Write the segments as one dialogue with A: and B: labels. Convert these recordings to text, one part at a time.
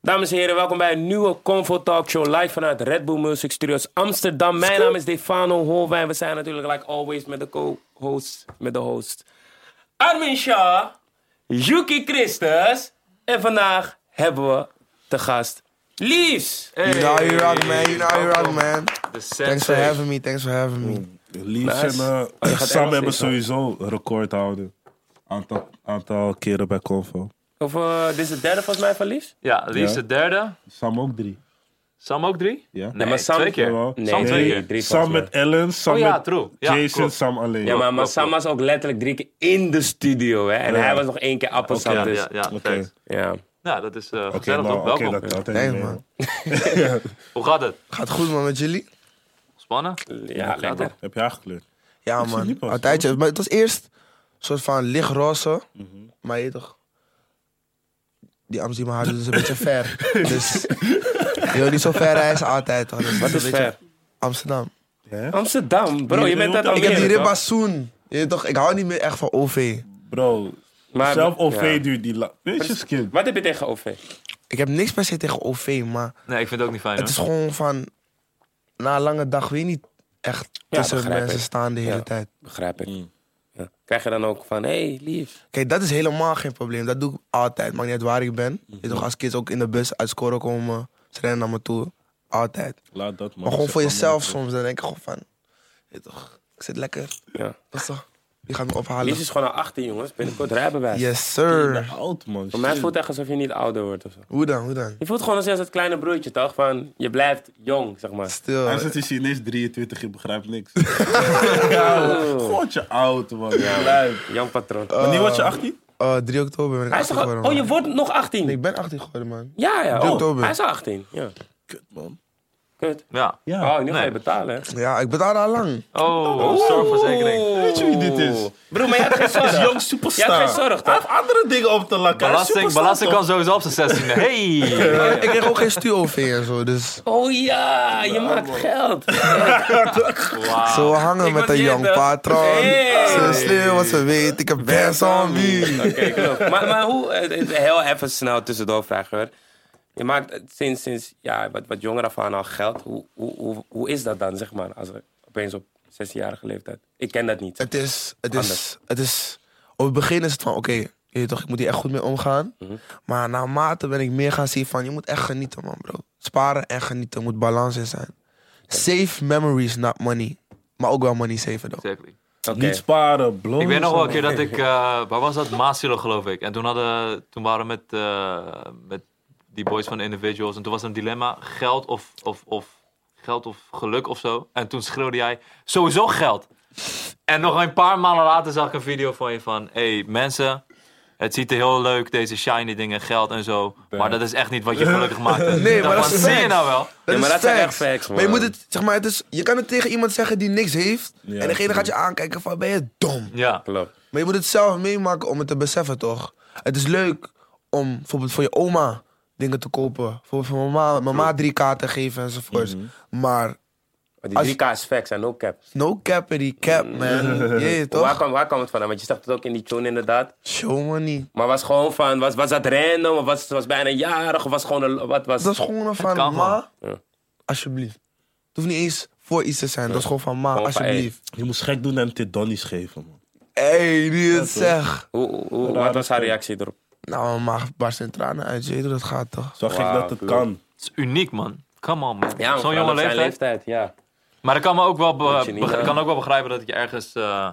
A: Dames en heren, welkom bij een nieuwe Convo Talk Show live vanuit Red Bull Music Studios Amsterdam. Mijn naam is Defano Holwijn. We zijn natuurlijk, like always, met de co-host, met de host Armin Shah, Yuki Christus. En vandaag hebben we te gast Liefs.
B: You know how Nou, you rock, man. You know how you rock, man.
C: De
B: Thanks for having me. Thanks for having me.
D: Leafs
A: Nice.
D: en
A: Oh, je
D: eh
A: gaat
D: Sam
A: Engels zeggen.
D: hebben sowieso een record houden. Aantal, aantal keren bij Convo.
A: Of, eh, dit is de derde volgens mij van Liefs?
C: Ja, liefst
D: Ja.
C: de derde.
D: Sam ook drie.
C: Sam ook drie?
D: Ja.
C: Nee,
A: maar Sam-
C: twee
D: Jawel.
C: keer.
A: Nee,
C: Sam twee
A: nee.
C: keer.
A: drie
D: Sam
A: volgens
D: met Ellen, Sam
C: Oh ja,
D: met
C: true. Ja,
D: Jason,
C: klopt.
D: Sam alleen.
A: Ja, maar, maar
C: klopt,
A: Sam was ook letterlijk drie keer in de studio, hè. En
D: Ja.
A: hij was nog één keer appelsap,
C: Ja,
A: dus...
C: ja, ja.
D: Oké.
C: thanks.
A: ja.
C: Nou, dat is eh
D: Oké,
C: gezellig
D: nou,
C: toch?
D: oké,
C: Welkom.
D: dat telt
B: Thanks,
D: niet meer.
B: man.
C: Hoe gaat het?
B: Gaat goed, man, met jullie?
C: Spannen?
A: Ja, lekker.
C: toch?
D: Heb je aangekleurd?
B: Ja,
D: zie
B: man.
D: niet pas,
B: Een tijdje. Maar het was eerst een soort van lichtroze. Maar je weet toch... Die Amsterdam haar doet dus een beetje ver. Dus je wil niet zo ver reizen altijd. Toch? Dus
A: Wat
B: een
A: is
B: beetje
A: ver? Oh,
B: Amsterdam.
A: Amsterdam, bro, je bent dat al
B: Ik heb die
A: meer, toch?
B: ribbasoen. Je weet toch, ik hou niet meer echt van OV.
D: Bro,
A: Maar-
D: zelf OV
A: ja.
D: duurt die lang. Weet je, skip.
A: Wat heb je tegen OV?
B: Ik heb niks per se tegen OV, maar
C: Nee, ik vind het ook niet fijn
B: het is
C: hoor.
B: gewoon van... Na een lange dag wil je niet echt tussen
A: begrijp
B: mensen
A: ik.
B: staan de hele
A: Ja.
B: tijd.
A: Begrijp ik. Ja. Krijg je dan ook van, hé, hey, lief.
B: Kijk, dat is helemaal geen probleem. Dat doe ik altijd. Maakt niet uit waar ik ben. Je
A: Mhm.
B: weet toch, als kids ook in de bus uit scoren komen, ze rennen naar me toe. Altijd.
D: Laat dat man.
B: Maar gewoon
D: Zeg
B: voor
D: maar,
B: jezelf
D: man.
B: soms. Dan denk ik gewoon van, je weet toch, ik zit lekker.
A: Ja.
B: Rustig. Die gaat me
A: Lief
B: ophalen.
A: is gewoon al 18, jongens. Binnenkort rijbewijs.
B: Yes,
D: Je bent
B: sir.
D: Oud man.
A: Voor mij
D: shit.
A: voelt het echt alsof je niet ouder wordt of zo.
B: Hoe dan, hoe dan?
A: Je voelt gewoon als het kleine broertje, toch? Van, je blijft jong, zeg maar.
B: Stil.
D: Hij zit in Chinees 23, je begrijpt niks. ja,
A: Oh.
D: God, je oud man. Lijp.
A: Jong patroon.
D: Wanneer word je 18?
B: Eh, 3 oktober ben ik
A: Hij is
B: 18
A: toch al-
B: geworden,
A: Oh, je
B: man.
A: wordt nog 18?
B: Ik ben 18 geworden, man.
A: Ja, ja.
B: Drie
A: Oh,
B: oktober.
A: hij is al 18. Ja.
D: Kut man.
A: Kut.
C: Ja.
D: Ja.
A: Oh, nu ga je
C: Nee.
A: betalen, hè?
B: Ja, ik betaal al lang.
C: Oh, zorgverzekering.
D: Weet je wie dit is?
C: Oh.
A: Bro, maar je had geen
D: Hij is
A: zorg. Je
D: jong superstar.
A: had geen zorg, toch?
D: Hij heeft andere dingen op te lakken. Hij is
C: Belasting,
D: superstar,
C: belasting
D: toch?
C: kan sowieso op zijn 16e. Hey!
B: Maar Ik kreeg ook geen stuur-OV en zo, dus...
A: Oh ja, je maakt geld.
B: Zo we hangen
A: Ah. Ik
B: met
A: was
B: een
A: hier,
B: jong
A: toch?
B: patroon.
A: Hey.
B: Ze is slim, wat ze weet. Ik heb best on me.
A: Oké, klopt. Maar, maar hoe, eh, eh, heel even snel tussendoor vragen hoor. Je maakt eh, sinds, sinds ja, wat, wat jonger af aan al geld. Hoe, hoe, hoe, hoe is dat dan, zeg maar, als er opeens op 16-jarige leeftijd? Ik ken dat niet.
B: Het is, het
A: Anders.
B: is, het is... Op het begin is het van, oké, je weet toch, ik moet hier echt goed mee omgaan.
A: Mhm.
B: Maar naarmate ben ik meer gaan zien van, je moet echt genieten, man, bro. Sparen en genieten moet balans in zijn. Save memories, not money. Maar ook wel money saven, dan.
C: Exactly.
A: Oké.
D: Niet sparen, bro.
C: Ik weet nog wel een keer dat ik, eh, waar was dat? Maasilo geloof ik. En toen, hadden, toen waren we met, eh, met die boys van Individuals. En toen was er een dilemma, geld of, of, of, geld of geluk of zo. En toen schreeuwde jij, sowieso geld. En nog een paar maanden later zag ik een video van je van... hey, mensen, het ziet er heel leuk, deze shiny dingen, geld en zo. Maar dat is echt niet wat je gelukkig maakt.
B: Nee, maar dat is
C: zie je
B: facts.
C: nou wel?
B: Dat
A: Ja, maar
B: is
A: dat zijn echt
B: facts.
A: facts, man.
B: Maar je moet het, zeg maar, het is, je kan het tegen iemand zeggen die niks heeft.
D: Ja,
B: en degene gaat je aankijken van, ben je dom?
C: Ja,
A: Klopt.
B: Maar je moet het zelf meemaken om het te beseffen, toch? Het is leuk om bijvoorbeeld voor je oma dingen te kopen. Bijvoorbeeld voor mijn ma, mijn ma drie kaarten geven enzovoorts.
A: Mhm.
B: Maar
A: Maar die
B: Als-
A: 3K's facts en no cap.
B: no cap in die cap, man.
A: Mhm.
B: Jee,
A: Waar
B: toch?
A: kwam, waar kwam het vandaan? Want je zag het ook in die tune inderdaad.
B: Show money.
A: Maar was gewoon van, was, was dat random? Of was, was bijna jarig? Of was gewoon een, wat was...
B: Dat is gewoon een van,
C: kan
B: ma,
A: gewoon. Ja.
B: alsjeblieft. Het hoeft niet eens voor iets te zijn. Dat is gewoon van, ma,
A: Gewoon van,
B: alsjeblieft.
D: Je moest gek doen en dit donnies geven, man.
B: Hé, die het zegt.
A: Hoe, hoe- hoe- wat was haar reactie erop?
B: Nou, mijn ma barst in tranen uit. Je weet hoe dat gaat, toch?
D: Zo gek
A: Wauw,
D: dat het
A: cool.
D: kan.
C: het is uniek man. Come on man.
A: Ja,
C: Zo'n
A: vooral
C: jonge
A: op zijn
C: leeftijd.
A: leeftijd. Ja.
C: Maar ik kan, me ook wel be-
A: Moet je niet,
C: beg-
A: eh,
C: ik kan ook wel begrijpen dat het je ergens eh,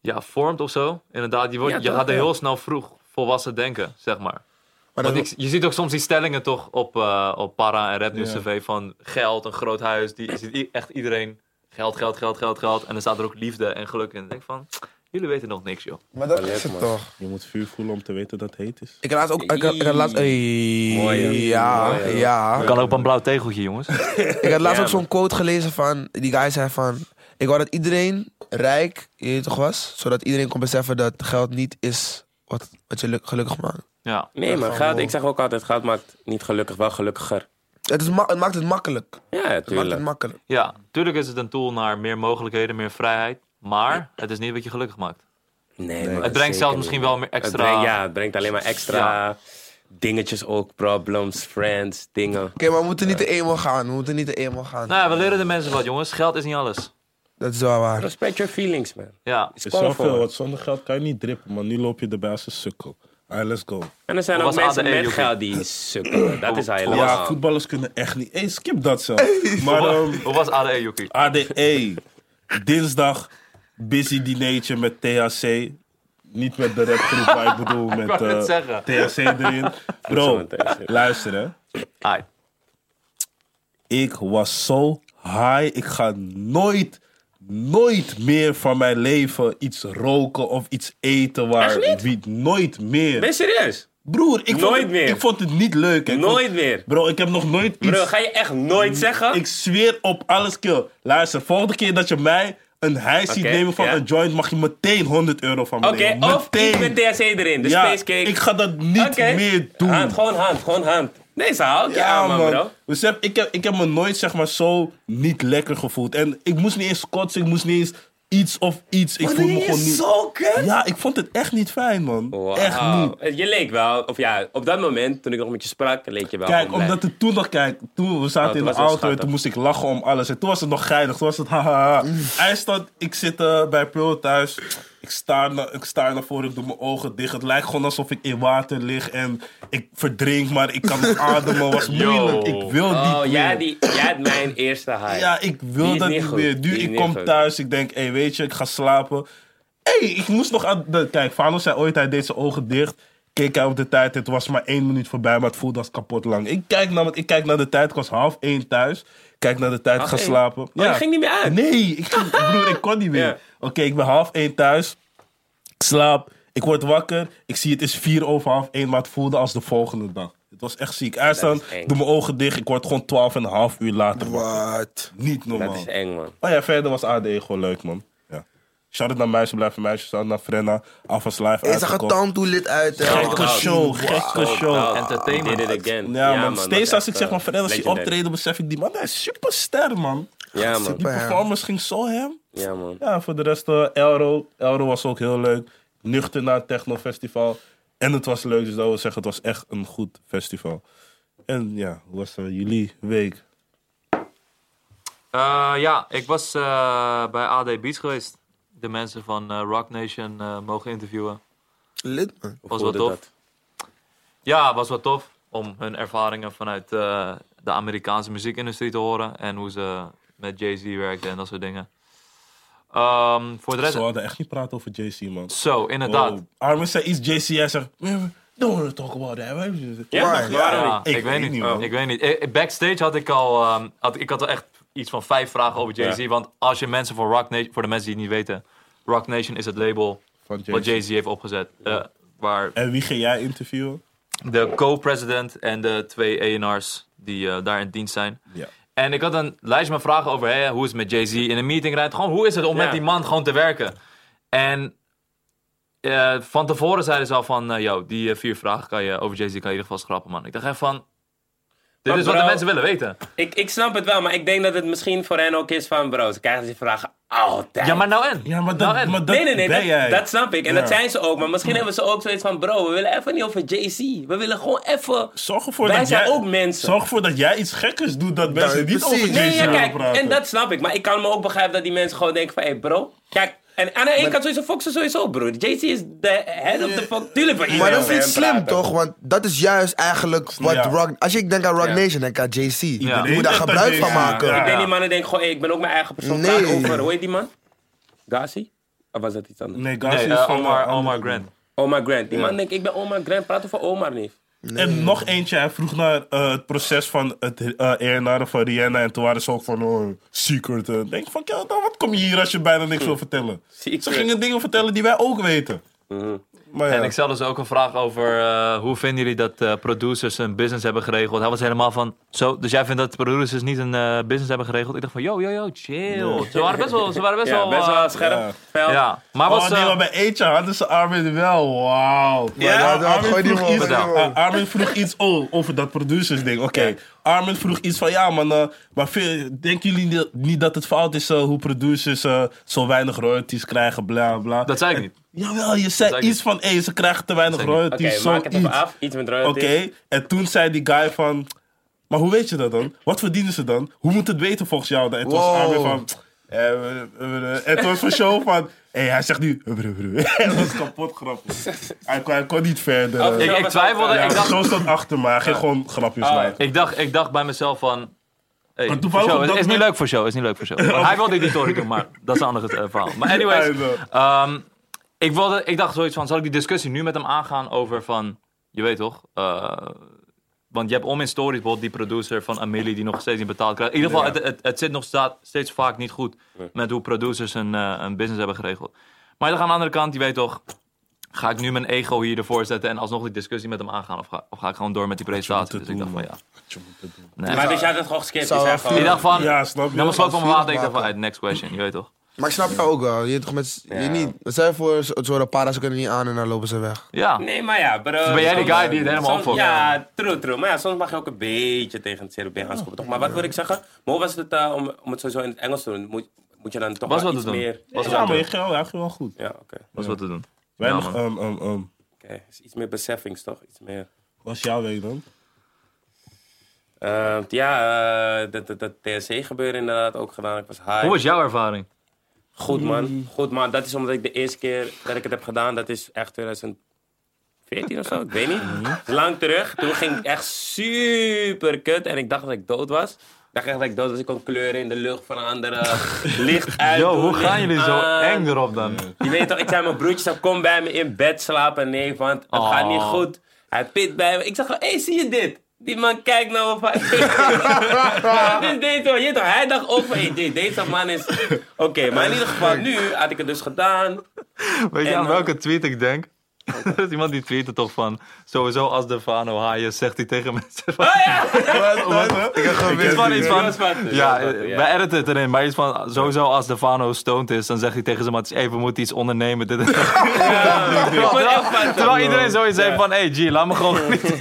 C: ja, vormt of zo. Inderdaad, je, wordt,
A: Ja,
C: je
A: toch,
C: gaat er
A: ja.
C: heel snel vroeg volwassen denken, zeg maar.
B: Maar
C: Want
B: dat-
C: ik- je ziet ook soms die stellingen toch op, eh, op Para en Red News
D: Ja.
C: TV van geld, een groot huis. Die ziet i- echt iedereen geld, geld, geld, geld, geld. En dan staat er ook liefde en geluk in. En ik denk van, jullie weten nog niks joh.
B: maar dat
A: Alert,
B: is het
A: man.
B: toch?
D: Je moet vuur voelen om te weten dat het heet is.
B: Ik had laatst ook... Ik had, ik had laatst... Hey,
A: Mooi, hè?
B: ja,
A: Mooi, hè?
B: ja.
C: Ik kan ook een blauw tegeltje jongens.
B: Ik had laatst
A: Ja,
B: ook zo'n quote gelezen van... Die guy zei van... Ik wou dat iedereen rijk je weet toch was. Zodat iedereen kon beseffen dat geld niet is wat, wat je luk- gelukkig maakt.
C: Ja.
A: Nee, maar geld, ik zeg ook altijd, geld maakt niet gelukkig, wel gelukkiger.
B: Het, is ma- het maakt het makkelijk. Het
A: Ja,
B: maakt het
A: tuurlijk.
B: makkelijk.
C: ja, tuurlijk is het een tool naar meer mogelijkheden, meer vrijheid. Maar het is niet wat je gelukkig maakt.
A: Nee, maar
C: Het brengt
A: zeker
C: zelfs misschien
A: niet.
C: wel meer
A: Het
C: extra...
A: brengt- ja, het brengt alleen maar extra. dingetjes ook, problems, friends, dingen.
B: maar we moeten niet de eenmaal gaan. We moeten niet de eenmaal gaan.
C: Nou ja, we leren de mensen wat, jongens. Geld is niet alles.
B: Dat is wel waar.
A: Respect your feelings, man.
C: Ja.
A: It's
D: is
A: call
D: zoveel,
A: for.
D: want zonder geld kan je niet drippen, man. Nu loop je erbij als een sukkel. Allee, let's go.
A: En er zijn
C: Hoe
A: ook
C: was
A: mensen
C: ADE,
A: met
C: Joekie?
A: geld die sukken. Dat is
C: Hoe
A: eigenlijk.
C: was-
D: Ja, voetballers kunnen echt niet. Hey, skip dat zelf. Maar ehm,
C: Hoe was E, ADE, Joekie?
D: ADE, dinsdag, busy dinertje met THC. Niet met de rapgroep, maar ik bedoel met
C: wou net
D: eh,
C: zeggen.
D: THC erin.
A: zo
D: Bro,
A: met THC.
D: luister hè.
C: Ai.
D: Ik was zo high. Ik ga nooit, nooit meer van mijn leven iets roken of iets eten waar wiet. Nooit meer.
A: Ben je serieus?
D: Broer, ik,
A: Nooit
D: vond, het-
A: meer.
D: ik vond het niet leuk. hè. Ik vond-
A: Nooit meer.
D: Bro, ik heb nog nooit iets...
A: Bro, ga je echt nooit zeggen?
D: Ik zweer op alles, kill. Luister, volgende keer dat je mij een high ziet
A: Oké,
D: nemen van
A: ja.
D: een joint, mag je meteen 100 euro van me
A: Oké,
D: nemen.
A: of
D: meteen.
A: ik ben THC erin, dus
D: ja,
A: space cake.
D: Ik ga dat niet
A: Oké.
D: meer doen.
A: Hand, gewoon hand, gewoon hand. Nee, ze houdt je aan, man, bro.
D: Dus heb, ik, heb, ik heb me nooit zeg maar, zo niet lekker gevoeld. En ik moest niet eens kotsen, ik moest niet eens iets of iets. Ik voelde me gewoon niet.
A: zo kut.
D: Ja, ik vond het echt niet fijn, man. Echt niet.
A: Je leek wel, of ja, op dat moment, toen ik nog met je sprak, leek je wel.
D: Kijk,
A: gewoon blij.
D: omdat het toen nog, kijk, toen we zaten
A: Oh,
D: in
A: toen
D: de
A: was het
D: auto en
A: schattig.
D: toen moest ik lachen om alles. En toen was het nog geinig, toen was het hahaha. Hij staat, ik zit eh, bij Pearl thuis, ik sta, na, ik sta naar voren, ik doe mijn ogen dicht. Het lijkt gewoon alsof ik in water lig en ik verdrink, maar ik kan niet ademen. was
C: Yo.
D: moeilijk, ik wil
A: Oh,
D: niet
A: jij,
D: meer.
A: die, jij had mijn eerste high.
D: Ja, ik wil
A: Die is
D: dat
A: niet
D: niet
A: goed.
D: meer. Nu,
A: Die is
D: ik
A: niet
D: kom
A: goed.
D: thuis, ik denk, hé, weet je, ik ga slapen. Hé, ik moest nog aan... De, kijk, Fano zei ooit, hij deed zijn ogen dicht. Keek hij op de tijd, het was maar één minuut voorbij, maar het voelde als kapot lang. Ik kijk naar, ik kijk naar de tijd, ik was half één thuis. Kijk naar de tijd,
A: Half
D: ga
A: één?
D: slapen.
A: je ging niet meer uit?
D: Nee, ik, ging- broer, ik kon niet meer.
A: Ja.
D: Oké, ik ben half één thuis. Ik slaap, ik word wakker. Ik zie het is vier over half één, maar het voelde als de volgende dag. Het was echt ziek. Uitstaan,
A: is eng.
D: doe mijn ogen dicht. Ik word gewoon twaalf en een half uur later wakker.
B: Wat?
D: Niet normaal.
A: Dat is eng, man.
D: Oh ja, verder was ADE gewoon leuk, man. Ja. Shout-out naar Meisje Blijven Meisje. Shout-out naar Frenna. Alphas Live
B: Hij zag er
D: uitgekomen.
B: tandtoelid uit. hè.
A: Oh,
D: Gekke show, gekke show.
C: Entertainment.
A: Did it again.
D: Ja, man.
A: dat
D: Steeds
A: is
D: als ik
A: echt,
D: zeg maar
A: eh,
D: Frenna zie
A: legendary.
D: optreden, besef ik die man, hij is superster, man.
A: Ja, man.
D: Die
B: Superhem.
D: performance ging zo hem.
A: Ja, man.
D: Ja, voor de rest, eh, Elro. Elro was ook heel leuk. Nuchter naar het Techno Festival. En het was leuk, dus dat wil zeggen, het was echt een goed festival. En ja, hoe was eh, jullie week?
C: Eh, ja, ik was eh, bij AD Beats geweest. De mensen van eh, Rock Nation eh, mogen interviewen.
B: Lid, man.
A: Hoe
C: Was wel
A: voelde
C: tof.
A: dat?
C: Ja, was wel tof om hun ervaringen vanuit eh, de Amerikaanse muziekindustrie te horen. En hoe ze met Jay-Z werkten en dat soort dingen. Ehm, voor de rest...
D: Ze hadden echt niet praten over JC, man.
C: Zo, inderdaad.
D: Oh, Armin zei iets, JCS zegt, "Man, don't wanna talk about that.
A: Ja,
B: Why?
A: maar-
D: Ja.
C: Ja, ik, weet niet.
D: man.
C: Ik weet niet. Eh, Backstage had ik al, ehm, had, ik had wel echt iets van vijf vragen over Jay-Z. Want als je mensen voor Rock Nation, voor de mensen die het niet weten, Rock Nation is het label
D: Van
C: wat
D: Jay-Z.
C: Jay-Z heeft opgezet. eh, waar
D: En wie ga jij interviewen?
C: de co-president en de twee A&R's die eh, daar in dienst zijn.
D: Ja.
C: En ik had een lijstje met vragen over hey, hoe is het met Jay-Z in een meeting rijdt. Gewoon hoe is het om
A: Ja.
C: met die man gewoon te werken. En eh, van tevoren zeiden ze al van, eh yo, die eh, vier vragen kan je, over Jay-Z kan je in ieder geval schrappen, man. Ik dacht echt van, dit
A: Maar
C: is wat de
A: bro-
C: mensen willen weten.
A: Ik, ik snap het wel, maar ik denk dat het misschien voor hen ook is van, bro, ze krijgen die vragen altijd.
C: Ja, maar nou en?
D: Ja, maar dat,
C: nou en?
D: maar dat
A: Nee, nee, nee,
D: ben jij.
A: dat, dat snap ik. En
D: Ja.
A: dat zijn ze ook. Maar misschien hebben ze ook zoiets van, bro, we willen even niet over Jay-Z. We willen gewoon even...
D: Zorg ervoor
A: Wij
D: dat
A: zijn
D: jij,
A: ook mensen.
D: Zorg ervoor dat jij iets gekkers doet dat mensen
B: Ja,
D: niet
B: precies.
D: over
A: Nee,
D: Jay-Z
A: ja,
D: willen
A: kijk,
D: praten.
A: en dat snap ik. Maar ik kan me ook begrijpen dat die mensen gewoon denken van, hé hey bro. Kijk, en aan de ene kant sowieso Fox is sowieso, broer. Jay-Z is de head of the fuck. Tuurlijk, wil
B: Maar
A: iedereen
B: dat is
A: over
B: niet
A: hem
B: slim
A: praten.
B: toch? Want dat is juist eigenlijk wat
D: Ja.
B: Rock... Als ik denk aan Rock
A: Ja.
B: Nation, denk ik aan JC. Je moet
D: denkt
B: daar
D: aan
B: gebruik
D: JC.
B: van maken.
A: Ik
D: Ja.
A: denk die mannen denken gewoon, hey, ik ben ook mijn eigen persoon.
B: Nee.
A: Klaar over, hoe heet die man? Gazi? Of was dat iets anders?
D: Nee, Gazi
C: Nee,
D: is
C: eh,
D: van
C: Omar,
D: eh,
C: Omar Grant.
A: Omar Grant. Die man denkt, ik ben Omar Grant. Praat over Omar niet.
D: En nog eentje, hij vroeg naar eh, het proces van het eh ENR van Rihanna. En toen waren ze ook van, oh, secret. eh. denk van, ja, dan wat kom je hier als je bijna
C: Hm.
D: niks wil vertellen?
A: Secret.
D: Ze gingen dingen vertellen die wij ook weten. Maar ja.
C: Mhm. En ik stelde ze ook een vraag over eh, hoe vinden jullie dat eh, producers een business hebben geregeld. Hij was helemaal van, zo, dus jij vindt dat producers niet een eh, business hebben geregeld? Ik dacht van, yo, yo, yo, chill. Ze waren best wel, ze waren best
A: Ja,
C: wel...
A: best wel
C: eh,
A: scherp.
D: ja.
A: fel.
C: ja, maar was...
D: oh nee,
C: eh,
D: maar bij eentje hadden ze Armin wel. Wauw.
B: Ja, dat-
D: Armin,
B: gooi die
D: vroeg
B: man,
D: iets,
C: gooi die
B: man.
D: Ah, Armin vroeg iets oh, over dat producers ding. Oké, Armin vroeg iets van ja man, eh, maar vind- denken jullie niet- niet dat het fout is eh, hoe producers eh, zo weinig royalties krijgen, bla bla.
C: Dat zei ik niet.
D: Jawel, je zei
C: Zeg
D: iets
C: niet.
D: van, hé, ze krijgen te weinig
C: Zeg niet.
A: Oké,
D: royalties,
A: maak het
D: zoiets.
A: even af. Iets met
D: Oké,
A: royalties.
D: en toen zei die guy van, maar hoe weet je dat dan? Wat verdienen ze dan? Hoe moet het weten volgens jou? En toen was
B: Wow.
D: Armin van, eh, eh, eh, eh. en toen was van show van, hé, hij zegt nu, eh, eh, eh, eh. dat was kapot grappig. Hij kon, hij kon niet verder.
A: Af-
C: Ik, ik twijfelde,
D: ja,
C: ik dacht,
D: zo stond achter me, hij ging gewoon grapjes
A: Ah,
D: maken.
C: ik dacht, ik dacht bij mezelf van... Hey,
D: Maar
C: voor
D: toevallig
C: show,
D: op dat
C: is niet
D: moment-
C: leuk voor show, is niet leuk voor show. Maar hij wilde die toren doen, maar dat is een ander eh, verhaal. Maar anyways,
D: Hij, eh,
C: Ehm, ik, wilde, ik dacht zoiets van, zal ik die discussie nu met hem aangaan over van, je weet toch, eh, want je hebt om in stories bijvoorbeeld die producer van Amelie die nog steeds niet betaald krijgt. In ieder geval, het, het, het zit nog sta- steeds vaak niet goed met hoe producers een, eh, een business hebben geregeld. Maar je dacht aan de andere kant, je weet toch, ga ik nu mijn ego hier ervoor zetten en alsnog die discussie met hem aangaan of ga, of ga ik gewoon door met die presentatie? Dus
D: moeten
C: ik dacht van
D: doen,
C: ja.
A: Maar dus jij had het gewoon geskipt. Je
B: Zou-
A: zei gewoon-
C: Ik dacht van,
D: Ja, snap je?
C: dan besloot van mijn water, ik dacht van,
B: maken.
C: hey, next question, je weet toch.
B: Maar ik snap jou ook wel. Je, toch met, je
A: Ja.
B: niet, wat zijn voor zo- zo'n para, ze kunnen niet aan en dan lopen ze weg.
C: Ja,
A: Nee, maar ja, bro.
C: Dus ben jij die
A: soms-
C: guy die het helemaal
A: soms-
C: opfokt?
A: Ja, true, true. Maar ja, soms mag je ook een beetje tegen het CRB aanschoppen, toch? Maar wat wil ik zeggen? Maar hoe was het eh, om, om het sowieso in het Engels te doen? Moet, moet je dan toch
C: was
A: wel
C: wat te
A: iets
C: doen.
A: meer...
C: Was
D: Ja,
C: wat te
D: maar
C: doen.
D: je geld, hij ging wel goed.
A: Ja, oké. Oké,
C: Was wat te doen.
D: Weinig,
C: man.
D: ehm, ehm, ehm.
A: is iets meer beseffings, toch? Iets meer...
D: Wat is jouw week dan?
A: Eh, ja, eh, dat, dat, dat TSC gebeuren inderdaad ook gedaan. Ik was high.
C: Hoe was jouw ervaring?
A: Goed
C: Mm.
A: man, goed man. Dat is omdat ik de eerste keer dat ik het heb gedaan, dat is echt 2014 of zo, ik weet niet.
C: Mm.
A: Lang terug. Toen ging ik echt super kut en ik dacht dat ik dood was. Ik dacht echt dat ik dood was. Ik kon kleuren in de lucht veranderen, licht uit.
C: Yo,
A: doen,
C: hoe gaan
A: licht
C: jullie zo
A: aan.
C: eng erop dan?
A: Je weet toch, ik zei mijn broertje, dan kom bij me in bed slapen. Nee, want het
C: Oh.
A: gaat niet goed. Hij pit bij me. Ik zeg gewoon, hé, hey, zie je dit? Die man kijkt naar me van... Dit is deze man. Je weet toch, hij dacht ook van, hey, dit- deze man is... Oké, maar in ieder geval, nu had ik het dus gedaan.
C: Weet je
A: En eh,
C: aan
A: dan-
C: welke tweet ik denk? Er is iemand die tweette toch van, sowieso als Devano haaien, zegt hij tegen mensen van...
A: Oh ja!
B: Ik heb gewoon
C: Iets
B: weer-
C: van, iets
A: Die was
C: van,
A: wat, die
C: ja,
A: was wat,
C: eh,
A: ja.
C: wij editen het erin, maar iets van, sowieso als Devano stoned is, dan zegt hij tegen zijn maats, hey, we moeten iets ondernemen. Dit en dat."
A: Ik vond het echt
C: Terwijl-
A: wat,
C: Terwijl
A: man.
C: iedereen zoiets heeft van, hey G, laat me gewoon genieten.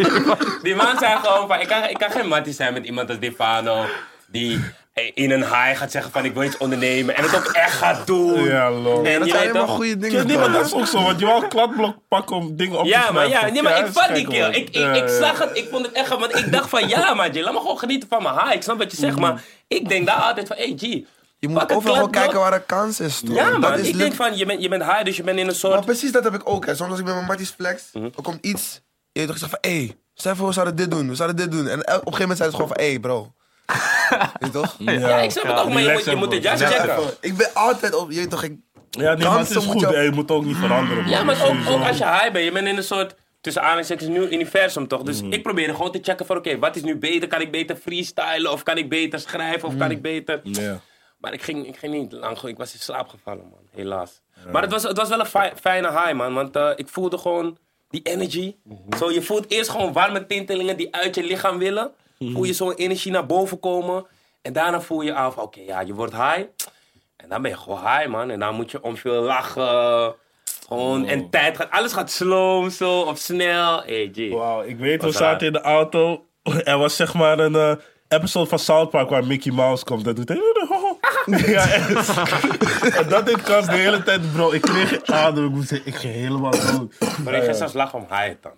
A: Die man zei gewoon van, ik kan, ik kan geen mattie zijn met iemand als Stefano. Die eh, in een high gaat zeggen van, ik wil iets ondernemen. En het ook echt gaat doen.
D: Ja,
A: En
D: lol.
B: Dat
A: je
B: zijn
A: weet
B: helemaal
A: toch...
B: goede
D: Ja,
B: dingen.
D: nee, maar
B: man.
D: dat is ook zo, want je wou een kladblok pakken om dingen op te
A: Ja, maar,
D: schrijven.
A: ja, nee, maar ik
D: dat is
A: vat die
D: gek,
A: kill.
D: man.
A: Ik, ik,
D: Ja,
A: ik
D: ja.
A: zag het, ik vond het echt grappig, Want ik dacht van, ja, man, Jay, laat me gewoon genieten van mijn haar. Ik snap wat je zegt,
D: Mm-hmm.
A: maar ik denk daar altijd van, hey, G.
B: Je moet
A: pak een
B: overal
A: kladblok.
B: gewoon kijken waar een kans is. toch?
A: Ja,
B: dat
A: man,
B: is
A: ik
B: luk-
A: denk van, je bent, je bent high, dus je bent in een
B: Maar
A: soort...
B: precies dat heb ik ook. Hè. Soms als ik met mijn matties flex,
A: Mhm.
B: dan komt iets. Je hebt toch gezegd van, hé, hey, stel voor we zouden dit doen, we zouden dit doen. En el- op een gegeven moment zei ze gewoon van, hé hey, bro. Weet je toch?
A: Ja, ik snap het ook, maar je moet, je moet het juist
D: Relax,
A: checken.
D: man.
B: Ik ben altijd op, je weet toch, ik...
D: Ja, nee, maar het
B: Kansen
D: is
B: moet
D: goed.
B: je ook-
D: hè, Je moet ook niet veranderen.
A: Ja,
D: man.
A: maar ook,
D: Sowieso.
A: ook als je high bent, je bent in een soort tussen aanhalingstekens nieuw universum toch? Dus
D: Mm.
A: ik probeerde gewoon te checken van oké, wat is nu beter? Kan ik beter freestylen of kan ik beter schrijven
D: Mm.
A: of kan ik beter...
D: Ja.
A: Maar ik ging, ik ging niet lang goed. Ik was in slaap gevallen, man. Helaas. Maar het was, het was wel een fi- fijne high, man. Want eh, ik voelde gewoon die energy. Zo, je voelt eerst gewoon warme tintelingen die uit je lichaam willen. Voel je zo'n energie naar boven komen. En daarna voel je aan van, oké, ja, je wordt high. En dan ben je gewoon high, man. En dan moet je om veel lachen. Gewoon, en tijd gaat... Alles gaat slow, zo, of snel. Hey, G.
D: Wauw, ik weet, we
A: Was raar.
D: zaten in de auto. Er was zeg maar een eh, episode van South Park waar Mickey Mouse komt. Dat doet hij. Ja, en, en dat deed Kans de hele tijd, bro. Ik kreeg adem. Ik moest zeggen, ik ging helemaal dood.
A: Maar ik ga zelfs lachen om high dan.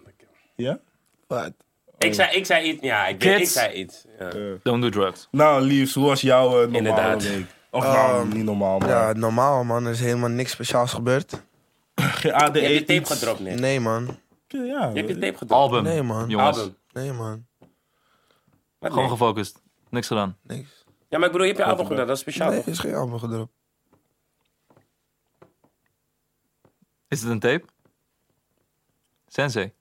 D: Ja?
B: Wat?
A: Ik zei, ik zei iets. Ja, ik, weet, ik
C: Kids.
A: zei iets. Ja.
C: Don't do drugs.
D: Nou, liefst, hoe was jouw eh, normale
A: Inderdaad.
D: week? Of nou,
A: Ehm,
D: niet normaal, man.
B: Ja, normaal man, er is helemaal niks speciaals gebeurd.
D: Geen ADE.
A: Je hebt je tape
D: iets.
A: gedropt, nee.
B: Nee man,
D: Ja,
A: Je hebt je tape gedropt.
C: Album,
B: Nee, man.
C: jongens.
A: Album.
B: nee man,
A: Wat
C: Gewoon
A: nee?
C: gefocust. Niks gedaan.
B: niks.
A: Ja, maar ik bedoel, je hebt je album gedaan, dat is speciaal.
B: Nee,
A: toch?
B: is geen album gedropt.
C: Is het een tape? Sensei.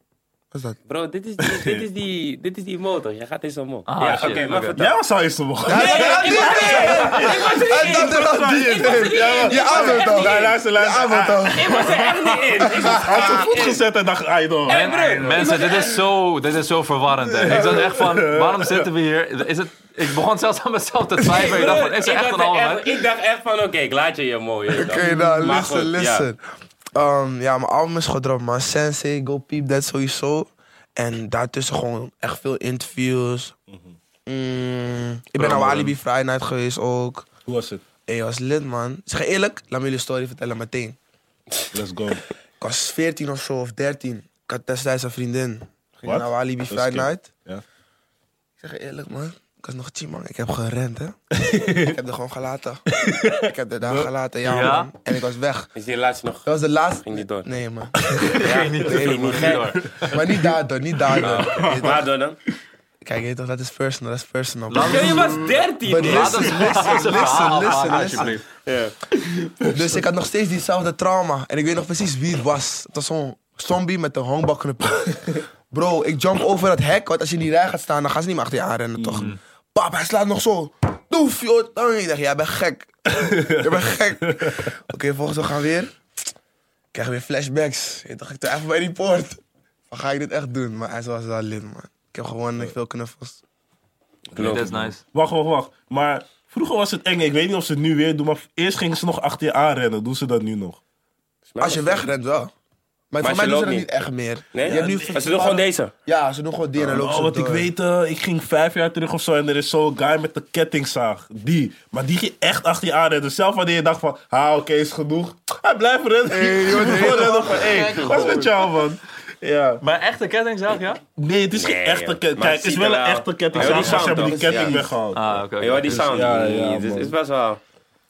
B: Wat is dat?
A: Bro, dit is, die, dit, is die, dit is die motor. Jij gaat eens omhoog.
C: Ah,
A: ja,
C: shit,
A: maar
C: oké.
A: vertel.
D: Jij was al eerst te mogen.
B: Ja, ja, ja,
A: Ik was er
B: dat
A: niet in.
B: dat was die het
A: Ik was er niet in. Ik
B: Je
A: was er
B: avond
A: echt
B: al.
A: niet
D: Nee,
A: in.
D: luister,
B: De
D: luister.
B: avond al.
A: Ik was er echt niet in. Ik was
D: Hij had zijn
A: echt
D: voet
A: in.
D: gezet en dacht, I know.
A: En broer,
C: Mensen, dit is zo, dit is zo verwarrend. hè. Ik zat echt van, waarom zitten we hier? Is het, ik begon zelfs aan mezelf te twijfelen. Ik dacht van, is er
A: ik
C: echt
A: was
C: een
A: er
C: album?
A: echt- Ik dacht echt van, oké, ik laat je je mooie.
B: Oké, nou,
A: Maar
B: listen,
A: goed, ja.
B: listen. Ja. ja, mijn album is gedropt, man. Sensei, Go Peep, dat sowieso. En daartussen gewoon echt veel interviews.
A: Mhm.
B: Mm, ik ben naar Alibi Friday Night geweest ook.
D: Hoe was het?
B: Hé, was lid, man. Zeg je eerlijk, laat me jullie story vertellen meteen.
D: Let's go.
B: Ik was 14 of zo, of 13. Ik had destijds een vriendin. Ging
D: Wat?
B: naar Walibi
D: Dat is
B: Friday
D: kind.
B: Night.
D: Ja.
B: Ik zeg je eerlijk, man. Ik was nog chim, man. Ik heb gerend, hè. ik heb er gewoon gelaten. ik heb er daar gelaten, ja,
C: Ja?
B: man. En ik was weg.
A: Is die laatste nog?
B: Dat was de laatste...
A: Ging niet door.
B: Nee, man.
C: Ging niet
B: Nee,
C: ging
B: man.
C: niet door.
B: maar niet daardoor, niet daardoor. Je weet
A: Waar
B: toch-
A: door dan?
B: Kijk, je weet toch, dat is personal, dat is personal.
C: Laat-
A: Ja, je was 13.
B: Maar
A: man.
C: Laat
B: listen,
C: ons-
B: listen,
C: ons een verhaal
B: listen,
C: maken,
B: listen,
C: alsjeblieft.
B: Dus ik had nog steeds diezelfde trauma. En ik weet nog precies wie het was. Het was zo'n zombie met een honkbalknuppel. Bro, ik jump over dat hek, want als je in die rij gaat staan, dan gaan ze niet meer achter je aanrennen, toch? Pap, hij slaat nog zo. Doef, joh. tang. Ik dacht, jij bent gek. jij bent gek. Oké, volgens we gaan weer. Ik krijg weer flashbacks. Ik dacht, ik doe even bij die poort. Van, ga ik dit echt doen? Maar hij was wel lid, man. Ik heb gewoon veel knuffels.
C: Nee, That's nice.
D: Wacht, wacht, wacht. Maar vroeger was het eng. Ik weet niet of ze het nu weer doen, maar eerst gingen ze nog achter je aanrennen. Doen ze dat nu nog?
B: Als je wegrent, wel. Maar,
A: als
B: voor mij
A: je
B: doen ze
A: loopt
B: dat
A: niet.
B: niet echt meer.
A: Nee?
B: Je hebt nu
A: Maar ze doen gewoon deze.
B: Ja, ze doen gewoon die en dan lopen
D: Oh,
B: ze
D: want ik
B: door.
D: weet, eh, ik ging vijf jaar terug of zo en er is zo'n guy met de kettingzaag. Die. Maar die ging echt achter je aanrennen. Zelf wanneer je dacht van, ha, oké, is genoeg. Hij blijft rennen.
B: Hey, joh, nee,
D: Gewoon rennen
B: toch?
D: van, hey, wat is met jou, man? Ja.
C: Maar echt een kettingzaag, ja?
D: Nee, het is geen
A: Nee,
D: echte
A: joh.
D: ketting.
A: Maar
D: Kijk,
A: het
D: het is
A: ziet er
D: wel een
A: wel-
D: echte
A: Ja,
D: kettingzaag,
A: die
D: maar ze
A: sound
D: hebben nou. die
B: toch?
D: ketting
B: Ja.
D: weggehaald.
C: Ah, oké.
A: Je
C: oké.
A: hoort die sound.
D: ja, ja,
A: Het is-
D: man.
A: is best wel...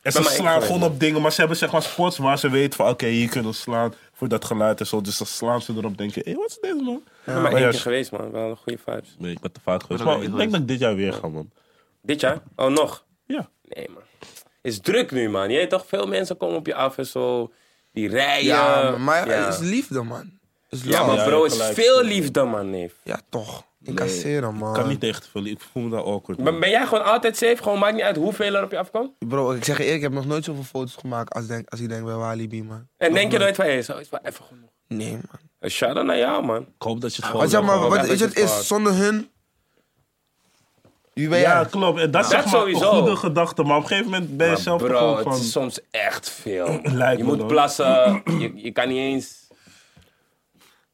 D: En ze
A: Bij mij
D: slaan
A: ook,
D: gewoon
A: ja.
D: op dingen, maar ze hebben zeg maar spots waar ze weten van, oké, hier kunnen we slaan voor dat geluid en zo. Dus dan slaan ze erop denken, hé, wat is dit, man?
A: Ik ben maar
D: Maar
A: één
D: ja,
A: keer geweest, man. Wel goede vibes.
D: Nee, ik ben te vaak geweest.
C: Ik ben
D: Maar
C: ook
D: ik
C: niet
D: denk dat ik dit jaar weer ga, man.
A: Dit jaar? Oh, nog?
D: Ja.
A: Nee, man. is druk nu, man. Je weet toch, veel mensen komen op je af en zo. Die rijden.
B: Ja, maar maar
A: ja.
B: het is liefde, man. Het is
A: Ja,
B: love.
A: maar
D: Ja,
A: bro,
D: je
A: het is
D: gelijk.
A: veel liefde, man, neef.
B: Ja, toch. Incasseren, man.
D: Ik kan niet tegen te veel. Ik voel me daar awkward. man.
A: Ben, ben jij gewoon altijd safe? Gewoon maakt niet uit hoeveel er op je afkomt?
B: Bro, ik zeg je eerlijk, ik heb nog nooit zoveel foto's gemaakt als, denk, als ik denk bij Walibi, man.
A: En denk je nooit van, hé, zo is wel even genoeg.
B: Nee, man.
A: Een shout-out naar jou, man.
D: Ik hoop dat
A: Ah,
D: je het
B: Want
D: gewoon...
B: zeg maar,
A: gewoon
B: wat
A: even
B: is het
A: gevraagd.
B: is, zonder hun... Wie ben
D: Ja,
B: jij?
D: klopt. En dat is zeg
A: Dat
D: maar
A: sowieso.
D: een goede gedachte, maar op een gegeven moment ben je zelf toch
A: Bro,
D: gewoon
A: het
D: van...
A: is soms echt veel.
D: Lijkt
A: Je
D: me
A: moet
D: dan.
A: plassen. Je, je kan niet eens...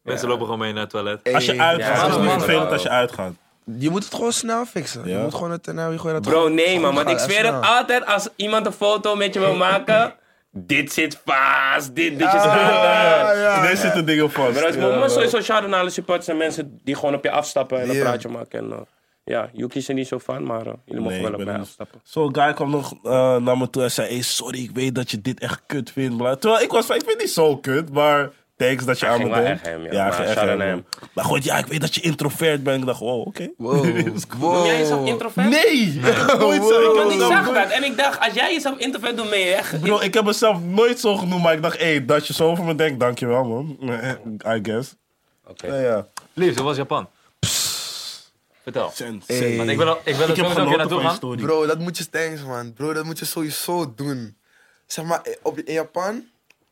C: Mensen lopen gewoon mee naar het toilet.
B: Hey,
D: Als je
A: Ja,
D: uitgaat, het is niet
A: man.
D: vervelend als je uitgaat.
B: Je moet het gewoon snel fixen. Je
D: Ja.
B: moet gewoon het naar je gooien. dat
A: Bro,
B: gewoon-
A: nee, man.
B: gewoon
A: Want ik
B: gaat,
A: zweer
B: even
A: het
B: snel.
A: altijd als iemand een foto met je wil maken. Dit zit vast. Dit, dit is
B: Ja, ja,
D: Daar
B: ja.
D: zitten dingen vast.
A: Maar dat is
D: Ja,
A: maar
D: man.
A: sowieso shout-out naar alle supporters en mensen die gewoon op je afstappen en een
B: Ja.
A: praatje maken. En, eh, ja, Yuki is er niet zo van, maar eh, jullie mogen
D: Nee,
A: wel
D: ik
A: op
D: ben
A: mij
D: niet-
A: afstappen.
D: Zo'n guy kwam nog eh, naar me toe en zei: hey, Sorry, ik weet dat je dit echt kut vindt. bla." Terwijl ik was van: Ik vind het niet zo kut, maar thanks dat je aan me
A: ging wel
D: denkt.
A: echt hem, ja.
D: hij
A: Maar
D: ging echt
A: shout-out
D: hem,
A: naar
D: man. Maar goed, ja, ik weet dat je introvert bent. Ik dacht: Wow, oké.
B: Wow. wow.
A: Noem jij jezelf introvert?
D: Oh. Nee! oh, Ik heb nooit zo. ik heb
A: Want ik
D: dat
A: zag
D: nooit-
A: dat en ik dacht, als jij jezelf introvert doet, ben je echt...
D: Bro, ik heb mezelf nooit zo genoemd, maar ik dacht: Hé, hey, dat je zo over me denkt, dankjewel man. I guess.
A: Oké.
D: Ja, ja.
C: Liefs, hoe was Japan? Vertel.
D: Sens.
B: Hey.
C: Want ik wil, ik wil er
D: Ik heb
C: sowieso een keer
D: genoten
C: naartoe
D: van je
C: gaan.
D: story.
B: Bro, dat moet je thanks, man. Bro, dat moet je sowieso doen. Zeg maar, eh, op, in Japan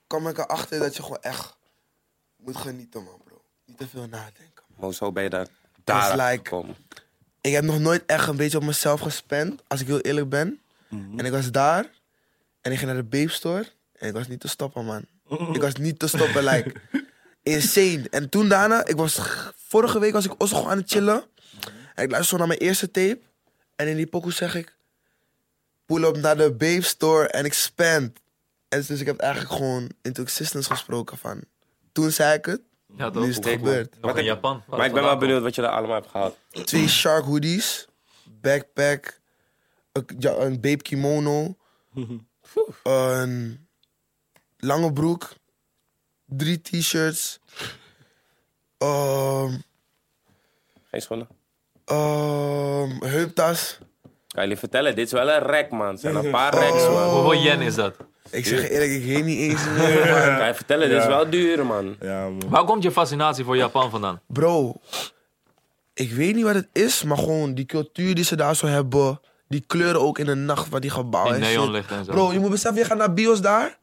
B: kwam ik erachter dat je gewoon echt moet genieten, man, bro. Niet te veel nadenken.
A: Maar zo ben je daar.
B: daar like-
A: gekomen.
B: Ik heb nog nooit echt een beetje op mezelf gespend, als ik heel eerlijk ben. En ik was daar en ik ging naar de Babe Store en ik was niet te stoppen, man. Ik was niet te stoppen, like. Insane. En toen daarna, ik was, vorige week was ik Oslo gewoon aan het chillen. En ik luisterde naar mijn eerste tape. En in die pokoe zeg ik, pull up naar de Babe Store en ik spend. En dus ik heb eigenlijk gewoon into existence gesproken van. Toen zei ik het,
C: Ja,
B: nu is
C: toch?
B: het
A: Kijk, man.
B: gebeurd.
C: Nog
A: Wat
C: in
A: heb-
C: Japan. Waar
A: Maar ik ben wel
C: het vandaan
A: benieuwd wat je daar allemaal hebt gehaald.
B: twee shark hoodies, backpack, een, ja, een babe kimono, een lange broek, drie t-shirts, ehm
A: Geen schoenen.
B: ehm, heuptas.
A: Kan jullie vertellen, dit is wel een rek, man. Het zijn een
D: Oh.
A: paar racks, man.
C: komt. Hoeveel yen is dat?
B: Ik zeg je eerlijk, ik weet niet eens meer. man.
A: Kan je vertellen, dit is
D: Ja.
A: wel duur, man.
D: Ja, man.
C: Waar komt je fascinatie voor Japan vandaan?
B: Bro, ik weet niet wat het is, maar gewoon die cultuur die ze daar zo hebben. Die kleuren ook in de nacht van die gebouwen.
C: Die
B: en shit.
C: neonlichten en zo.
B: Bro, je moet beseffen, je gaat naar bios daar.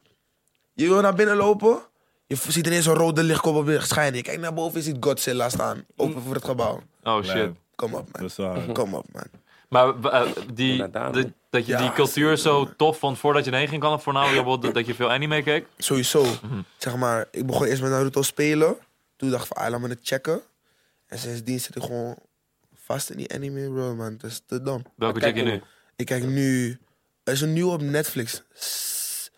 B: Je wil naar binnen lopen. Je v- ziet ineens een rode lichtkop op je schijnen. Je kijkt naar boven, je ziet Godzilla staan. Open voor het gebouw.
C: Oh shit.
D: Nee.
B: Kom op, man.
D: Dat is waar.
B: Kom op, man.
C: Maar eh, die,
A: Inderdaad,
C: de-
A: man.
C: dat je
B: Ja,
C: die cultuur zo tof vond voordat je erheen ging, kan het voornamelijk bijvoorbeeld dat je veel anime keek?
B: Sowieso.
C: Mhm.
B: Zeg maar, ik begon eerst met Naruto spelen. Toen dacht ik van, ah, laat me het checken. En sindsdien zit ik gewoon vast in die anime world, man. Dat is te dom.
C: Welke
A: Kijk,
C: check je nu?
B: Ik kijk nu... Er is een nieuw op Netflix. S-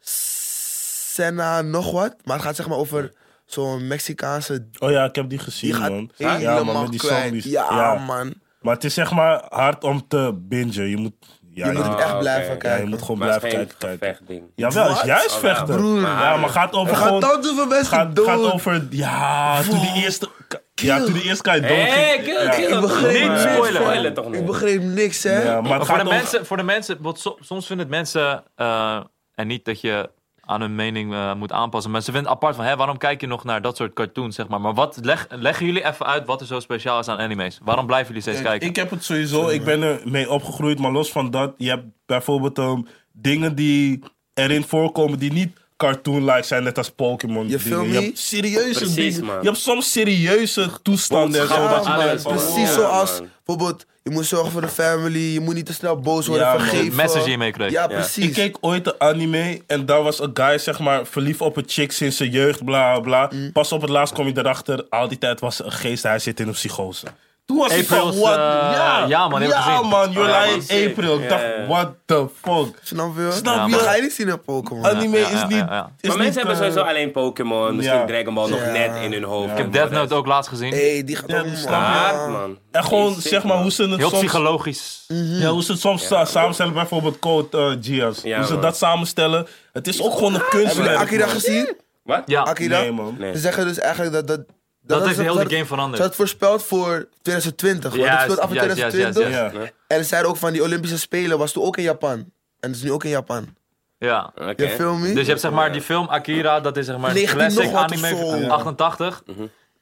B: S- Senna, nog wat. Maar het gaat zeg maar over zo'n Mexicaanse...
D: Oh ja, ik heb die gezien,
B: Die gaat
D: man.
B: helemaal
D: Ja, man, met die
B: kwijt.
D: zombies.
B: Ja,
D: Ja.
B: man.
D: Maar het is zeg maar hard om te bingen. Je moet, ja,
B: Je moet
D: ja.
B: het echt
A: oké.
B: blijven
A: Ja, je
D: Ja, je
B: kijken.
D: moet gewoon
A: Maar het
D: blijven
A: is geen
D: kijken. kijken.
A: gevechtding.
D: Jawel, het
B: Wat?
D: is juist
A: Oh, ja.
D: vechten.
B: Broer.
D: ja, maar gaat over
B: We gaan
D: gewoon...
B: tanten van mensen
D: Gaat, gaat
B: dood.
D: over... Ja, toen die eerste... Ja, toen die eerste kan je dood
A: Hé,
D: ging-
A: kill,
D: ja.
A: kill.
B: Ik begreep
A: Niet
B: niks,
A: spoilen.
B: man.
A: Spoilen toch niet.
B: Ik begreep niks, hè.
D: Ja, maar het
C: Oh, voor,
D: gaat
C: de
D: over-
C: mensen, voor de mensen, want so- soms vinden het mensen, eh, en niet dat je aan hun mening eh, moet aanpassen, maar ze vinden het apart van, hè, waarom kijk je nog naar dat soort cartoons, zeg maar. Maar wat, leg, leggen jullie even uit wat er zo speciaal is aan anime's? Waarom blijven jullie steeds
D: Kijk,
C: kijken?
D: Ik heb het sowieso, ik ben er mee opgegroeid, maar los van dat, je hebt bijvoorbeeld ehm, dingen die erin voorkomen die niet cartoon-like zijn, net als Pokémon.
B: Je
D: dingen.
B: film
D: je
B: me?
D: hebt serieuze
A: Precies,
D: dingen.
A: man.
D: Je hebt soms serieuze toestanden en zo.
A: Boodschap
D: wat je
A: aan
D: denkt
A: alles,
D: van,
A: man.
D: wow.
B: Precies
A: Ja,
B: zoals
A: man.
B: bijvoorbeeld, je moet zorgen voor de family, je moet niet te snel boos worden,
D: Ja, man.
B: vergeven.
D: De
C: message die je meekreeg.
B: Ja,
C: Ja.
B: precies.
D: Ik keek ooit een anime en daar was een guy, zeg maar, verliefd op een chick sinds zijn jeugd, bla bla. Pas op het laatst kom je erachter, al die tijd was er een geest, hij zit in een psychose. Toen was ik van,
C: April's,
D: what?
C: eh, ja, man, die heb ik
D: ja,
C: gezien.
D: man, you're
A: Oh, ja, man,
D: lying
A: sick.
D: April. Ik dacht,
A: Ja, ja.
D: what the fuck?
B: Snap je?
D: Snap Ja, je?
B: Dat
D: maar-
B: ga je niet zien in Pokémon.
D: Anime
C: Ja,
D: is
C: ja,
D: niet.
C: ja, ja.
D: Is
A: Maar mensen
D: niet,
A: hebben
D: eh,
A: sowieso alleen Pokémon, misschien
D: ja.
A: Dragon Ball nog
B: Ja.
A: net in hun hoofd.
C: Ik heb Death Note ook laatst gezien.
B: hey, die gaat
D: Ja,
B: allemaal...
D: die snap
A: Hard, man.
D: En gewoon
A: Sick,
D: zeg maar
A: man.
D: hoe ze het
C: Heel
D: soms. Mm.
C: psychologisch.
D: Ja, hoe ze het soms sa- samenstellen, bijvoorbeeld Code eh, Geass.
A: Ja,
D: hoe ze
A: man.
D: dat samenstellen. Het is ook gewoon een
B: Heb je
D: kunstwerk.
B: Akira
D: man.
B: gezien?
A: Wat?
C: Ja,
B: Akira?
D: Ah. Nee, man.
A: Nee.
B: Ze zeggen dus eigenlijk dat... Dat,
C: dat heeft
B: ze-
C: de hele
B: dat-
C: game veranderd.
B: Ze had voorspeld voor 2020. want het
C: Juist,
B: speelt af in
C: juist, juist,
B: 2020.
C: juist,
D: Ja.
B: En ze zeiden ook van die Olympische Spelen was toen ook in Japan. En het is nu ook in Japan.
C: Ja.
A: Oké.
B: Je film me?
C: Dus je hebt zeg maar die film Akira, dat is zeg maar een
B: 19
C: classic
B: Hm? nog wat of
C: anime
B: zo.
C: van 88.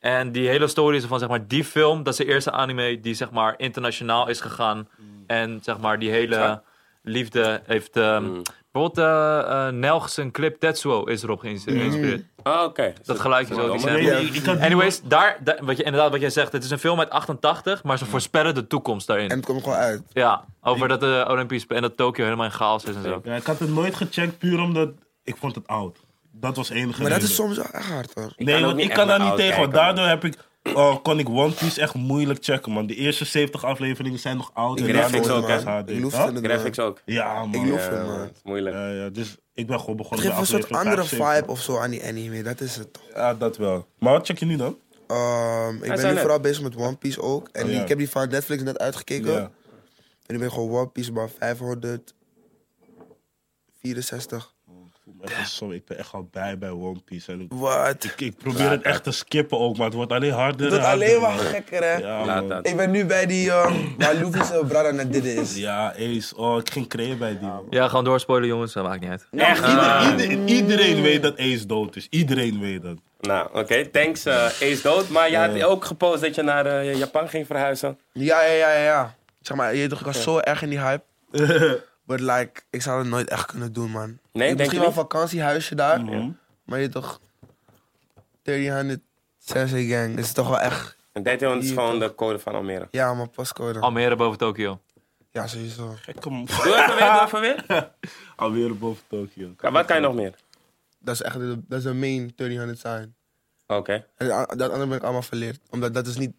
C: En die hele story is van zeg maar die film, dat is de eerste anime die zeg maar internationaal is gegaan.
B: Mm.
C: En zeg maar die hele liefde heeft... ehm, Bijvoorbeeld eh, eh, Nelgs en clip Tetsuo is erop geïns-
B: Mm.
C: geïnspireerd.
A: Ah, Oké.
C: Dat geluidje zo, die
A: maar-
C: sample.
D: Nee, ik- ik had-
C: Anyways, daar, daar- wat je, inderdaad wat jij zegt, het is een film uit 88, maar ze voorspellen de toekomst daarin.
B: Mm. En het komt gewoon uit.
C: ja, over dat de Olympische Spelen en dat Tokio helemaal in chaos is en zo.
D: Ja, ik had het nooit gecheckt puur omdat ik vond het oud. Dat was de enige
B: Maar dat
D: reden.
B: is soms wel echt hard hoor.
A: kan
D: Nee,
A: ook
D: want
A: niet
D: ik
A: echt
D: kan daar
A: naar
D: niet
A: oud
D: tegen. Want
A: kijken,
D: daardoor heb ik, oh, kon ik One Piece echt moeilijk checken, man. De eerste 70 afleveringen zijn nog oud.
B: Ik
D: en
A: graphics
D: daardoor
A: ook,
D: wordt het
B: hè?
D: pas
B: Ik loef
D: HD.
B: het.
A: Graphics ook.
D: Ja, man.
B: Ik loef
D: Ja.
B: hem,
A: Ja,
B: man.
A: het is moeilijk.
D: Ja, ja, dus ik ben gewoon
B: Het
D: begonnen
B: geeft een soort
D: aflevering
B: andere
D: 75.
B: vibe of zo aan die anime. Dat is het.
D: Ja, dat wel. Maar wat check je nu dan?
B: Ehm, ik ben
A: zijn
B: nu
A: er.
B: vooral bezig met One Piece ook. En
D: Oh,
B: die-
D: ja.
B: ik heb die van Netflix net uitgekeken. En nu ben ik gewoon One Piece maar 564.
D: Echt wel Oh Sorry, ik ben echt al bij bij One Piece. En ik,
B: Wat?
D: ik- ik probeer het echt te skippen ook, maar het wordt alleen harder.
B: Het wordt
D: en harder,
B: alleen maar
D: man.
B: gekker, hè?
D: Ja,
A: Laat
D: man.
A: dat.
B: Ik ben nu bij die ehm waar Luffy zijn brother net dit is.
D: Ja, Ace. Oh, ik ging creëren bij die. man.
C: Ja, gewoon doorspoilen jongens, dat maakt niet uit.
A: Echt?
D: Ieder- ieder- iedereen weet dat Ace dood is. Iedereen weet dat.
A: Nou, oké. Thanks, eh Ace Dood. Maar je had ook gepost dat je naar eh, Japan ging verhuizen.
B: Ja, ja, ja, ja, ja. Zeg maar, je weet toch, ik was zo erg in die hype. But like, ik zou het nooit echt kunnen doen, man. Ik
A: denk je
B: misschien wel een
A: niet?
B: vakantiehuisje daar.
D: Mhm.
B: Maar je weet toch, 300 Sensei Gang is toch wel echt...
A: En dat is
B: Hier,
A: gewoon de code van Almere.
B: Ja, maar pascode.
C: Almere boven Tokio.
B: Ja, sowieso.
D: Gekke man.
A: Doe even weer, doe even weer.
D: Alweer boven Tokio.
A: Ja, Wat kan je nog meer?
B: Dat is echt de, dat is de main 300 zijn.
A: Oké.
B: En a- dat andere ben ik allemaal verleerd. Omdat dat is niet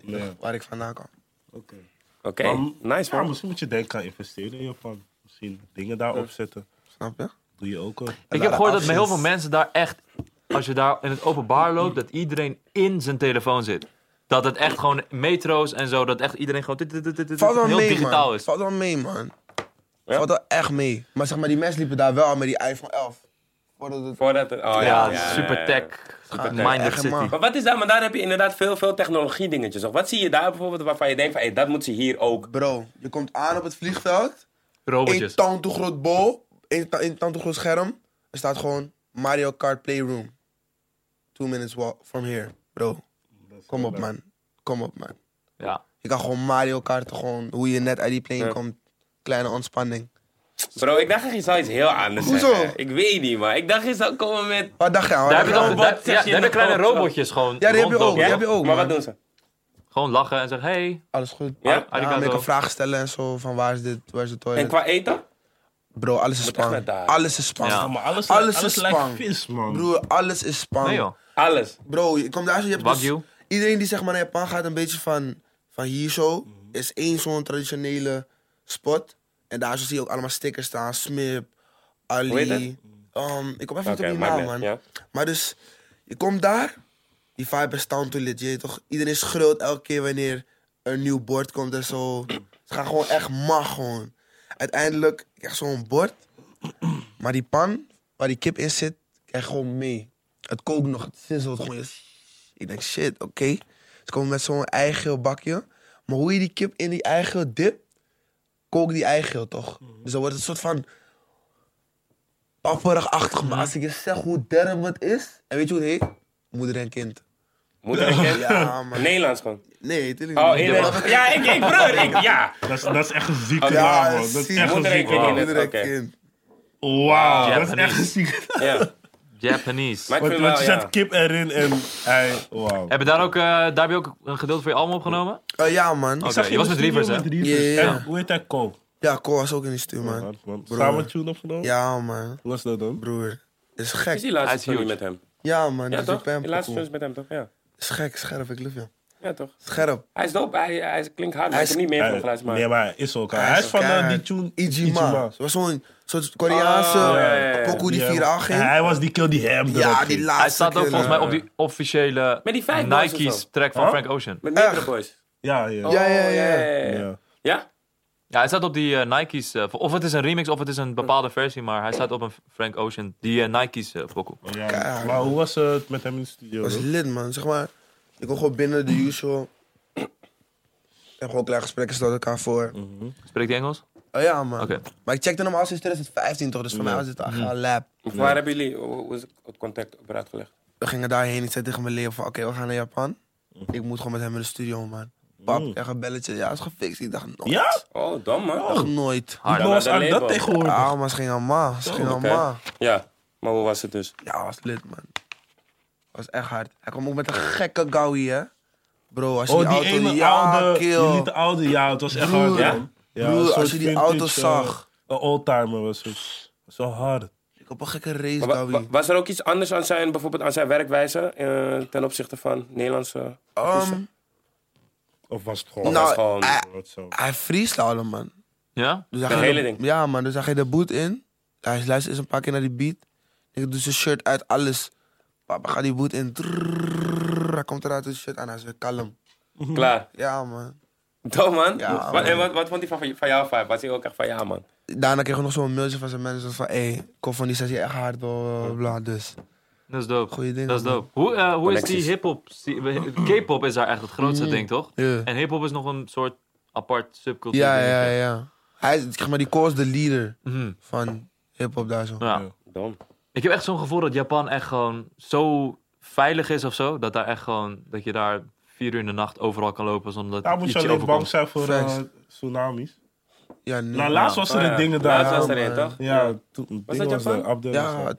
D: Ja, Oké.
B: waar ik vandaan kwam.
A: Oké.
D: Dan-
A: Nice,
D: Ja,
A: man.
D: misschien moet je denken aan investeren in Japan. Misschien dingen daar opzetten.
B: Snap je?
D: Doe je ook. hoor.
C: Ik heb
B: Rare
C: gehoord dat bij heel veel
B: actions.
C: mensen daar echt, als je daar in het openbaar loopt, dat iedereen in zijn telefoon zit. Dat het echt gewoon metro's en zo, dat echt iedereen gewoon dit, dit, dit, dit, dit,
B: Valt wel
C: heel
B: mee,
C: digitaal
B: man.
C: is.
B: Valt wel mee, man.
A: Ja?
B: Valt wel echt mee. Maar zeg maar, die mensen liepen daar wel al met die iPhone 11. Voordat het...
A: Voordat het... Oh, ja,
C: ja,
A: ja, ja,
C: super
A: ja.
C: tech, super
B: nee,
C: minded
B: echt helemaal.
C: city.
A: Maar wat is dat? Maar daar heb je inderdaad veel, veel technologie dingetjes. Of wat zie je daar bijvoorbeeld waarvan je denkt van, hey, dat moet ze hier ook.
B: Bro, je komt aan op het vliegveld. Eén
C: Robotjes.
B: tand toe groot bol. Eén ta- één tand toe groot scherm. Er staat gewoon Mario Kart Playroom. Two minutes walk from here. Bro, kom op man. Kom op man.
C: Ja.
B: Je kan gewoon Mario Karten, gewoon hoe je net uit die plane komt. Kleine ontspanning.
A: Bro, ik dacht echt, je zou iets heel anders
B: Hoezo?
A: zeggen. Ik weet niet, maar ik dacht, je zou komen met...
B: Wat dacht je aan? Wat
C: Daar heb je
B: dacht je
C: toch
B: aan?
A: robot
C: daar-
A: zeg
C: ja,
A: je
C: daar heb je
A: in
C: kleine
A: de auto.
C: robotjes gewoon
B: die heb je
C: rondlopen.
B: ook, die heb je ook,
A: Maar
B: man.
A: wat doen ze?
C: Gewoon lachen en zeggen, hey,
B: Alles goed.
A: Ja?
B: Ja,
C: Arigato.
B: maar je kan vragen stellen en zo. Van waar is dit? Waar is de toilet?
A: En qua eten?
B: Bro, alles is
A: Moet echt
B: spang.
A: naar daar.
B: Alles is spang.
C: Ja,
D: Maar alles,
B: Alles
D: alles,
B: is
D: lijkt
B: spang.
D: vis, man.
B: Broer, alles is spang.
C: nee joh.
A: Alles.
B: Bro, je komt daar zo, je hebt dus-
C: Wagyu.
B: iedereen die zeg maar naar Japan gaat, een beetje van, van hier zo,
A: Mhm.
B: is één zo'n traditionele spot. En daar zo zie je ook allemaal stickers staan, Smip,
A: Hoe heet
B: Ali, ehm, ik kom even niet
A: Oké,
B: op die
A: maakt
B: naam,
A: niet uit,
B: man.
A: ja.
B: Maar dus, je komt daar, die vibe is down to lit, je weet toch? Iedereen schreeuwt elke keer wanneer er een nieuw bord komt en zo. Ze gaan gewoon echt mag, gewoon. Uiteindelijk krijg je zo'n bord, maar die pan waar die kip in zit, krijg je gewoon mee. Het kookt nog, het sizzelt gewoon. je- Ik denk, shit, oké. Ze komen met zo'n eigeel bakje. Maar hoe je die kip in die eigeel dipt, kook die eigeel toch? Dus dan wordt het een soort van papperig achter
A: Mhm.
B: Maar als ik je zeg hoe derm het is, en weet je hoe het heet? Moeder en kind.
A: Moet ik het?
B: Ja, man.
A: Nederlands gewoon.
B: Nee, tuurlijk
A: Oh,
B: niet.
A: in Ja, ik, ik broer, ik, ja.
D: Dat is, dat is echt een zieke
B: Ja,
D: naam, man. Dat is
B: zie-
D: echt een
A: Moeder en
D: zieke
A: kind
D: naam.
A: in het-
B: Moeder en
A: oké.
B: kind.
D: Wauw, dat is
C: Japanese.
D: echt een zieke naam.
A: ja.
C: Japanese.
A: Maar ik
D: Want,
A: vind
D: want
A: wel,
D: je
A: ja.
D: zet kip erin en hij... Wauw.
C: Heb je daar ook, eh, daar heb je ook een gedeelte voor je album opgenomen?
B: Eh, ja, man.
C: Oké, je was met Rivers, hè?
B: Ja, ja, ja.
D: En hoe heet hij? Ko.
B: Ja, Cole was ook in die stuur,
D: Oh,
B: man.
D: Samen tune opgenomen?
B: Ja, man.
D: Hoe was dat dan?
B: Broer.
A: Is
B: Is gek.
A: die
C: Hij
A: laatste
C: is
A: film
C: huge.
A: met hem?
B: Ja, man.
A: Ja,
B: dat is
A: toch?
B: een pamper,
A: Die laatste
B: cool.
A: film is met hem, toch? Ja.
B: Is gek, scherp. Ik love je.
A: Ja, toch?
B: Scherp.
A: Hij is dope, hij, hij klinkt hard, maar ik
B: is-
A: heb niet meer van
D: Hij-
A: geluid,
D: Nee,
A: maar...
D: maar hij is ook. Hij is van eh, die tune
B: Ijima. Het was zo'n soort Koreaanse
A: Oh, ja, ja, ja.
B: pokoe die
D: Ja.
B: 4A
D: Ja,
B: ging.
D: Hij was die kill die hem erop
B: Ja,
D: ging.
B: die laatste
C: Hij staat ook
B: keer,
C: volgens mij
B: eh,
C: op die officiële
A: Met die vijf boys of
C: Nike's
A: zo.
C: track van Frank Ocean.
A: Met meerdere
B: Echt?
A: boys.
D: Ja,
B: Ja, ja,
D: ja.
A: Oh,
B: ja.
A: ja.
D: Ja.
A: Ja?
C: Ja, hij staat op die eh, Nike's. eh, of het is een remix of het is een bepaalde versie, maar hij staat op een Frank Ocean, die eh, Nike's eh pokoe.
D: Oh, Ja.
B: Keihard.
D: Maar hoe was het met hem in de studio?
B: Dat was
D: bro?
B: lid, man. Zeg maar, ik kon gewoon binnen de usual. En gewoon kleine gesprekken stelde elkaar voor.
C: Spreekt hij Engels?
B: Oh ja, man.
C: Oké.
B: Maar ik checkte hem al sinds 2015 toch, dus voor mij was het echt een lab.
A: Of Waar hebben jullie hoe hoe is het contact op raad gelegd?
B: We gingen daarheen. Ik zei tegen mijn leer van, oké, we gaan naar Japan. Ik moet gewoon met hem in de studio, man. Pap, ik krijg een belletje. Ja, is gefixt. Ik dacht, nooit.
D: Ja?
A: Oh, dom man.
B: Echt nooit.
C: Hard.
D: Hoe was
A: dat
D: aan dat
A: label.
D: tegenwoordig?
B: Ah, maar ze ging aan ma. Ze ging aan
A: oké.
B: ma.
A: Ja, maar hoe was het dus?
B: Ja, was lid, man. Was echt hard. Hij kwam ook met een gekke gowie, hè. Bro, als je die,
D: Oh, die
B: auto...
D: ene
B: ja,
D: oude.
B: kill.
D: Je liet de oude, ja, het was echt
B: Broer,
D: hard.
A: ja.
D: man.
B: Broer,
D: een
B: als
D: soort
B: je die
D: vintage,
B: auto
D: eh,
B: zag.
D: Een oldtimer was het. Zo hard.
B: Ik op een gekke race,
A: Maar wa- wa-
B: gowie.
A: was er ook iets anders aan zijn, bijvoorbeeld aan zijn werkwijze eh, ten opzichte van Nederlandse
B: Ehm,
D: Of was het gewoon.
A: Nou,
B: Ah,
D: was het
A: gewoon-
B: hij,
D: gewoon zo?
B: hij freestyle, man.
C: Ja?
B: Dus hij
A: Dat
B: ging
A: hele
B: de-
A: ding?
B: Ja, man. Dus hij ging de boot in. Hij luistert eens een paar keer naar die beat. Ik doe zijn shirt uit, alles. Papa gaat die boot in. Trrrr, hij komt eruit, doet zijn shirt aan. Hij is weer kalm.
A: klaar?
B: Ja, man.
A: Dom man.
B: Ja,
A: Wa-
B: man.
A: En wat, wat vond hij van, van jouw vibe? Was hij ook echt van ja man?
B: Daarna kreeg ik nog zo'n mailtje van zijn mensen van... Hé, hey, kom van die sessie echt hard, bla, bla, bla. Dus,
C: Dat is dope.
B: goeie dingen.
C: Dat is
B: man.
C: dope. Hoe, eh, hoe is die
A: Connecties.
C: hip-hop? scene- K-pop is daar echt het grootste ding, toch?
B: Ja.
C: En hip-hop is nog een soort apart subcultuur.
B: Ja,
C: denk ik.
B: ja, ja. Hij is, zeg maar, die Cole is de leader
C: Mhm.
B: van hip-hop daar zo.
C: Ja.
A: Dom.
C: Ik heb echt zo'n gevoel dat Japan echt gewoon zo veilig is of zo. Dat, daar echt gewoon, dat je daar vier uur in de nacht overal kan lopen zonder
D: Daar
C: dat
D: moet
C: iets
D: je
C: je
D: alleen bang
C: overkomt.
D: zijn voor eh,
B: Facts.
D: tsunamis.
B: Ja, nu.
D: Nou, laatst was er een ding daar.
A: Laatst was er
D: ja,
A: een, toch?
D: Ja, toen-
A: Was
D: ding
A: dat Japan?
D: er, Abdel was
B: ja,
D: er.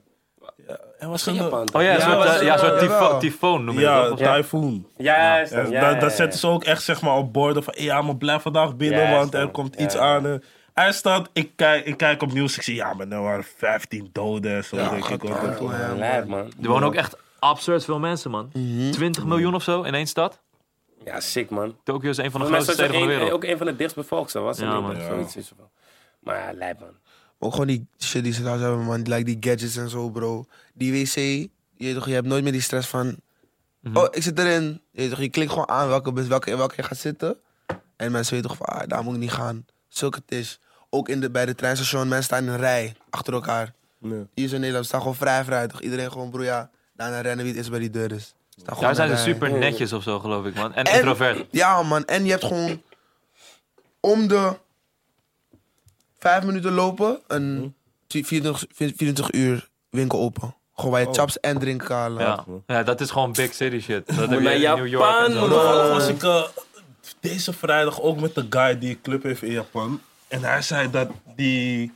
D: Er was
A: In
D: een-
A: Japan.
C: Oh ja, een
A: toch?
C: soort,
A: was,
C: eh, ja, een
A: eh,
C: soort tyfo-
B: jawel.
C: tyfoon noem je dat
D: Ja,
C: toch? Of-
D: tyfoon.
A: Juist,
D: Ja,
A: ja,
D: daar-
A: ja,
D: daar
A: ja,
D: zetten ze ook echt zeg maar, op borden van... ja, maar blijf vandaag binnen,
A: Juist,
D: want er
A: man.
D: komt
A: Ja,
D: iets
A: ja.
D: aan. eh. Hij staat, ik kijk, ik kijk op nieuws, ik zie... ja, maar er waren 15 doden en zo.
B: Ja,
D: denk ik,
B: gaat
D: hoor.
B: aan toe, hè,
A: ja.
B: man.
A: Lijp, man.
C: Er wonen ook echt absurd veel mensen, man.
D: Mhm.
C: 20 miljoen of zo in één stad.
A: Ja, sick man.
C: Tokio is een van de
A: Volgens
C: grootste
A: mij is dat
C: steden van de
A: ook een-
C: wereld.
A: ook een van de dichtstbevolksten, was het
C: Ja,
A: niet?
C: man.
A: Of
D: Ja.
A: Zoiets is er wel. Maar ja, lijp man.
B: Maar Ook gewoon die shit die ze daar hebben, man. Like die gadgets en zo, bro. Die wc, je, weet toch, je hebt nooit meer die stress van...
C: Mhm.
B: Oh, ik zit erin. Je, weet toch, je klikt gewoon aan welke, bus- welke, in welke je gaat zitten. En mensen weten toch van, ah, daar moet ik niet gaan. Zulke het is. Ook in de, bij de treinstation, mensen staan in een rij. Achter elkaar.
D: Nee.
B: Hier zo in Nederland, we staan gewoon vrij, vrij. Toch? Iedereen gewoon, broer, ja. Daarna rennen wie het is bij die deur dus.
C: Daar zijn ze super netjes of zo, geloof ik, man. En,
B: En-
C: introvert.
B: Ja, man. En je hebt gewoon om de vijf minuten lopen
D: Hm?
B: een 24, 24 uur winkel open. Gewoon
D: Oh.
B: waar je chaps en drinken kan halen.
C: Ja. ja, dat is gewoon big city shit. Dat heb je
A: naar
C: in New York en
A: Japan,
C: zo.
A: man.
D: Toevallig was ik eh, deze vrijdag ook met de guy die een club heeft in Japan. En hij zei dat die...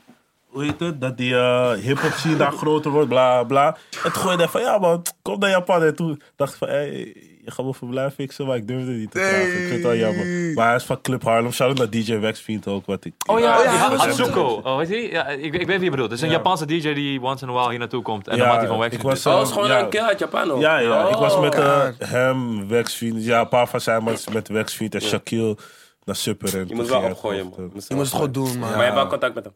D: Hoe heet het? Dat die eh hip-hop scene daar groter wordt, bla bla. En toen gooide hij van, ja man, kom naar Japan. En toen dacht ik van, hé, je gaat me verblijf fixen, maar ik durfde niet te vragen. Ik vind het wel jammer. Maar hij is van Club Harlem. Shout-out naar DJ Wax Fiend ook, wat ik...
C: Oh ja,
B: Oh
C: oh,
B: ja, hij was
C: Azuko. Oh, weet je? Ja, ik, ik weet wie je bedoelt. Het is een Japanse DJ die once in a while hier naartoe komt. En dan maakt hij Dus van
D: ik
C: Wacken.
D: was,
A: Oh,
D: eh,
A: is gewoon
D: ja.
A: een kill uit Japan hoor.
D: Ja, ja. ik was met
A: Oh.
D: eh, hem, Waxfiend. Ja, een paar van zijn maats met Waxfiend en Shaquille naar Supper. En
A: Je moet wel opgooien, man.
B: Je moest het gewoon doen, man.
A: Maar je hebt wel contact met hem.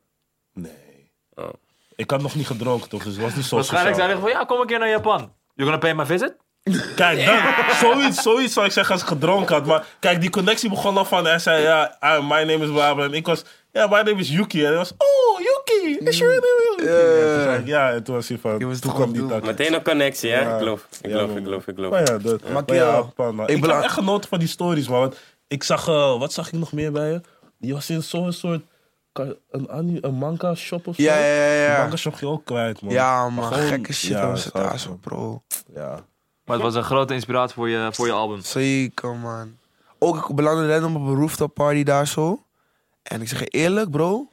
D: Nee.
A: Oh.
D: Ik had nog niet gedronken, toch? Dus het was niet zo
C: Waarschijnlijk
D: sociaal.
C: zei hij van, ja, kom een keer naar Japan. You're gonna pay my visit?
D: Kijk, dan, zoiets, zoiets zou ik zeggen als ik gedronken had. Maar kijk, die connectie begon al van. Hij zei, ja, ah, my name is Barbara. En ik was, ja, my name is Yuki. En hij was, oh, Yuki, is your name Yuki? En toen zei ik, Ja, en toen was hij van,
B: Je was
D: toen
B: toch
D: kwam
B: op
D: die
B: doel.
D: tak.
A: Meteen een connectie, hè?
D: Ja.
A: Ik geloof, ik
D: Ja,
A: geloof,
D: man.
A: ik geloof, ik geloof.
D: Maar ja, dat, maar
B: Kiel,
D: ja, pan, man.
B: ik
D: ik
B: bela-
D: heb echt genoten van die stories, man. Want ik zag, eh, wat zag ik nog meer bij je? Die was in zo'n soort, ka- een, anime- een manga shop of zo.
B: Ja, ja, ja, ja.
D: Die manga shop ging ook kwijt, man.
B: Ja,
D: Maar
B: man,
D: gewoon-
B: gekke shit
D: ja,
B: was het
D: schat,
B: daar zo, bro.
D: Ja.
C: Maar het was een grote inspiratie voor je, voor je album.
B: Zeker, man. Ook, ik belandde random op een rooftop party daar zo. En ik zeg je eerlijk, bro.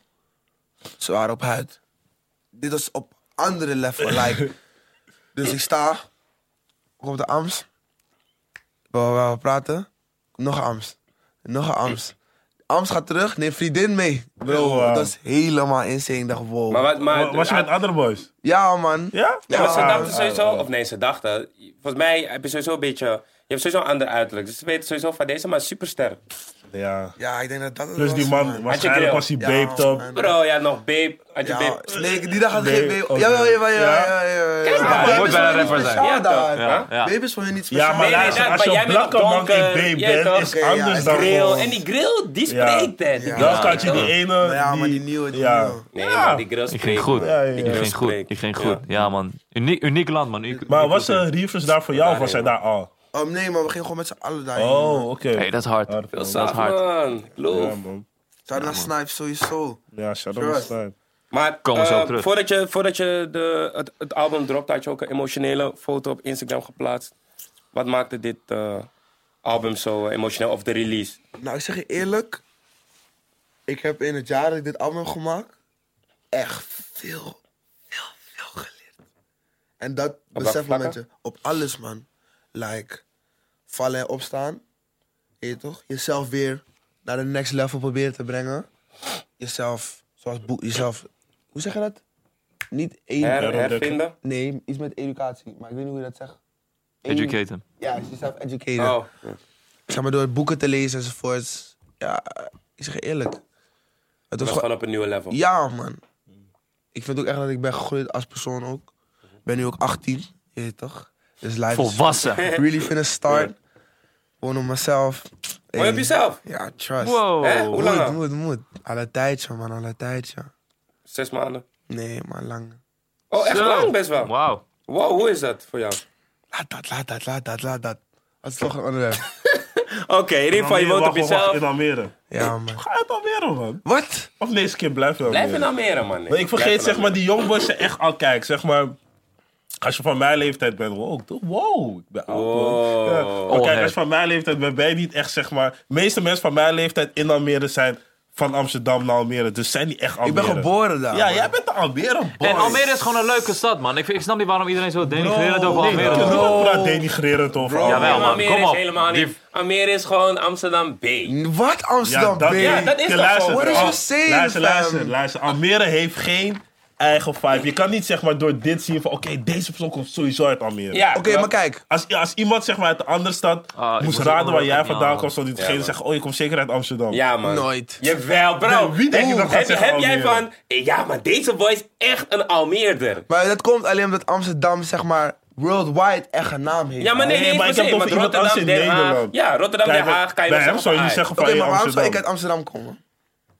B: Ze waren op huid. Dit was op andere level. Like. Dus ik sta op de Ams. We, we, we praten. Nog een Ams. Nog een Ams. Ams gaat terug, neem vriendin mee. Bro,
D: Oh, wauw.
B: dat is helemaal insane. Ik dacht, wow.
A: Maar, wat, maar,
D: Wa- Was je met andere boys?
B: Ja, man.
D: Ja?
A: Ja, maar ze
B: Ah,
A: dachten
D: ah,
A: sowieso,
D: ah.
A: of nee, ze dachten. Volgens mij heb je sowieso een beetje. Je hebt sowieso een ander uiterlijk. Dus ze weten sowieso van deze man is superster.
D: Ja.
B: Ja, ik denk dat dat het
D: Dus
B: was,
D: die man, waarschijnlijk
A: grill?
D: was hij
B: Ja,
D: baped up.
B: man.
A: Bro, ja, nog babe. Had je
B: Ja,
A: babe.
B: nee, die dag had ik
D: Nee,
B: geen baby.
D: ook
B: Jawel,
D: niet.
B: jawel, jawel,
D: Ja?
B: jawel, jawel.
A: Kijk,
B: Ja,
A: maar
B: baby
A: moet
B: is
C: bij
B: voor
C: de
B: je
C: rapper
B: niet
C: zijn.
B: speciaal
A: Ja,
B: daar.
A: toch? Ja,
B: Baby
C: ja.
B: is voor je niet speciaal.
D: Ja, maar
A: nee,
D: luister,
A: dat-
D: als
A: maar
D: je
A: jij
D: een
A: bent
D: blanke
A: nog
D: man
A: donker,
D: in babe
A: jij
D: bent,
A: toch?
D: is
B: Oké, ja,
D: anders
B: en
D: dan
B: grill
D: gewoon-
A: Grill. En die grill, die
D: Ja.
A: spreekt, hè. Die
B: Ja.
A: grill
D: Dan had je die
A: spreekt.
D: ene...
B: Ja,
D: die-
B: maar die nieuwe, die
D: ja.
B: nieuwe.
A: Nee,
D: Ja.
A: maar die grill
C: Ik
A: spreekt.
C: ging goed.
A: man.
D: Ja, ja,
A: Die
D: ja.
C: Ik
A: grill
C: ging goed.
A: spreekt.
C: Ik ging
A: Ja.
C: goed. Ja, man. Uniek, uniek land, man. Uniek,
D: Maar
C: uniek
D: was
C: cultuur.
D: er Reefers daar voor jou of was hij daar al?
B: Um, nee, maar we gingen gewoon met z'n allen daarheen.
D: Oh, oké.
C: Hey, dat is hard.
D: Hard, man.
A: Dat is
C: Dat is
A: hard,
C: hard.
A: man. Loof.
D: Ja, man.
B: Zou naar Snipes sowieso.
D: Ja, Shadow
B: Sure.
D: was daar.
A: Maar
C: Komen we zo
A: eh,
C: op terug.
A: voordat je, voordat je de, het, het album dropt, had je ook een emotionele foto op Instagram geplaatst. Wat maakte dit eh, album zo eh, emotioneel, of de release?
B: Nou, ik zeg je eerlijk. Ik heb in het jaar dat ik dit album heb gemaakt, echt veel, veel, veel geleerd. En dat beseffen
A: vlakken?
B: mensen op alles, man. Like, vallen en opstaan. Weet je toch? Jezelf weer naar de next level proberen te brengen. Jezelf, zoals boek, jezelf, hoe zeg je dat? Niet één.
A: Her,
D: Daarom
A: hervinden?
B: Nee, iets met educatie, maar ik weet niet hoe je dat zegt. Edu-
C: Educate hem.
B: Ja, jezelf educaten
A: Oh.
B: zeg maar, door boeken te lezen enzovoorts. Ja, ik zeg je eerlijk. Het was
A: Dat was
B: gewoon...
A: gewoon op een nieuwe level.
B: Ja, man. Ik vind ook echt dat ik ben gegroeid als persoon ook. Ik ben nu ook 18, je weet toch? Dus life
C: Volwassen.
B: is really finna start. Gewoon op mezelf.
A: Mooi op
B: Hey.
A: jezelf.
B: Ja, trust.
A: Hè?
C: Wow.
A: Hoe lang
B: Moet,
A: al?
B: moet, moet. Alle tijdje, man, alle tijdje.
A: Zes maanden.
B: Nee, man, lang.
A: Oh, echt
C: Zo.
A: lang best wel.
C: Wauw.
A: Wow, hoe is dat voor jou?
B: Laat dat, laat dat, laat dat, laat dat. Dat is toch een onderwerp.
A: Oké, in ieder geval, je
D: Almere,
A: woont op
D: wacht, wacht, wacht,
A: jezelf.
D: In Almere.
B: Ja, man.
D: Ga uit Almere, man.
B: Wat?
D: Of nee, skip, blijf in Almere.
A: Blijf in Almere, man.
D: Nee, ik vergeet,
A: Blijf in
D: zeg maar,
A: Almere.
D: die jongboys zijn echt al... Kijk, zeg maar... Als je van mijn leeftijd bent, wow, toch? Wow, ik ben oud,
A: Wow.
D: man. Ja. Maar
C: Oh,
D: kijk,
C: hè.
D: als je van mijn leeftijd bent, ben je niet echt, zeg maar... De meeste mensen van mijn leeftijd in Almere zijn van Amsterdam naar Almere. Dus zijn die echt
B: Ik
D: Almere.
B: ben geboren daar.
D: Ja,
B: man.
D: jij bent de Almere boy. Oh,
C: En Almere is gewoon een leuke stad, man. Ik, ik snap niet waarom iedereen zo denigrerend over
D: Nee,
C: Almere
D: niemand
C: doet.
B: Bro.
D: praat denigrerend over
B: Bro.
D: Almere.
C: Jawel, man.
A: Almere
C: Kom
A: is
C: op.
A: helemaal niet.
C: Die-
A: Almere is gewoon Amsterdam B.
B: Wat Amsterdam,
D: dat,
B: baby?
A: Ja, dat is
D: Je
A: toch
D: luistert,
A: zo?
B: What is
D: Al-
B: you saying,
D: Oh, Luister, luister,
B: fam?
D: luister. Almere heeft geen eigen vibe. Je kan niet zeg maar door dit zien van... Oké, deze persoon komt sowieso uit Almere.
A: Ja,
B: Oké,
A: klopt.
B: maar kijk.
D: Als, als iemand zeg maar uit een andere stad
C: Ah, ik
D: moest
C: moest
D: raden waar
C: ook
D: jij
C: nog-
D: vandaan
C: ja.
D: kwam... zou diegene
A: man.
D: zeggen, oh, je komt zeker uit Amsterdam.
A: Ja, man.
B: Nooit.
A: Jawel, bro.
D: Nee, wie denk je
A: Oeh,
D: dat gaat
A: heb,
D: zeggen
A: heb jij
D: Almere?
A: van... Ja, maar deze boy is echt een Almeerder.
B: Maar dat komt alleen omdat Amsterdam, zeg maar, worldwide echt een naam heeft.
A: Ja, maar nee,
D: Nee,
A: nee,
D: maar
A: ik
D: ik heb het
A: want
D: over iemand
A: Rotterdam,
D: anders in
A: Den Haag.
D: Nederland.
A: Ja, Rotterdam, Den
D: Kijk, bij-
A: Haag kan je
D: bij
A: wel
D: hem
A: zeggen
D: zou je niet
A: van,
D: zeggen
B: Oké,
D: van hey,
B: maar waarom zou ik uit
D: Amsterdam.
B: Amsterdam komen?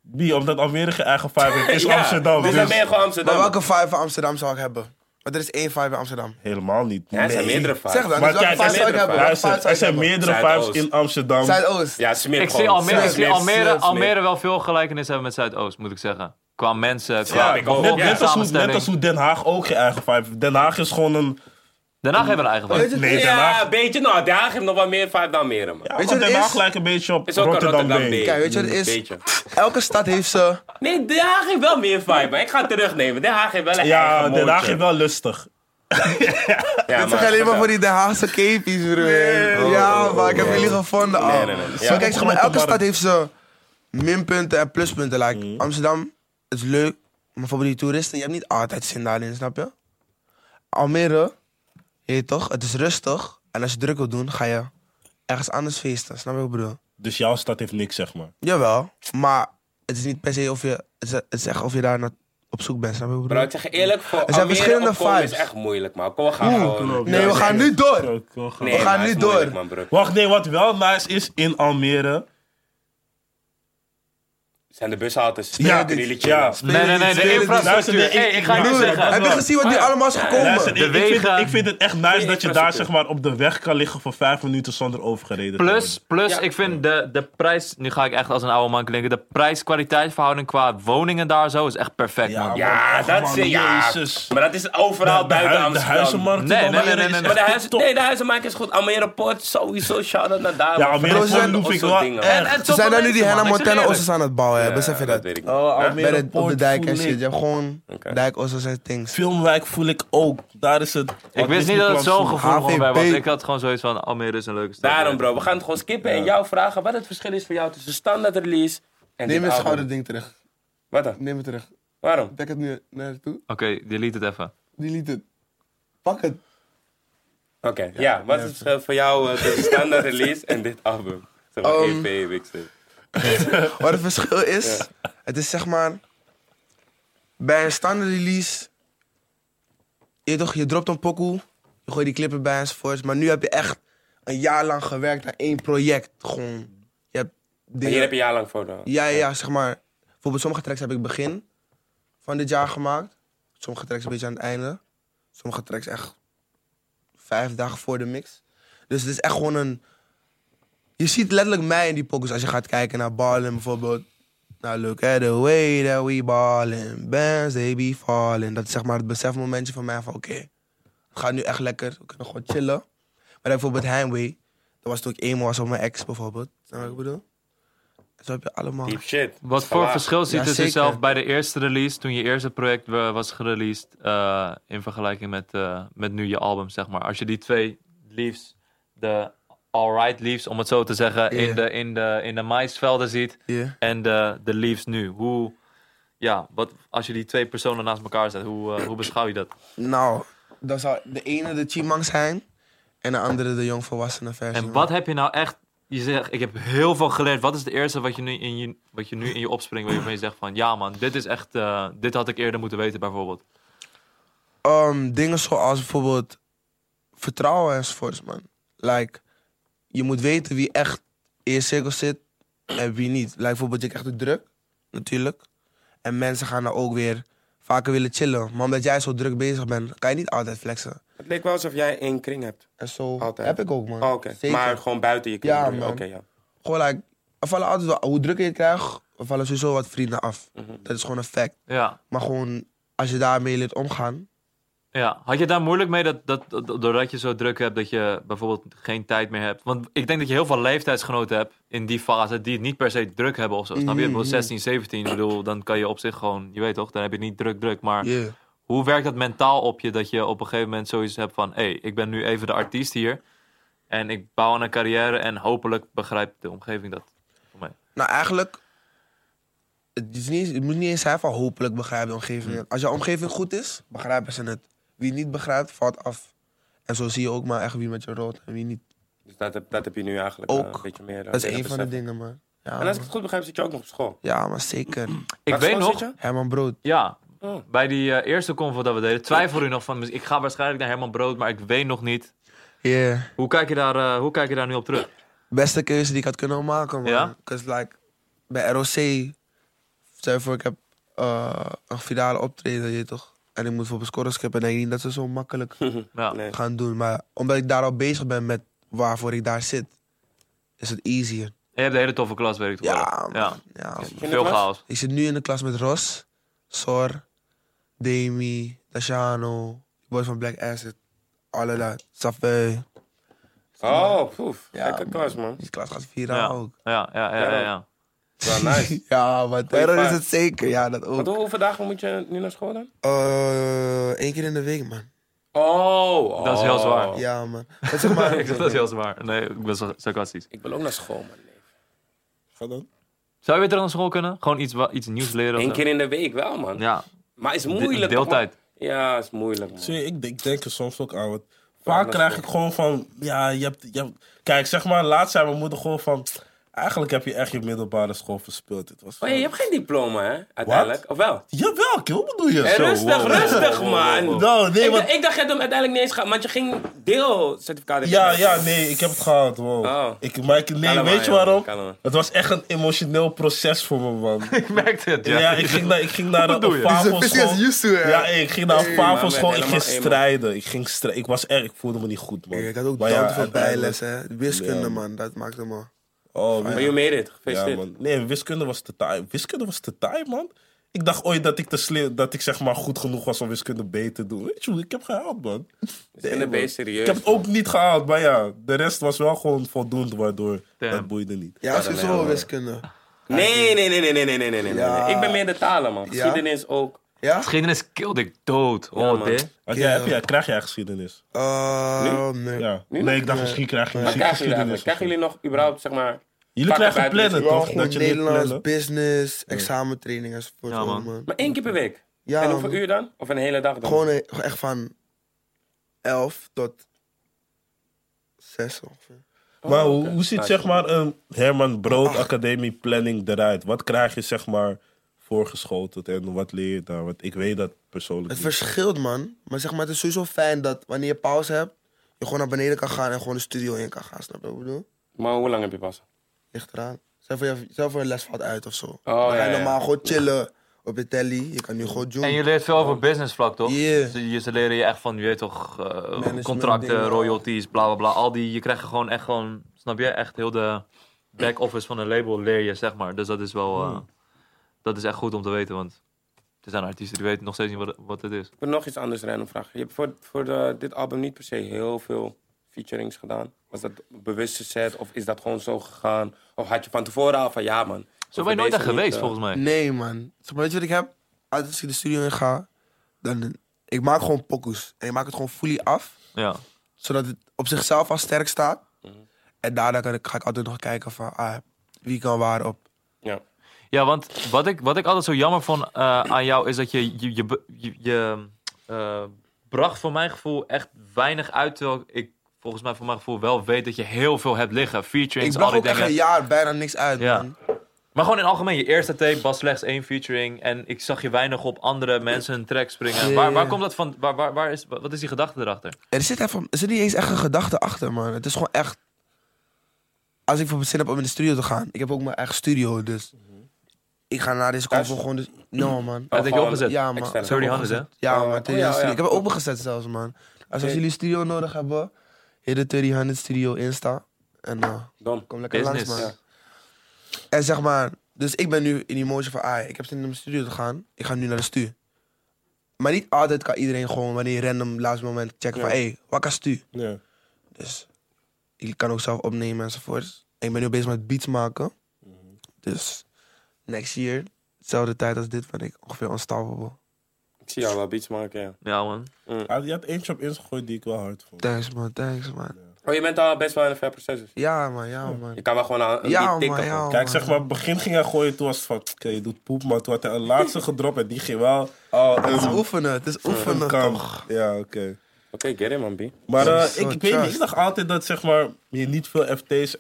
D: Wie? Omdat Almere geen eigen vibe heeft, is
A: "Ah, ja,
D: Amsterdam.
A: Dus dan ben je gewoon Amsterdam.
B: Maar welke vibe van Amsterdam zou ik hebben? Want er is één vibe in Amsterdam.
D: Helemaal niet.
A: Ja, er zijn meerdere vibes.
B: Zeg dan,
D: Maar
B: dus welke
D: kijk,
B: vibe zou ik
A: meerdere
B: hebben?
A: vibes.
B: Welke vibe
D: Luister,
B: zou
D: er
B: ik
D: zijn
B: hebben?
D: meerdere
A: Zuidoost.
D: vibes in Amsterdam.
B: Zuidoost.
A: Ja, Smit
C: Ik zie
A: gewoon.
C: Almere, ik
A: Smit,
C: zie
A: Smit,
C: Almere,
A: Smit.
C: Almere wel veel gelijkenis hebben met Zuidoost, moet ik zeggen. Qua mensen,
D: Ja,
C: qua
A: ik ook.
D: net,
A: Ja,
D: net als hoe, net
C: samenstelling.
D: als hoe Den Haag ook geen eigen vibe heeft. Den Haag is gewoon een...
C: Daarna hebben we een eigen
B: Weet
C: vibe.
B: je,
D: Nee, Den
A: Ja,
D: Haag...
A: een beetje. Nou, Den Haag heeft nog wel meer vibe dan Almere, man.
D: Ja,
B: Weet je
D: want
B: wat
D: Den
B: het
D: Haag
B: is?
D: lijkt een beetje op
A: Is ook een
D: Rotterdam,
A: Rotterdam
D: B.
A: B.
B: Kijk, weet je wat het is?
A: Beetje.
B: Elke stad heeft ze...
A: Nee, Den Haag heeft wel meer vibe, man. Ik ga het terugnemen. Den Haag heeft wel een
D: Ja,
A: eigen
D: Den Haag
A: mootje.
D: is wel lustig.
A: Ja,
B: Dit zijn alleen maar voor die Den Haagse kepies, broer. ja, maar ik heb jullie gevonden al.
A: Oh, Nee, nee, nee. Ja.
B: Maar kijk, zeg maar, elke
D: Grote
B: stad
D: markt.
B: heeft zijn minpunten en pluspunten. Like,
A: Mhm.
B: Amsterdam is leuk, maar voor die toeristen, je hebt niet altijd zin daarin, snap je? Almere, je weet toch, het is rustig. En als je druk wilt doen, ga je ergens anders feesten, snap je wat ik bedoel?
D: Dus jouw stad heeft niks, zeg maar.
B: Jawel, maar het is niet per se of je, het is, het is echt of je daar na- op zoek bent. Snap je wat ik
A: Bro,
B: bedoel?
A: ik zeg je eerlijk, voor
B: zijn
A: Almere
B: verschillende
A: opkomen is
B: vibes.
A: echt moeilijk, man. Kom, we gaan gewoon...
B: Nee, we
A: Ja,
B: gaan
A: nee.
B: nu door.
D: Ook wel gaaf.
A: Nee,
B: gaan
A: maar
B: nu
A: het is moeilijk,
B: door.
A: man, bro.
D: Wacht, nee, wat wel nice is in Almere.
A: Zijn de bushaltes.
D: Ja,
A: die jullie chillen.
D: ja.
C: Nee, nee, nee, de
B: Spelen die-
D: Luister, nee,
C: infrastructuur.
D: ik-
C: Hey, ik ga je
D: ik-
C: nu
D: Broer,
C: zeggen.
B: Heb je gezien wat hier allemaal is
D: Luister,
B: gekomen?
D: ik,
C: De
D: ik vind,
C: wegen.
D: ik vind het echt nice dat je daar
A: infrastructuur.
D: zeg maar, op de weg kan liggen voor vijf minuten zonder overgereden te
C: Plus, plus
A: Ja.
C: ik vind de, de prijs... Nu ga ik echt als een oude man klinken. De prijs-kwaliteitsverhouding qua woningen daar zo is echt perfect,
D: Ja,
C: man.
D: man.
A: Ja,
D: Och,
A: dat
D: Oh, man,
A: is... Ja,
D: Jezus.
A: maar dat is overal
D: worden. De,
A: buiten
D: hu- de
A: Amsterdam.
D: huizenmarkt in
C: Nee, nee,
D: Almere
C: nee, nee,
D: is
C: nee.
D: echt
A: Maar de huizen,
D: top.
A: nee, de huizenmaak is goed. Almere Poort, sowieso, shout-out naar daar.
D: Ja,
A: man.
D: Almere
A: Bro,
D: Poort
A: ze zijn-
D: loef ik
A: dat
D: wel
A: soort dingen,
D: echt.
A: man.
C: En, en
B: Ze zijn daar nu die
C: hele
B: Hannah Montana osses aan het bouwen, hè? besef je
A: Ja,
B: dat?
A: weet ik niet.
D: Oh,
B: Bij
D: Almere
B: de, op de
D: Poort
B: dijk
D: voel
B: en shit.
D: ik.
B: Je hebt gewoon
A: Oké.
B: dijk, osses en things.
D: Filmwijk voel ik ook. Daar is het.
C: Ik wist niet dat het zo'n gevoel
B: AVP.
C: gewoon bij was. Ik had gewoon zoiets van, Almere is een leuke stad.
A: Daarom, bro. We gaan het gewoon skippen en jou vragen wat het verschil is voor jou tussen standaard release en
B: Neem
A: dit
B: het
A: album.
B: schouderding terug.
A: Wat dan?
B: Neem het terug.
A: Waarom?
B: Dek het nu naar toe.
C: Oké, delete het even.
B: Delete het. Pak het.
A: Oké, ja. Wat is het verschil voor jou eh, tussen standaard release en dit album? Zeg maar
B: Um,
A: EP, ik zeg.
B: Wat het verschil is, het is zeg maar. Bij een standaard release. Je, toch, je dropt een pokoe, je gooit die clippen bij enzovoorts. Maar nu heb je echt een jaar lang gewerkt aan één project. Gewoon. Je hebt
A: En
B: dingen-
A: Hier heb je een jaar lang voor nodig.
B: Ja, ja, ja, zeg maar. Bijvoorbeeld sommige tracks heb ik begin van dit jaar gemaakt. Sommige tracks een beetje aan het einde. Sommige tracks echt vijf dagen voor de mix. Dus het is echt gewoon een... Je ziet letterlijk mij in die pokus als je gaat kijken naar Ballin bijvoorbeeld. Nou, look at the way that we ballin. Bands, they be falling. Dat is zeg maar het besefmomentje van mij van oké, het gaat nu echt lekker. We kunnen gewoon chillen. Maar dan bijvoorbeeld Heimwee. Dat was toen ik emo was op mijn ex bijvoorbeeld. Snap je wat ik bedoel? Zo heb je allemaal...
A: Deep shit.
C: Wat voor
A: Voilà.
C: verschil ziet
B: Ja,
C: tussen
B: zeker.
C: zelf bij de eerste release, toen je eerste project eh, was gereleased, eh, in vergelijking met, eh, met nu je album, zeg maar. Als je die twee leaves, de alright leaves, om het zo te zeggen,
B: Ja.
C: in, de, in, de, in de maisvelden ziet
B: Ja.
C: en de, de leaves nu. Hoe, ja, wat, als je die twee personen naast elkaar zet, hoe, eh, hoe beschouw je dat?
B: Nou, dan zou de ene de Chimang zijn en de andere de jongvolwassene versie.
C: En wat heb je nou echt, je zegt, ik heb heel veel geleerd. Wat is het eerste wat je nu in je, wat je, nu in je opspringt, waarvan je zegt van, ja man, dit is echt, eh, dit had ik eerder moeten weten bijvoorbeeld.
B: Ehm, dingen zoals bijvoorbeeld vertrouwen enzovoorts, man. Like, je moet weten wie echt in je cirkel zit en wie niet. Like, bijvoorbeeld, je krijgt de druk, natuurlijk. En mensen gaan dan ook weer vaker willen chillen. Maar omdat jij zo druk bezig bent, kan je niet altijd flexen.
A: Het leek wel alsof jij één kring hebt.
B: En zo
A: Altijd.
B: heb ik ook, man.
A: Oh, oké.
B: Zeker.
A: Maar gewoon buiten je kring.
B: Ja,
A: bedoel je?
B: man.
A: Oké, ja.
B: Gewoon, like, er vallen altijd wel, hoe drukker je het krijgt, er vallen sowieso wat vrienden af.
A: Mhm.
B: Dat is gewoon een fact.
C: Ja.
B: Maar gewoon, als je daarmee leert omgaan.
C: Ja, had je daar moeilijk mee dat, dat, dat- doordat je zo druk hebt dat je bijvoorbeeld geen tijd meer hebt? Want ik denk dat je heel veel leeftijdsgenoten hebt in die fase die het niet per se druk hebben of zo. Snap je? Ik bedoel, 16, 17, ik bedoel, dan kan je op zich gewoon, je weet toch, dan heb je het niet druk, druk. Maar
B: Yeah.
C: hoe werkt dat mentaal op je dat je op een gegeven moment zoiets hebt van, hé, hey, ik ben nu even de artiest hier en ik bouw aan een carrière en hopelijk begrijpt de omgeving dat voor mij.
B: Nou, eigenlijk. Het, is niet, eens- het moet niet eens zijn van hopelijk begrijpt de omgeving. het. Als jouw omgeving goed is, begrijpen ze het. Wie niet begrijpt, valt af. En zo zie je ook maar echt wie met je rood en wie niet.
A: Dus dat heb, dat heb je nu eigenlijk eh,
B: Ook.
A: een beetje meer. eh,
B: Dat is
A: leren
B: één van de
A: beseffen.
B: dingen, man. Ja,
A: En als ik
B: man.
A: het goed begrijp, zit je ook nog op school.
B: Ja, maar zeker.
C: Ik
A: Waar
C: weet
A: school zit
C: nog,
A: je?
B: Herman Brood.
C: Ja,
A: Oh.
C: bij die eh, eerste convo dat we deden, twijfel u nog van, ik ga waarschijnlijk naar Herman Brood, maar ik weet nog niet
B: Yeah.
C: Hoe kijk je daar, eh, hoe kijk je daar nu op terug?
B: Beste keuze die ik had kunnen maken, man.
C: Ja?
B: Cause like, bij ROC, stel je voor ik heb eh, een finale optreden, je weet toch? En ik moet voor mijn score skippen, denk ik niet dat ze zo makkelijk
C: Ja.
A: Nee.
B: gaan doen. Maar omdat ik daar al bezig ben met waarvoor ik daar zit, is het easier.
C: En je hebt een hele toffe klas, weet ik toch
B: Ja,
C: wel.
B: man. ja. man.
A: de
C: Veel
A: klas?
C: chaos.
B: Ik zit nu in de klas met Ros, Sor, Demi, Dashano, die boys van Black Acid, alle dat. Safé.
A: Oh, poef.
B: Ja,
A: Lekker klas, man.
B: Die klas gaat viraal
C: Ja.
B: ook.
C: Ja, ja, ja, ja, ja.
A: Wel nice.
B: ja, maar terror is
A: vaart.
B: het zeker. Ja, dat
A: Want
B: ook.
A: hoe- hoeveel dagen moet je nu naar school dan?
B: Eén keer in de week, man.
A: Oh,
C: Dat is heel zwaar.
A: oh.
B: Ja, man. Dat zeg maar.
C: Ik- dat is heel zwaar. Nee, ik ben sar- sarcastisch.
A: Ik wil ook naar school, man.
D: Ga dan.
C: Zou je weer terug naar school kunnen? Gewoon iets, wa- iets nieuws leren? of
A: Eén
C: zo?
A: keer in de week wel, man.
C: Ja,
A: Maar is
C: de-
A: moeilijk. toch, man?
C: deeltijd.
A: Ja, is moeilijk, man.
D: Zie je, ik, ik denk er soms ook aan. Want
A: Ja,
D: vaak
A: dat is
D: krijg
A: wel.
D: ik gewoon van, ja, je hebt, je hebt... Kijk, zeg maar, laatst zei mijn moeder gewoon van... Eigenlijk heb je echt je middelbare school verspeeld. Het was
A: Oh, je hebt geen diploma, hè? Uiteindelijk. Of wel?
D: Jawel, kill, wat bedoel je?
A: Eh,
D: Zo,
A: rustig,
D: wow.
A: rustig, man.
D: Nou, nee,
A: ik,
D: want...
A: dacht- ik dacht dat hem uiteindelijk niet eens gaat, want je ging deelcertificaat hebben.
D: Ja, ja, nee, ik heb het gehaald, wow.
A: Oh.
D: Ik, maar ik, nee,
A: Kalm maar,
D: weet je
A: joh,
D: waarom?
A: kalm.
D: Het was echt een emotioneel proces voor me, man.
C: Ik merkte het,
D: Ja,
C: ja.
D: ik ging naar, ik ging naar
C: Wat bedoel
D: een
C: je?
D: favo
B: He's a
D: school.
B: business used to, hè?
D: Ja, ik ging naar een
B: Hey,
A: man,
D: favo
A: ben
D: school. Ik
A: helemaal
D: ging
A: emo.
D: strijden. Ik ging strijden. Ik was erg. Ik voelde me niet goed, man.
B: Ik had ook
D: Maar
B: dood veel
D: uiteindelijk-
B: bijles, hè. Wiskunde,
D: Ja.
B: man. Dat maakte me...
D: Oh,
A: Maar
D: man.
A: you made it.
D: Ja,
A: Gefeliciteerd.
D: man. Nee, wiskunde was te taai. Wiskunde was te taai, man. Ik dacht ooit dat ik, te slim- dat ik zeg maar goed genoeg was om wiskunde B te doen. Weet je hoe? Ik heb gehaald, man.
A: Wiskunde
D: Nee,
A: B
D: man.
A: serieus,
D: Ik heb het ook niet gehaald, maar ja. De rest was wel gewoon voldoende, waardoor
C: Damn.
D: dat boeide niet.
B: Ja, sowieso wiskunde.
A: Nee, nee, nee, nee, nee, nee, nee, nee, nee,
B: Ja.
A: nee. Ik ben meer de talen, man.
B: Ja?
A: Geschiedenis ook.
B: Ja?
C: Geschiedenis kilde ik dood. Oh,
A: man.
C: dit.
D: Want
B: Ja.
D: jij, heb jij, krijg jij geschiedenis?
B: Eh, nee.
D: Ja. Nee, ik dacht misschien krijg je
A: Wat krijgen
D: misschien
A: jullie eigenlijk?
D: geschiedenis.
A: Krijgen jullie nog überhaupt, zeg maar...
D: Jullie krijgen
A: vakken bij
D: plannen,
A: het
B: Wel
D: toch?
B: gewoon
D: Dat je leert
B: Nederlands,
D: plannen.
B: business, examentraining enzovoort.
C: Ja, man.
B: man. man.
A: Maar één keer per week?
B: Ja,
A: en hoeveel
B: man.
A: uur dan? Of een hele dag dan?
B: Gewoon eh, echt van 11 tot 6 ongeveer.
D: Maar hoe, hoe ziet
A: Nice.
D: zeg maar een Herman Brood Academie planning eruit? Wat krijg je zeg maar voorgeschoteld en wat leer je daar? Want ik weet dat persoonlijk
B: Het
D: niet.
B: verschilt, man. Maar zeg maar, het is sowieso fijn dat wanneer je pauze hebt, je gewoon naar beneden kan gaan en gewoon de studio in kan gaan. Snap je wat ik bedoel?
A: Maar hoe lang heb je pas? Oh,
B: Ligt eraan. Stel voor je, stel voor je les valt uit of zo. dan
A: ja,
B: ga je
A: ja.
B: normaal gewoon chillen op je telly. Je kan nu gewoon doen.
C: En je leert veel over business vlak, toch?
B: Yeah.
C: Ze, je- ze leren je echt van, je weet toch, eh,
B: dingen.
C: contracten, royalties, bla bla bla. Al die, je krijgt gewoon echt gewoon, snap je? Echt heel de back office van een label leer je, zeg maar. Dus dat is wel, eh, dat is echt goed om te weten, want er zijn artiesten die weten nog steeds niet wat, wat het is.
A: Ik wil nog iets anders random vragen. Je hebt voor, voor de- dit album niet per se heel veel featurings gedaan. Was dat een bewuste set of is dat gewoon zo gegaan? Of had je van tevoren al van ja man?
C: Zo ben je nooit echt geweest,
A: eh.
C: volgens mij.
B: Nee, man. Zeg maar, weet je wat ik heb? Altijd Als ik de studio in ga, dan... Ik maak gewoon pokoes. En ik maak het gewoon fully af.
C: Ja.
B: zodat het op zichzelf al sterk staat. En daarna kan ik, ga ik altijd nog kijken van ah, wie kan waar op.
A: mij. Ja.
C: Ja, want wat ik, wat ik altijd zo jammer vond eh, aan jou is dat je je, je, be- je, je, eh, bracht voor mijn gevoel echt weinig uit. Terwijl ik volgens mij voor mijn gevoel wel weet dat je heel veel hebt liggen.
B: Ik
C: Featurings, al
B: bracht
C: die
B: ook echt
C: dingen.
B: een jaar bijna niks uit.
C: Ja.
B: Man.
C: Maar gewoon in het algemeen, je eerste tape was slechts één featuring. En ik zag je weinig op andere mensen een track springen.
B: Ja,
C: Waar, waar
B: ja.
C: komt dat van? Waar, waar, waar is, wat is die gedachte erachter?
B: Er, zit even, er zit niet eens echt een gedachte achter, man. Het is gewoon echt... Als ik bijvoorbeeld zin heb om in de studio te gaan. Ik heb ook mijn eigen studio, dus... Ik ga naar deze kant
A: Thuis?
B: gewoon... Dus, no, man.
C: Dat heb je
A: gewoon-
C: opgezet.
B: Ja, man.
A: externe.
C: Sorry, Hannes, hè?
B: Ja,
A: Oh,
B: man.
A: oh,
B: Terry
A: ja,
B: Hannes
A: ja.
B: Studio. Ik heb het opengezet zelfs, man. Als, als
A: Oké.
B: jullie studio nodig hebben, hit de Terry Hannes Studio Insta. En eh,
A: Dom.
B: kom lekker
C: Business.
B: langs, man. En zeg maar, dus ik ben nu in die motion van, ah, ik heb zin in mijn studio te gaan. Ik ga nu naar de stu. Maar niet altijd kan iedereen gewoon wanneer random laatste moment checken van,
A: Ja.
B: hé, hey, wat kan stu?
D: Ja.
B: Dus ik kan ook zelf opnemen enzovoort. En ik ben nu bezig met beats maken. Dus next year, dezelfde tijd als dit, ben ik ongeveer unstoppable.
A: Ik zie jou wel beats maken, ja.
C: Ja, man.
D: Ah, Je had eentje op Insta gegooid die ik wel hard vond.
B: Thanks man, thanks man.
A: Oh, je bent al best wel in een ver proces. dus.
B: Ja man, ja man.
A: Je kan wel gewoon aan een
B: Ja
A: beat
B: man,
A: tikken.
B: Oh, ja man.
D: Kijk, zeg maar, het begin ging hij gooien, toen was het van, oké, je doet poep, maar toen had hij een laatste gedropt en die ging wel... Oh,
B: Het is
D: een
B: oefenen, het is oefenen
D: kan.
B: toch.
D: Ja, oké.
A: Oké, get it man, B.
D: Maar eh,
B: Zo
D: ik, ik weet niet,
B: trust.
D: ik dacht altijd dat zeg maar, je niet veel FT's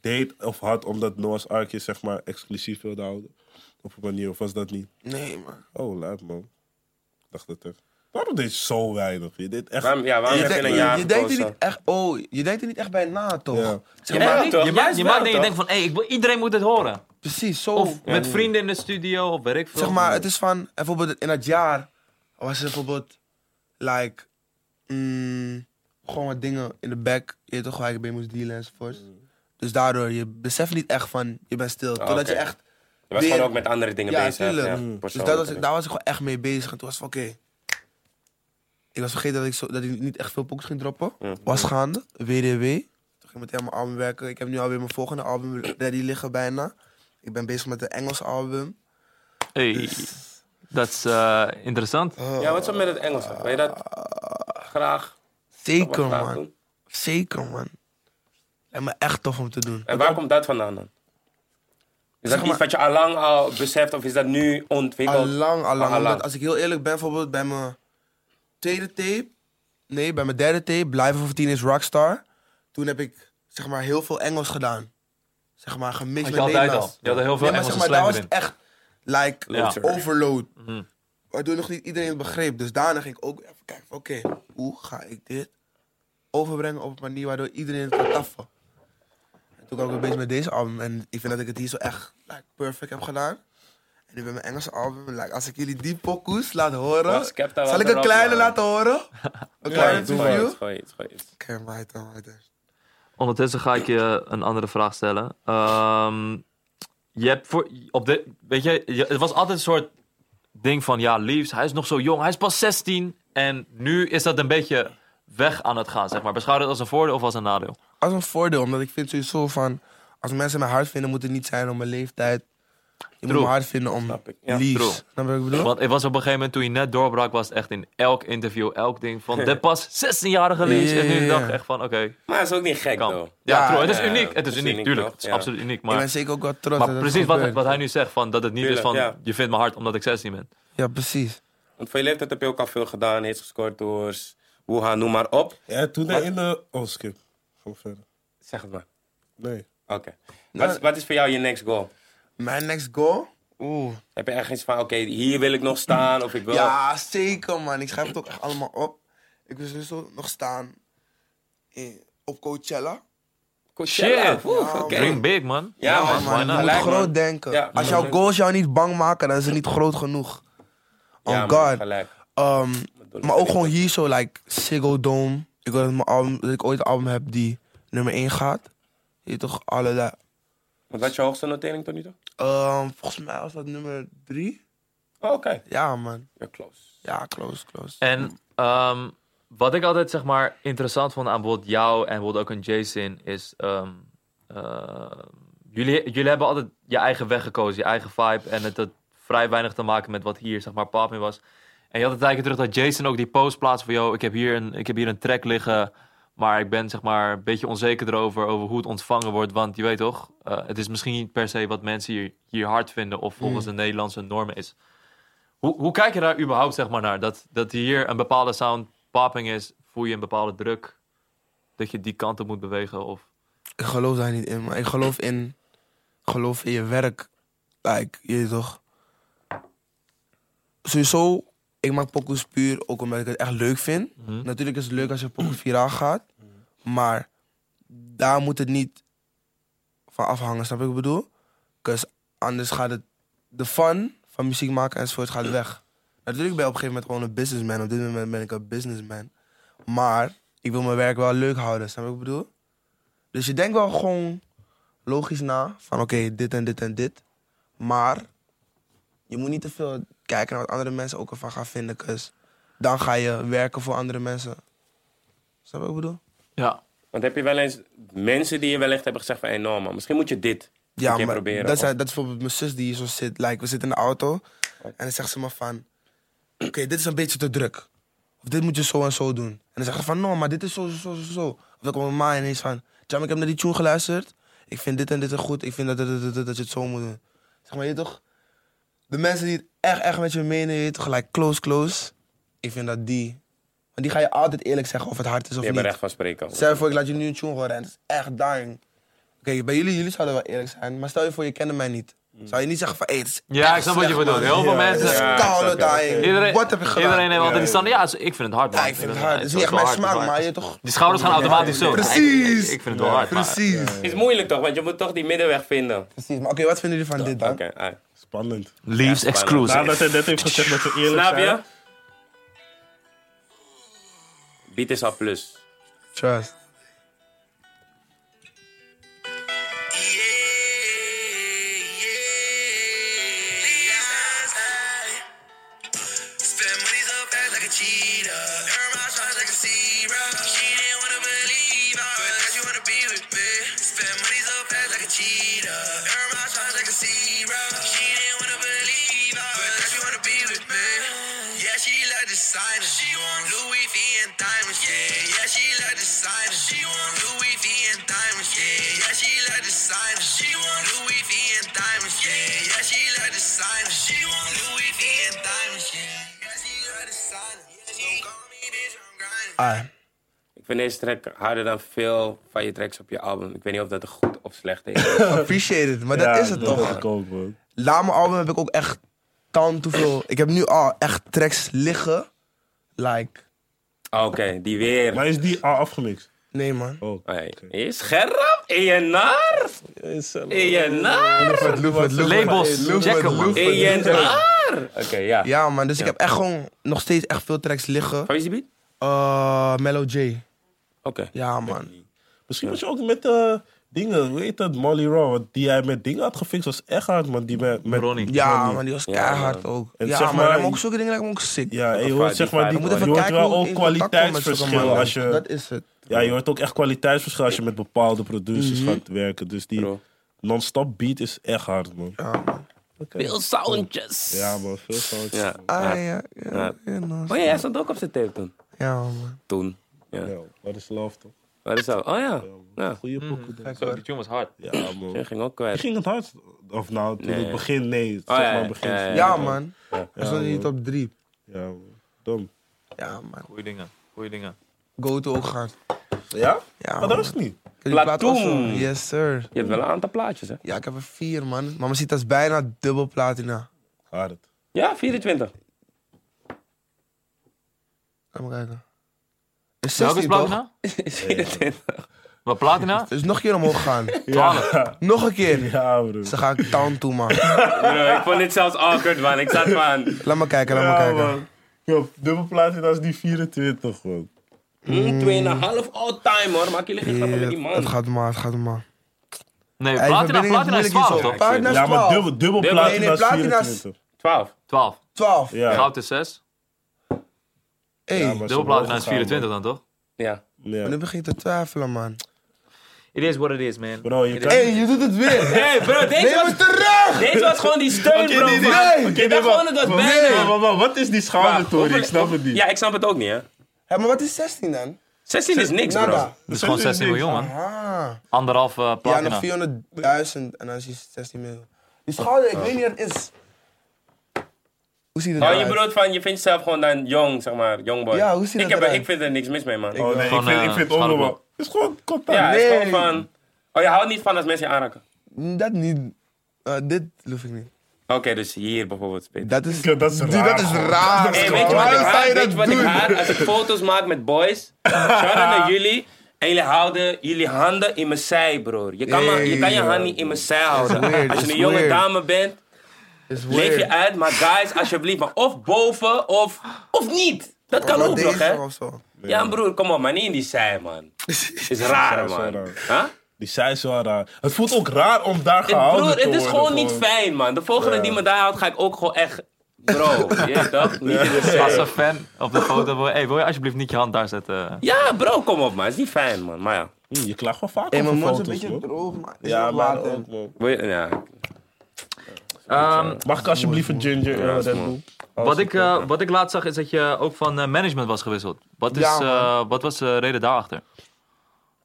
D: deed of had omdat Noah's Ark je zeg maar, exclusief wilde houden. Op een manier, of was dat niet?
B: Nee man.
D: Oh, laat man. Ik dacht dat echt. Waarom deed je zo weinig? Je deed echt...
A: Waarom, ja, waarom
B: Je,
A: heb je
B: denkt-
A: een jaar eh?
B: je denkt er
A: gekozen?
B: niet echt, oh, je denkt er niet echt bij na toch?
D: Ja.
B: Zeg
A: Ja,
B: maar,
A: toch?
C: Je,
A: Juist
C: maakt- je
A: wel,
C: maakt dingen
A: toch?
C: denken van, hé, ik wil iedereen moet dit horen.
B: precies, zo.
C: Of met vrienden in de studio, of weet ik veel.
B: Oh. Zeg maar, het is van, bijvoorbeeld in dat jaar was er bijvoorbeeld, like, mm, gewoon wat dingen in de back, je weet toch waar ik mee moest dealen enzovoort.
A: Mm.
B: Dus daardoor, je beseft niet echt van, je bent stil. Totdat
A: Ah, oké.
B: je echt,
A: Je was
B: weer-
A: gewoon ook met andere dingen
B: ja,
A: bezig.
B: tuurlijk.
A: Ja,
B: dus
A: persoonlijk.
B: daar was, ik, daar was ik gewoon echt mee bezig. En toen was het van, oké. Ik was vergeten dat ik, zo, dat ik niet echt veel pokers ging droppen. Was gaande, WDW. Toen ging ik meteen aan mijn album werken. Ik heb nu alweer mijn volgende album ready liggen bijna. Ik ben bezig met een Engels album.
C: Hey, dat is eh, interessant.
A: Ja, wat is er met het Engels? Wil je dat graag,
B: Zeker,
A: graag
B: man.
A: doen?
B: Zeker, man. En me echt tof om te doen.
A: En waar komt dat vandaan dan? Is dat
B: Zeg maar-
A: iets wat je al lang al beseft of is dat nu ontwikkeld?
B: Allang, allang.
A: Allang.
B: Omdat als ik heel eerlijk ben, bijvoorbeeld bij mijn tweede tape... Nee, bij mijn derde tape, Blijven voor 10 is Rockstar. Toen heb ik, zeg maar, heel veel Engels gedaan. zeg maar, gemixt
C: Had
B: met
C: je altijd
B: Nederlands.
C: al. Je had er heel veel
B: Nee, maar zeg
C: Engelse
B: maar, daar
C: slang erin.
B: was
C: Mhm.
B: het echt like
C: Ja.
B: overload. Waardoor nog niet iedereen het begreep. Dus daarna ging ik ook even kijken van, oké, hoe ga ik dit overbrengen op een manier waardoor iedereen het kan taffen. En toen kwam ik weer bezig met deze album en ik vind dat ik het hier zo echt like, perfect heb gedaan. En nu bij mijn Engelse album, like, als ik jullie die pokoes laat horen,
A: Oh, Skepta was
B: zal ik een
A: erop,
B: kleine
A: man.
B: laten horen? Een kleine preview? Oké,
A: Gooi het, gooi het.
B: maar het dan, maar het is-
C: Ondertussen ga ik je een andere vraag stellen. Ehm, je hebt voor, op de, weet je, je- het was altijd een soort ding van, ja, Leaves, hij is nog zo jong, hij is pas 16. En nu is dat een beetje weg aan het gaan, zeg maar. Beschouw dat als een voordeel of als een nadeel?
B: Als een voordeel, omdat ik vind sowieso van, als mensen mij hard vinden, moet het niet zijn om mijn leeftijd. Je
C: True.
B: moet me hard vinden om
A: Snap ik. Ja,
B: lief.
C: true.
B: Snap je wat ik bedoel?
C: Want het was op een gegeven moment, toen je net doorbrak, was het echt in elk interview, elk ding van, de pas 16-jarige Leaves.
B: Ja, ja,
C: En nu
B: ja,
C: dacht ik
B: ja.
C: echt van, oké,
A: Maar het is ook niet gek,
C: kan.
A: though.
C: Ja,
B: Ja,
C: true, het is
A: ja,
C: uniek, het is
A: is
C: uniek,
A: uniek,
C: tuurlijk.
A: toch?
C: Het is
A: Ja.
C: absoluut uniek,
B: ik
C: maar...
B: ben zeker ook wel trots.
C: Maar
B: dat het
C: precies wat,
B: gebeurt.
C: wat hij nu zegt, van, dat het niet is
A: Tuurlijk,
C: van,
A: ja.
C: je vindt me hard omdat ik 16 ben.
B: Ja, precies.
A: Want voor je leeftijd heb je ook al veel gedaan. Heeft gescoord door Wuha, noem maar op.
D: Ja, toen hij in de... Oh, skip. Ga maar verder.
A: Zeg het maar.
D: Nee.
A: Oké. Wat, is- wat is voor jou je next goal?
B: Mijn next goal? Oeh.
A: Heb je echt iets van, oké, hier wil ik nog staan of ik wil...
B: Ja, zeker man. Ik schrijf het ook echt allemaal op. Ik wil sowieso nog staan in, op Coachella.
A: Coachella.
C: Shit.
A: Oeh, oké.
C: Dream big, man.
A: Ja, man.
C: why
B: Je
C: not?
B: moet
A: Gelijk,
B: groot
A: man.
B: denken.
A: Ja,
B: Als
A: ja.
B: jouw goals jou niet bang maken, dan is het niet groot genoeg. Oh
A: Ja, man,
B: god.
A: gelijk.
B: Ehm,
A: bedoel ik
B: maar ook
A: niet.
B: gewoon hier zo, like Ziggo Dome. Ik wil dat, mijn album, dat ik ooit een album heb die nummer 1 gaat. Je weet toch allerlei.
A: Want wat is je hoogste notering tot nu toe?
B: Ehm, volgens mij was dat nummer 3.
A: Oh, oké.
B: Ja, man.
A: You're close.
B: Ja, close, close.
C: En ehm, wat ik altijd zeg maar interessant vond aan bijvoorbeeld jou en bijvoorbeeld ook een Jason is. ehm, ehm, jullie, jullie hebben altijd je eigen weg gekozen, je eigen vibe. En het had vrij weinig te maken met wat hier zeg maar pop mee was. En je had een tijdje terug dat Jason ook die post plaatste van: yo, ik heb hier een, ik heb hier een track liggen. Maar ik ben zeg maar een beetje onzeker erover, over hoe het ontvangen wordt. Want je weet toch, eh, het is misschien niet per se wat mensen hier, hier hard vinden of volgens de Nederlandse normen is. Hoe, hoe kijk je daar überhaupt zeg maar, naar? Dat, dat hier een bepaalde sound popping is, voel je een bepaalde druk dat je die kant op moet bewegen? Of...
B: Ik geloof daar niet in, maar ik geloof in, geloof in je werk. Like, je weet toch. Sowieso, ik maak pokoes puur ook omdat ik het echt leuk vind. Natuurlijk is het leuk als je pokoe viraal gaat, maar daar moet het niet van afhangen, snap je wat ik bedoel? Because anders gaat het, de fun van muziek maken enzovoort gaat weg. Natuurlijk ben je op een gegeven moment gewoon een businessman. Op dit moment ben ik een businessman. Maar ik wil mijn werk wel leuk houden, snap je wat ik bedoel? Dus je denkt wel gewoon logisch na van oké, dit en dit en dit. Maar je moet niet te veel kijken naar wat andere mensen ook ervan gaan vinden. Cause dan ga je werken voor andere mensen. Snap je wat ik bedoel?
C: Ja.
A: Want heb je wel eens mensen die je wellicht hebben gezegd van... Hey Norman, misschien moet je dit een keer proberen.
B: dat,
A: of-
B: zijn, dat is bijvoorbeeld mijn zus die hier zo zit. Like, we zitten in de auto en dan zegt ze me van... Oké, dit is een beetje te druk. Of dit moet je zo en zo doen. En dan zegt ze van, no, maar dit is zo, zo, zo, zo, zo. Of dan komt mijn ma ineens van... Jam, ik heb naar die tune geluisterd. Ik vind dit en dit goed. Ik vind dat, dat, dat, dat, dat, dat je het zo moet doen. Zeg maar, je weet toch... De mensen die het echt, echt met je menen, je weet toch, like close, close. Ik vind dat die... Want die ga je altijd eerlijk zeggen of het hard is of
A: Je hebt
B: niet.
A: er recht van spreken. over.
B: Stel je voor, ik laat je nu een tune horen en het is echt dying. Oké, bij jullie, jullie zouden wel eerlijk zijn, maar stel je voor, je kende mij niet. Zou je niet zeggen van, hé, het is
C: Ja,
B: echt
C: ik snap wat je
B: slecht,
C: bedoelt.
B: man.
C: Heel veel
D: Ja,
B: Het
C: mensen.
B: is
A: Ja, ik
B: koude
A: snap je.
B: dying.
C: Iedereen,
B: Wat heb je gedaan?
C: iedereen heeft altijd die
D: ja.
C: stand. Ja, ik vind het hard. man.
B: ja, ik vind het hard. Het is niet
C: wel
B: echt mijn
C: hard, het
B: smaak,
C: wel
B: maar
C: hard.
B: je toch...
C: Die schouders gaan automatisch zo. Ja, ik-
B: Precies!
C: Ik, ik vind het wel hard. maar-
B: Precies.
A: Het is moeilijk toch, want je moet toch die middenweg vinden.
B: Precies. Maar oké, wat vinden jullie van dit dan?
A: Oké, ah.
D: Spannend.
C: Leaves
A: Ja,
D: Nadat
C: exclusive.
D: hij net heeft gezegd dat we eerlijk
A: Snap
D: zijn.
A: je? Beat is al plus.
B: Trust.
E: Spend money so fast like a cheetah. Her mouth shines like a zebra. She didn't wanna believe us. But now she wanna be with me. Spend money so fast like a cheetah. Her mouth shines like a zebra. She didn't wanna believe us. But now she wanna be with me. Yeah, she like designer. She want Louis V and diamonds. Yeah, yeah, she like designer. She want Louis V and diamonds. Yeah, yeah, she like designer. She want Louis V and diamonds. Yeah, yeah, she like designer. She want Louis V and diamonds. Yeah, yeah, she like designer. Yeah, she don't call me bitch, I'm grinding.
B: Ah,
A: Ik vind deze track harder dan veel van je tracks op je album. Ik weet niet of dat een goed of slecht tegen.
B: Appreciate it, maar dat is het toch.
D: dacht ik ook, man.
B: Laat mijn album heb ik ook echt tant hoeveel. Ik heb nu al echt tracks liggen. Like,
A: Oké, die weer.
D: Maar is die al afgemixt?
B: nee man.
D: Oh.
A: Hey, Is Gerram? In je naar?
B: eh,
A: In je naar?
B: Loef het, loef het, loef het.
C: Labels,
B: Loef het,
C: checken,
B: loef
C: man.
B: het.
A: In je naar? Oké, ja.
B: Ja man, dus ik heb echt gewoon nog steeds echt veel tracks liggen.
A: Van wie is die beat?
B: Eh Mellow J.
A: Oké.
B: Ja man.
D: Misschien was je ook met eh, dingen, hoe heet dat, Molly Raw. Want die hij met dingen had gefixt was echt hard, man. Die met, met
C: Ronnie.
B: Ja man, die was
A: Ja,
B: keihard ook.
D: En
B: Ja
D: zeg
B: man,
D: maar-
B: maar ook zulke dingen lijken me ook sick.
D: Ja, en je
A: Die
D: hoort zeg maar, die,
A: vijf,
D: je
B: Je
A: man.
B: moet even
D: hoort
B: kijken
D: wel
B: hoe
D: ook
B: ik in contact kom met zulke
D: kwaliteitsverschil
B: mannen.
D: als je...
B: Dat is het.
D: Ja, je hoort ook echt kwaliteitsverschil als je met bepaalde producers
B: Mhm.
D: gaat werken. Dus die
A: Bro.
D: non-stop beat is echt hard, man.
B: Ja man.
A: Veel soundjes.
D: Ja, man. Veel sound.
A: Ja.
B: Ah
A: ja.
B: ja, ja. ja, nice.
A: Oh ja, hij stond ook op zijn tape toen.
B: Ja man.
A: Toen. Ja.
D: Ja, wat is love, toch?
A: Waar is dat? Oh ja. Ja,
D: Goeie
B: Mhm.
D: pokoe. dan.
C: Zo, die tune was hard.
D: Ja, man.
A: die ging ook
D: Het
A: kwijt.
D: ging het hard. Of nou, toen
A: Nee.
D: het begin, nee. Zeg
A: ja,
D: maar
A: ja,
D: begin.
A: ja, ja.
B: Ja man.
D: Ja,
B: Hij stond in die
D: man.
B: top 3.
D: Ja, man. Dom.
B: Ja man.
C: Goeie dingen, goeie dingen.
B: Go to ook gaan.
D: Ja?
B: Ja,
D: Maar dat
B: man.
D: is het niet.
B: Ik heb die plaat
A: Platoon.
B: ook zo. Yes, sir.
A: Je hebt wel een aantal plaatjes, hè?
B: Ja, ik heb er vier, man. Mama ziet dat is bijna dubbel platina.
D: Hard.
A: Ja, 24.
B: Laat maar kijken. Het is
C: Welke
B: 16,
C: is
B: toch?
C: Platina?
A: 24.
C: Wat Platina?
B: Dus nog een keer omhoog gaan.
C: 12.
B: Nog een keer.
D: Ja, bro.
B: Ze ga ik town toe, man.
A: Bro, ik vond dit zelfs awkward, man. Ik zat man.
B: Laat maar kijken, laat maar
D: Ja,
B: kijken.
D: man. Yo, dubbel platina is die 24, man.
A: Hm, 2,5 all-time, hoor. Maak jullie geen grappen met die
B: Ja, Het
A: man.
B: gaat maar, het gaat maar.
C: Nee,
B: Hey,
C: Platina,
B: verbinding
C: Platina is
B: moeilijk hier
C: 12
B: zo.
C: toch?
B: Platina is
D: Ja, maar
B: 12.
D: dubbel, dubbel
A: Nee,
D: platina
B: nee,
D: is
B: platina is-
D: 24.
A: 12.
C: 12.
B: 12.
D: Ja.
C: Goud is 6.
B: Hey,
D: Ja, maar ze
C: Dubbel Platina
D: mogen
C: is
D: gaan,
C: 24 dan toch?
A: Ja.
D: man.
B: nu
D: Ja.
B: begin ik te twijfelen, man.
C: It is what it is, man.
D: Bro, je kan...
B: Hey, je doet het weer.
A: Hey, bro, deze
B: Neem
A: was,
B: het terug!
A: deze was gewoon die steun,
D: Oké,
A: bro.
D: nee, nee,
A: man.
D: nee.
B: Hey!
D: Oké,
A: Ik dacht
D: nee,
A: gewoon dat dat
D: maar-
A: band
D: Nee,
A: was.
D: maar- maar Wat is die schouder, Tori?
A: hoeveel-
D: Ik snap het niet.
A: Ja, ik snap het ook niet, hè.
B: Hé, maar wat is 16 dan?
A: 16 is niks, bro.
B: Nada.
C: Het is gewoon 16
D: Oh,
C: miljoen, man.
B: Ah.
C: Anderhalf eh,
B: Ja,
C: Platina.
B: nog 400.000 en dan is hij 16 miljoen. Die schouder, ik weet niet wat het is. Hoe ziet het
A: Oh,
B: eruit?
A: je bedoelt van, je vindt jezelf gewoon dan jong, zeg maar, jong boy.
B: Ja, hoe ziet
A: ik,
B: dat
A: heb, er-
B: eruit?
A: ik vind er niks mis mee, man.
D: Oh nee, ik
C: Gewoon,
D: vind,
C: eh,
D: ik vind
C: schouderblok.
D: ook nog wel. Het is gewoon contact.
A: ja, het is gewoon
B: nee.
A: van... Oh, je houdt niet van als mensen je aanraken?
B: Mm, Dat niet. Eh, dit loef ik niet.
A: Oké, dus hier bijvoorbeeld. Peter.
B: Dat is,
D: Ja, dat is
B: Dude,
D: raar,
B: dat is
D: man.
B: raar.
A: Hey,
B: man.
A: weet je wat ik
B: Waarom zou
A: haat?
B: je
A: Weet
B: dat
A: je wat ik
B: doen?
A: haat? Als ik foto's maak met boys, shout-out naar jullie. En jullie houden jullie handen in mijn zij, broer. Je kan, maar, je, kan je
B: Hey.
A: hand niet in mijn zij houden.
B: weird,
A: als je
B: it's
A: een jonge
B: weird.
A: dame bent,
B: Is
A: leef
B: weird.
A: je uit. Maar guys, alsjeblieft, maar of boven of, of niet. Dat kan
B: Wat
A: ook nog,
B: Oh, deze
A: hè?
B: of zo.
A: Ja, broer, kom op, maar niet in die zij, man. Is raar,
D: is wel
A: man.
D: raar.
A: Huh?
D: Die zij is wel raar. Het voelt ook raar om daar
A: Het,
D: gehouden
A: Eh, broer,
D: te
A: het is
D: worden.
A: gewoon niet fijn, man. De volgende die me daar houdt, ga ik ook gewoon echt... Bro, je toch? Niet in de zij.
C: Als een fan op de foto, wil- hey, wil je alsjeblieft niet je hand daar zetten?
A: Ja, bro, kom op, man. Het is niet fijn, man. Maar ja.
D: Hm, Je klaagt wel vaak
B: Hey,
D: over
B: mijn mond is een
D: foto's,
B: beetje
D: man.
B: droog, maar. is
D: Ja,
B: wel
D: maar
B: later.
D: ook, man.
A: Wil je- ja.
C: Ehm,
D: Mag ik alsjeblieft een ginger
A: Ja,
D: ale
A: is
D: Red
A: mooi.
D: Bull?
C: wat, ik, eh, wat ik laatst zag is dat je ook van eh, management was gewisseld. Wat, is,
B: Ja, man.
C: eh, wat was de reden daarachter?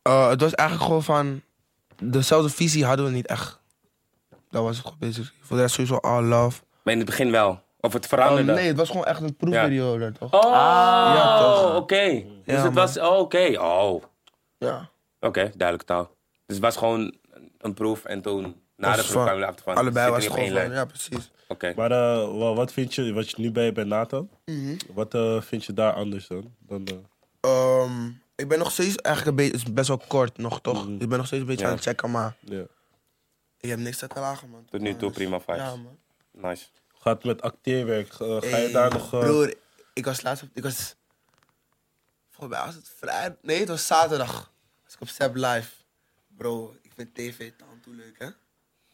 B: Eh, het was eigenlijk gewoon van. Dezelfde visie hadden we niet echt. Dat was het gewoon bezig. Voor de rest sowieso all love.
A: Maar in het begin wel. Of het
B: Eh,
A: veranderde.
B: Oh, nee, het was gewoon echt een proefperiode, toch?
A: Oh,
B: Ja, toch.
A: oké. Dus
B: Ja,
A: het
B: man.
A: was... Oh, oké. Oh, oké.
B: Ja.
A: Duidelijke taal. Dus het was gewoon een proef en toen... Na de
B: Was
A: proef
B: Dus van-
A: kwamen we erachter van...
B: Allebei
A: zit
B: was
A: niet
B: het
A: op
B: gewoon
A: één
B: van.
A: lijn.
B: Ja, precies.
A: Oké.
D: Maar eh, wa- wat vind je, wat je nu bij bij Nathan? Wat eh, vind je daar anders dan? dan eh,
B: Ehm, ik ben nog steeds eigenlijk een beetje. Het is best wel kort nog, toch? Ik ben nog steeds een beetje
A: Ja.
B: aan het checken, maar.
D: ja.
B: Ik heb niks te klagen, man.
A: Tot nu toe
B: Dus-
A: prima vibes.
B: Ja, man.
A: Nice.
D: Gaat met acteerwerk, eh, ga je
B: Hey,
D: daar nog... eh,
B: Broer, ik was laatst op... Ik was... Volgens mij was het vrijdag... Nee, het was zaterdag. Was ik op Step Live. Bro, ik vind tv aan toe leuk, hè?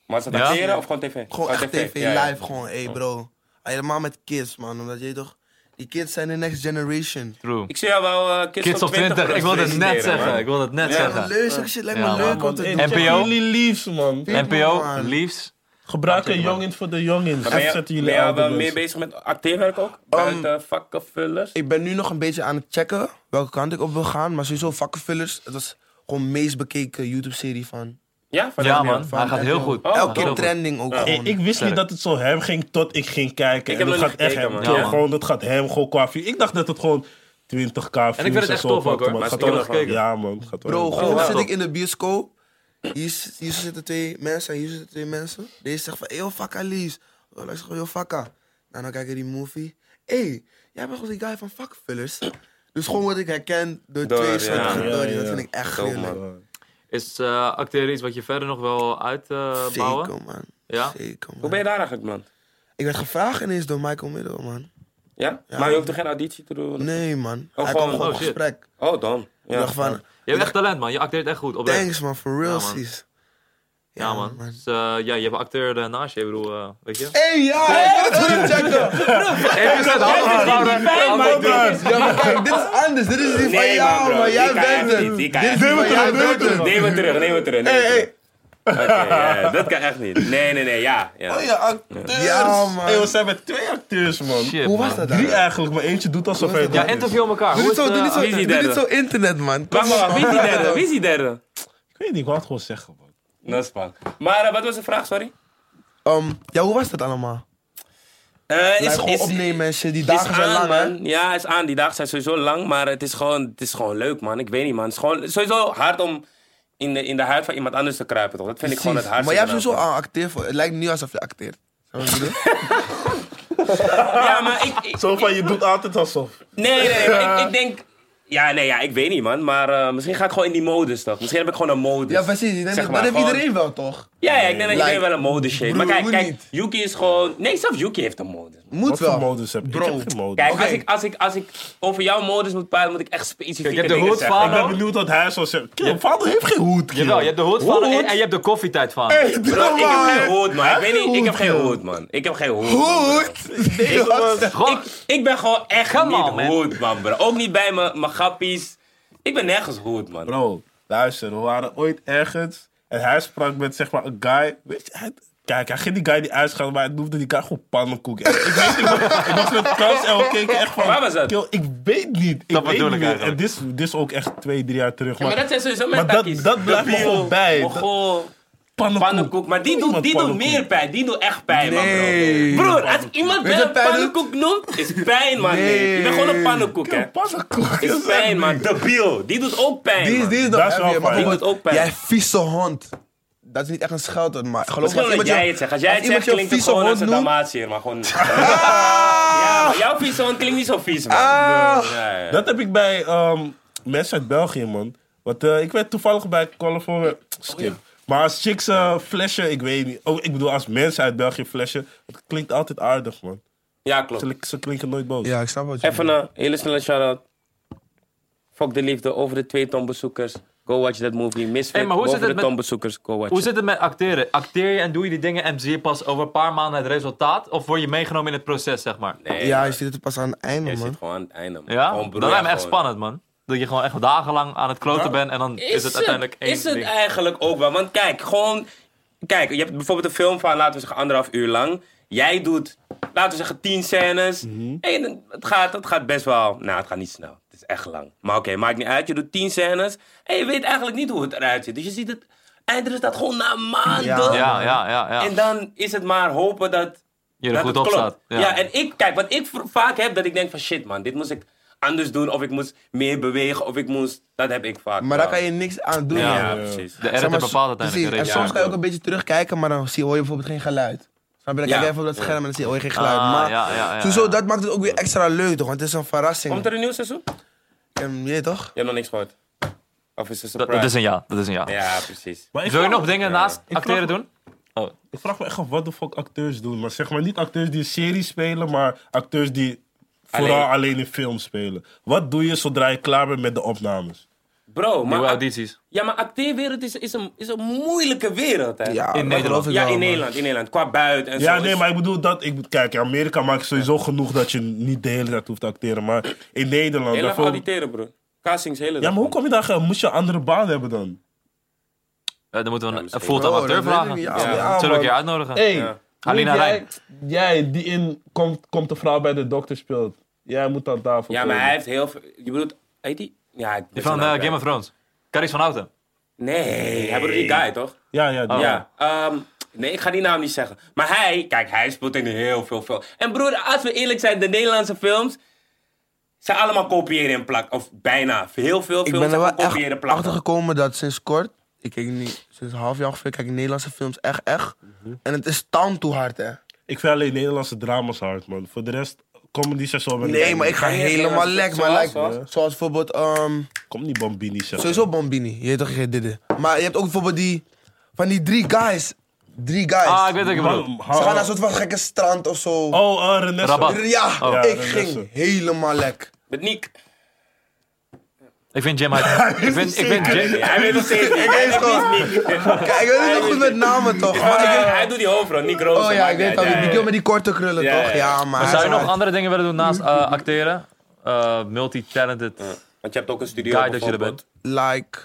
A: Maar is het
C: Ja?
A: acteren of gewoon tv?
B: Gewoon
A: Oh,
B: echt tv,
A: Ja, ja.
B: live, gewoon. Hé, hey, bro. Helemaal met kids, man. Omdat je toch... Die kids zijn de next generation.
C: True.
A: Ik zie jou wel eh, kids,
C: Kids
A: op
C: of 20, ik wilde het net
A: presenteren,
C: zeggen.
A: man.
C: Ik wilde het net
B: Ja, man,
C: zeggen.
B: leuk, zulke shit lijkt me
C: Ja, man,
B: leuk om
D: man,
B: te
D: hey,
B: doen.
D: check
C: NPO?
D: Jullie liefs, man.
B: Ja,
C: NPO,
B: man.
C: liefst.
D: Gebruiken jongins voor de jongins.
A: Ben je,
D: Afzetten
A: ben
D: jullie
A: je wel
D: oude
A: meer
D: mensen.
A: bezig met acteerwerk ook? Buiten vakkenvullers?
B: Ik ben nu nog een beetje aan het checken welke kant ik op wil gaan. Maar sowieso vakkenvullers. Het was gewoon de meest bekeken YouTube-serie van...
A: Ja, van
C: Ja
A: NPO.
C: man, hij gaat heel goed.
A: Oh,
B: Elke
A: heel
B: keer
A: goed.
B: trending ook
D: Hey,
B: gewoon.
D: ik wist niet dat het zo hem ging tot ik ging kijken.
A: Ik
D: en
A: heb
D: dat
A: nog niet
D: gaat echt
A: gekeken,
D: hem.
A: man.
D: Ja,
A: Ja.
D: gewoon, dat gaat hem gewoon qua view. Ik dacht dat het gewoon 20k views
C: het echt
D: zo
C: tof ook,
D: wordt,
C: hoor.
D: maar het
A: Maar
D: gaat
A: ik heb
D: wel
A: nog gekeken. Oh,
D: Ja, man. het Gaat wel
B: Bro,
D: echt-
B: gewoon
A: wauw.
B: zit ik in de bioscoop. Hier, z- hier zitten twee mensen en hier zitten twee mensen. Deze zegt van, yo, Fakka, Lies. Oh, Luister gewoon, yo, Fakka. Nou, dan kijk ik die movie. Hé, hey, jij bent gewoon die guy van Fakvullers. Dus gewoon word ik herkend door,
A: Door, ja.
B: twee soorten
A: Ja,
B: gedorie.
D: ja,
B: Dat
D: ja.
B: vind ik echt
A: Dope,
B: gruwelijk.
A: man.
C: Is eh, acteren iets wat je verder nog eh, wil uitbouwen?
B: Zeker, man.
C: Ja?
B: Zeker, man.
A: Hoe ben je daar eigenlijk, man?
B: Ik werd gevraagd ineens door Michael Middel, man.
A: Ja? Maar je hoeft er geen auditie te doen?
B: Nee, man.
A: Oh,
B: Hij
A: gewoon-
B: kwam gewoon
C: oh,
B: op
C: shit.
B: gesprek.
A: Oh, dan.
B: Ik
A: Ja.
B: dacht van,
C: je hebt echt talent, man. Je acteert echt goed. Oprecht.
B: thanks, man, for real,
C: man.
B: sis.
C: Ja, man. Dus, eh, ja, je hebt een acteur eh, naast je, ik bedoel, eh, weet je?
B: Hé, ja! dat wil ik checken.
C: Even met
B: Ja, maar kijk, dit is anders. Dit is die van jou,
A: bro,
B: man.
A: die
B: Jij
A: kan echt
B: bent
A: niet,
B: het.
A: die
B: Dit
A: kan
B: is
A: echt
B: die
A: niet.
B: van jou, jij bent het.
A: Neem het terug, neem het terug. Neem het
B: Hé,
A: terug.
B: hé.
A: Oké, ja, dat kan echt niet. Nee, nee, nee, ja. ja.
D: Oh ja, acteurs.
B: Ja, man.
D: Hey, we zijn met twee acteurs, man.
B: Hoe was dat dan?
D: Drie eigenlijk, maar eentje doet alsof hij het
C: Ja,
D: niet is.
C: interview elkaar. Hoe
B: Doe niet
C: is
B: zo,
C: het,
B: doe
C: eh,
B: niet zo,
A: wie is die
B: doe niet
A: derde?
B: zo internet, man.
A: Wacht maar, wacht, wie is die derde? Wie is die derde?
D: Ik weet niet, ik wou het gewoon zeggen, man.
A: Dat is spannend. Maar eh, wat was de vraag, sorry?
B: Ehm, Ja, hoe was dat allemaal?
A: Eh
B: Blijf gewoon opnemen en shit. Die dagen zijn lang, hè?
A: man. Ja, is aan. Die dagen zijn sowieso lang, maar het is gewoon, het is gewoon leuk, man. Ik weet niet, man. Het is gewoon sowieso hard om in de, in de huid van iemand anders te kruipen, toch? Dat vind ik gewoon het
B: Precies.
A: hardste.
B: Maar jij hebt
A: eraan.
B: sowieso al acteer voor. Het lijkt nu alsof je acteert. Snap je wat ik bedoel?
A: Ja, maar ik... ik-
D: Zo van, je doet altijd alsof.
A: nee, nee, nee. maar Ik, ik denk... Ja, nee, ja, ik weet niet, man. Maar eh, misschien ga ik gewoon in die modus, toch? Misschien heb ik gewoon een modus.
B: Ja, precies. Ik denk
A: Zeg
B: dat-
A: maar,
B: Dat heeft
A: gewoon-
B: iedereen wel, toch?
A: Ja, ja, ik denk dat
B: Like,
A: iedereen wel een modus heeft. Maar
B: broer,
A: kijk,
B: moet
A: kijk,
B: niet.
A: Yuki is gewoon... Nee, zelfs Yuki heeft een modus. man.
B: Moet
D: Wat voor
B: wel.
D: modus heb je? Ik
B: Bro.
D: heb geen modus.
A: Kijk,
B: Oké.
A: als, ik, als, ik, als ik over jouw modus moet praten, moet ik echt specifieke
C: je hebt de
A: dingen
C: hoed
A: zeggen.
C: van-
D: Ik ben benieuwd wat hij zou zeggen. Kill, vader heeft geen hoed, kill.
C: Jawel, je hebt de hoed van
D: Hoed?
C: en, en je hebt de koffietijd van.
D: Hey,
A: Bro,
D: doe
A: ik heb
D: maar.
A: geen hoed, man. Ik,
D: Hij
A: weet niet, ik heb
D: heeft
A: geen
D: hoed,
A: hoed, man. Ik heb geen hoed. man, bro.
B: Goed! Nee, wat?
C: Gewoon,
A: Ik ben gewoon echt
C: Come
A: niet
C: on, man.
A: hoed, man, bro. Ook niet bij mijn mijn grappies. Ik ben nergens hoed, man.
D: Bro, luister, we waren ooit ergens en hij sprak met zeg maar een guy. Weet je, hij- kijk, hij ging die guy die uitschalen, maar hij noemde die guy gewoon pannenkoek. En ik weet niet, ik was- ik was met kans en we keken echt van.
A: Waar was dat?
D: "Kill, ik weet niet. Ik
C: Dat
D: weet
C: bedoel
D: niet
C: ik
D: meer. En
C: eigenlijk.
D: dit is, dit is ook echt twee, drie jaar terug.
A: Ja, maar dat zijn sowieso mijn
D: maar dat-
A: takkies.
D: dat blijft me
A: Debiel,
D: gewoon bij.
A: Mogol,
D: pannenkoek.
A: pannenkoek. Maar die doet,
D: Niemand
A: die doet
D: pannenkoek.
A: meer pijn. Die doet echt pijn,
B: Nee.
A: man, bro. Broer, als iemand
B: Weet
A: wel
B: je
A: een
B: wat pijn doet?
A: pannenkoek noemt, is pijn, man. Nee. Je bent gewoon een pannenkoek, hè.
D: Kill, pannenkoek.
A: Is pijn, man. Debiel. Die doet ook pijn,
B: Die is,
A: man.
B: die is nog
D: Dat is wel
B: heavier, maar
D: fijn.
A: Die
B: bijvoorbeeld,
A: doet ook pijn.
B: Jij vieze hond. Dat is niet echt een scheldwoord, maar geloof
A: Misschien
B: me.
A: omdat jij het zegt. Als jij het zegt, klinkt het gewoon als een Dalmatier, maar gewoon... Ja, maar jouw vieze hond klinkt niet zo vies, man. Ja, ja.
D: Dat heb ik bij ehm, mensen uit België, man. Want eh, ik werd toevallig bij California... Skip. Maar als chicks eh, flashen, ik weet niet. Oh, ik bedoel, als mensen uit België flashen, het klinkt altijd aardig, man.
A: Ja, klopt.
D: Ze, ze klinken nooit boos.
B: Ja, ik snap wat je
A: Even een hele snelle shout-out. Fuck de liefde, over de twee ton bezoekers. Go watch that movie. Misfit,
C: Hey, maar hoe zit
A: over de
C: het met-
A: ton bezoekers. Go watch
C: Hoe
A: it.
C: zit het met acteren? Acteer je en doe je die dingen en zie je pas over een paar maanden het resultaat? Of word je meegenomen in het proces, zeg maar?
A: Nee,
B: Ja,
A: man.
B: je ziet het pas aan het einde,
A: Je zit
B: man.
A: gewoon aan het einde. man.
C: Ja?
A: Gewoon
C: Dat
A: broer,
C: lijkt me
A: ja,
C: echt
A: gewoon.
C: spannend, man. Dat je gewoon echt dagenlang aan het kloten bent en dan is, het uiteindelijk één
A: Is het
C: ding.
A: eigenlijk ook wel? Want kijk, gewoon... Kijk, je hebt bijvoorbeeld een film van, laten we zeggen, anderhalf uur lang. Jij doet, laten we zeggen, tien scènes.
C: Mhm.
A: En dan- het gaat, het gaat best wel... Nou, het gaat niet snel. Het is echt lang. Maar oké, maakt niet uit. Je doet tien scènes. En je weet eigenlijk niet hoe het eruit ziet. Dus je ziet het... Eindresultaat gewoon na maanden.
C: Ja, ja, ja. ja.
A: En dan is het maar hopen dat.
C: Je er
A: dat
C: goed
A: het
C: op
A: klopt.
C: staat,
A: Ja.
C: ja.
A: en ik, kijk, wat ik v- vaak heb, dat ik denk van shit man, dit moest ik anders doen. Of ik moest meer bewegen, of ik moest. Dat heb ik vaak.
B: Maar
A: wel.
B: daar kan je niks aan doen,
A: Ja,
B: man.
A: ja,
B: Zeg
A: precies.
C: de
B: maar,
C: editor bepaalt
B: precies.
C: uiteindelijk de
B: En
C: resultaat.
B: soms kan je ook een beetje terugkijken, maar dan zie, hoor je bijvoorbeeld geen geluid. Snap je? Dan kijk je even op dat scherm en dan zie je, hoor je geen geluid.
C: Ah,
B: maar
C: ja, ja, ja,
B: sowieso,
C: ja.
B: dat maakt het ook weer extra leuk, toch? Want het is een verrassing.
A: Komt er een nieuw seizoen? Je
B: En, je weet toch?
A: hebt nog niks gehoord. Of is het een
C: Dat, dat is een ja, dat is een ja.
A: Ja, precies.
D: Maar ik
C: Zul je
D: vraag-
C: nog dingen naast
D: Ik
C: acteren
D: vraag-
C: doen?
D: Ik vraag me echt af wat de fuck acteurs doen. Maar zeg maar niet acteurs die een serie spelen, maar acteurs die vooral
A: Alleen.
D: alleen, in film spelen. Wat doe je zodra je klaar bent met de opnames?
A: Bro, maar,
C: Nieuwe audities.
A: ja, maar acteerwereld is, is, een, is een moeilijke wereld. Hè?
B: Ja, dat
C: Nederland.
B: geloof ik
A: Ja,
B: wel,
A: in
B: man.
A: Nederland, in Nederland. Qua buiten en zo.
D: Ja,
A: is-
D: nee, maar ik bedoel dat. Ik, kijk, in Amerika maakt sowieso genoeg dat je niet de hele tijd hoeft te acteren. Maar in Nederland.
A: Heel erg
D: daarvoor-
A: auditeren, bro. Castings, hele
D: ja,
A: dag.
D: maar hoe kom je daar? Moet je een andere baan hebben dan?
C: Eh, dan moeten we een
A: misschien.
C: een fulltime
B: Bro,
C: acteur
B: dat weet ik
C: vragen.
B: niet.
C: Ja,
B: Ja, ja,
C: Zullen we een keer
D: man.
C: uitnodigen?
D: ja.
C: Alina Rijn.
D: jij die in komt, komt de vrouw bij de dokter speelt. Jij moet aan tafel
A: Ja, maar hij heeft heel veel. Je bedoelt, heet die? Ja, ik ben
C: Die van
A: zijn naam
C: eh,
A: kwijt.
C: Game of Thrones. Caries van Houten.
A: Nee, hij bedoelt die guy, toch?
D: Ja, ja, die.
B: Oh.
A: Ja, ehm, nee, ik ga die naam niet zeggen. Maar hij, kijk, hij speelt in heel veel films. En broer, als we eerlijk zijn, de Nederlandse films zijn allemaal kopiëren en plakken. Of bijna. Heel veel
B: Ik
A: films
B: ben er
A: zijn
B: wel
A: kopiëren en
B: echt
A: plakken.
B: achter gekomen dat sinds kort Ik kijk niet, sinds een half jaar ongeveer kijk ik Nederlandse films echt, echt.
A: Mhm.
B: En het is taan toe hard, hè.
D: Ik vind alleen Nederlandse drama's hard, man. Voor de rest, comedies en zo. ben
B: Nee, maar ik ga
A: Nee,
B: helemaal
A: zoals-
B: lek. Maar
A: zoals-
B: like,
A: zoals?
B: zoals bijvoorbeeld, ehm,
D: Kom niet Bambini zeggen.
B: sowieso Bombini. Je hebt toch geen dit. Maar je hebt ook bijvoorbeeld die, van die drie guys. Drie guys.
C: Ah, ik weet wat je
D: Man,
C: bedoelt.
D: ha-
B: Ze gaan naar een soort van gekke strand of zo.
D: Oh, eh Renesse.
C: Rabat.
B: Ja,
D: Oh. Ja,
B: ik
D: dat is het.
B: ging helemaal lek.
A: Met Niek.
C: Ik vind Jim uit. Ik vind, ik vind Jim.
A: Hij weet nog steeds Niek. Hij
B: weet
A: heeft
B: gewoon-
A: niet Niek.
B: Kijk, ik weet het nog goed met namen toch?
A: Maar
B: Maar
A: ik
B: ik-
A: weet- Hij doet die hoofdrol, Niek Rozen.
B: oh ja,
A: maakt
B: ik weet
A: niet
B: dat.
A: uit.
B: Die
A: Ja,
B: kerel met die korte krullen
A: Ja,
B: toch?
A: ja.
B: Ja, maar. hij
C: Zou je
B: is
C: nog
B: hard.
C: andere dingen willen doen naast eh, acteren? Eh, Multi-talented.
A: Want je hebt ook een studio
C: Guy dat je er bent.
B: Like.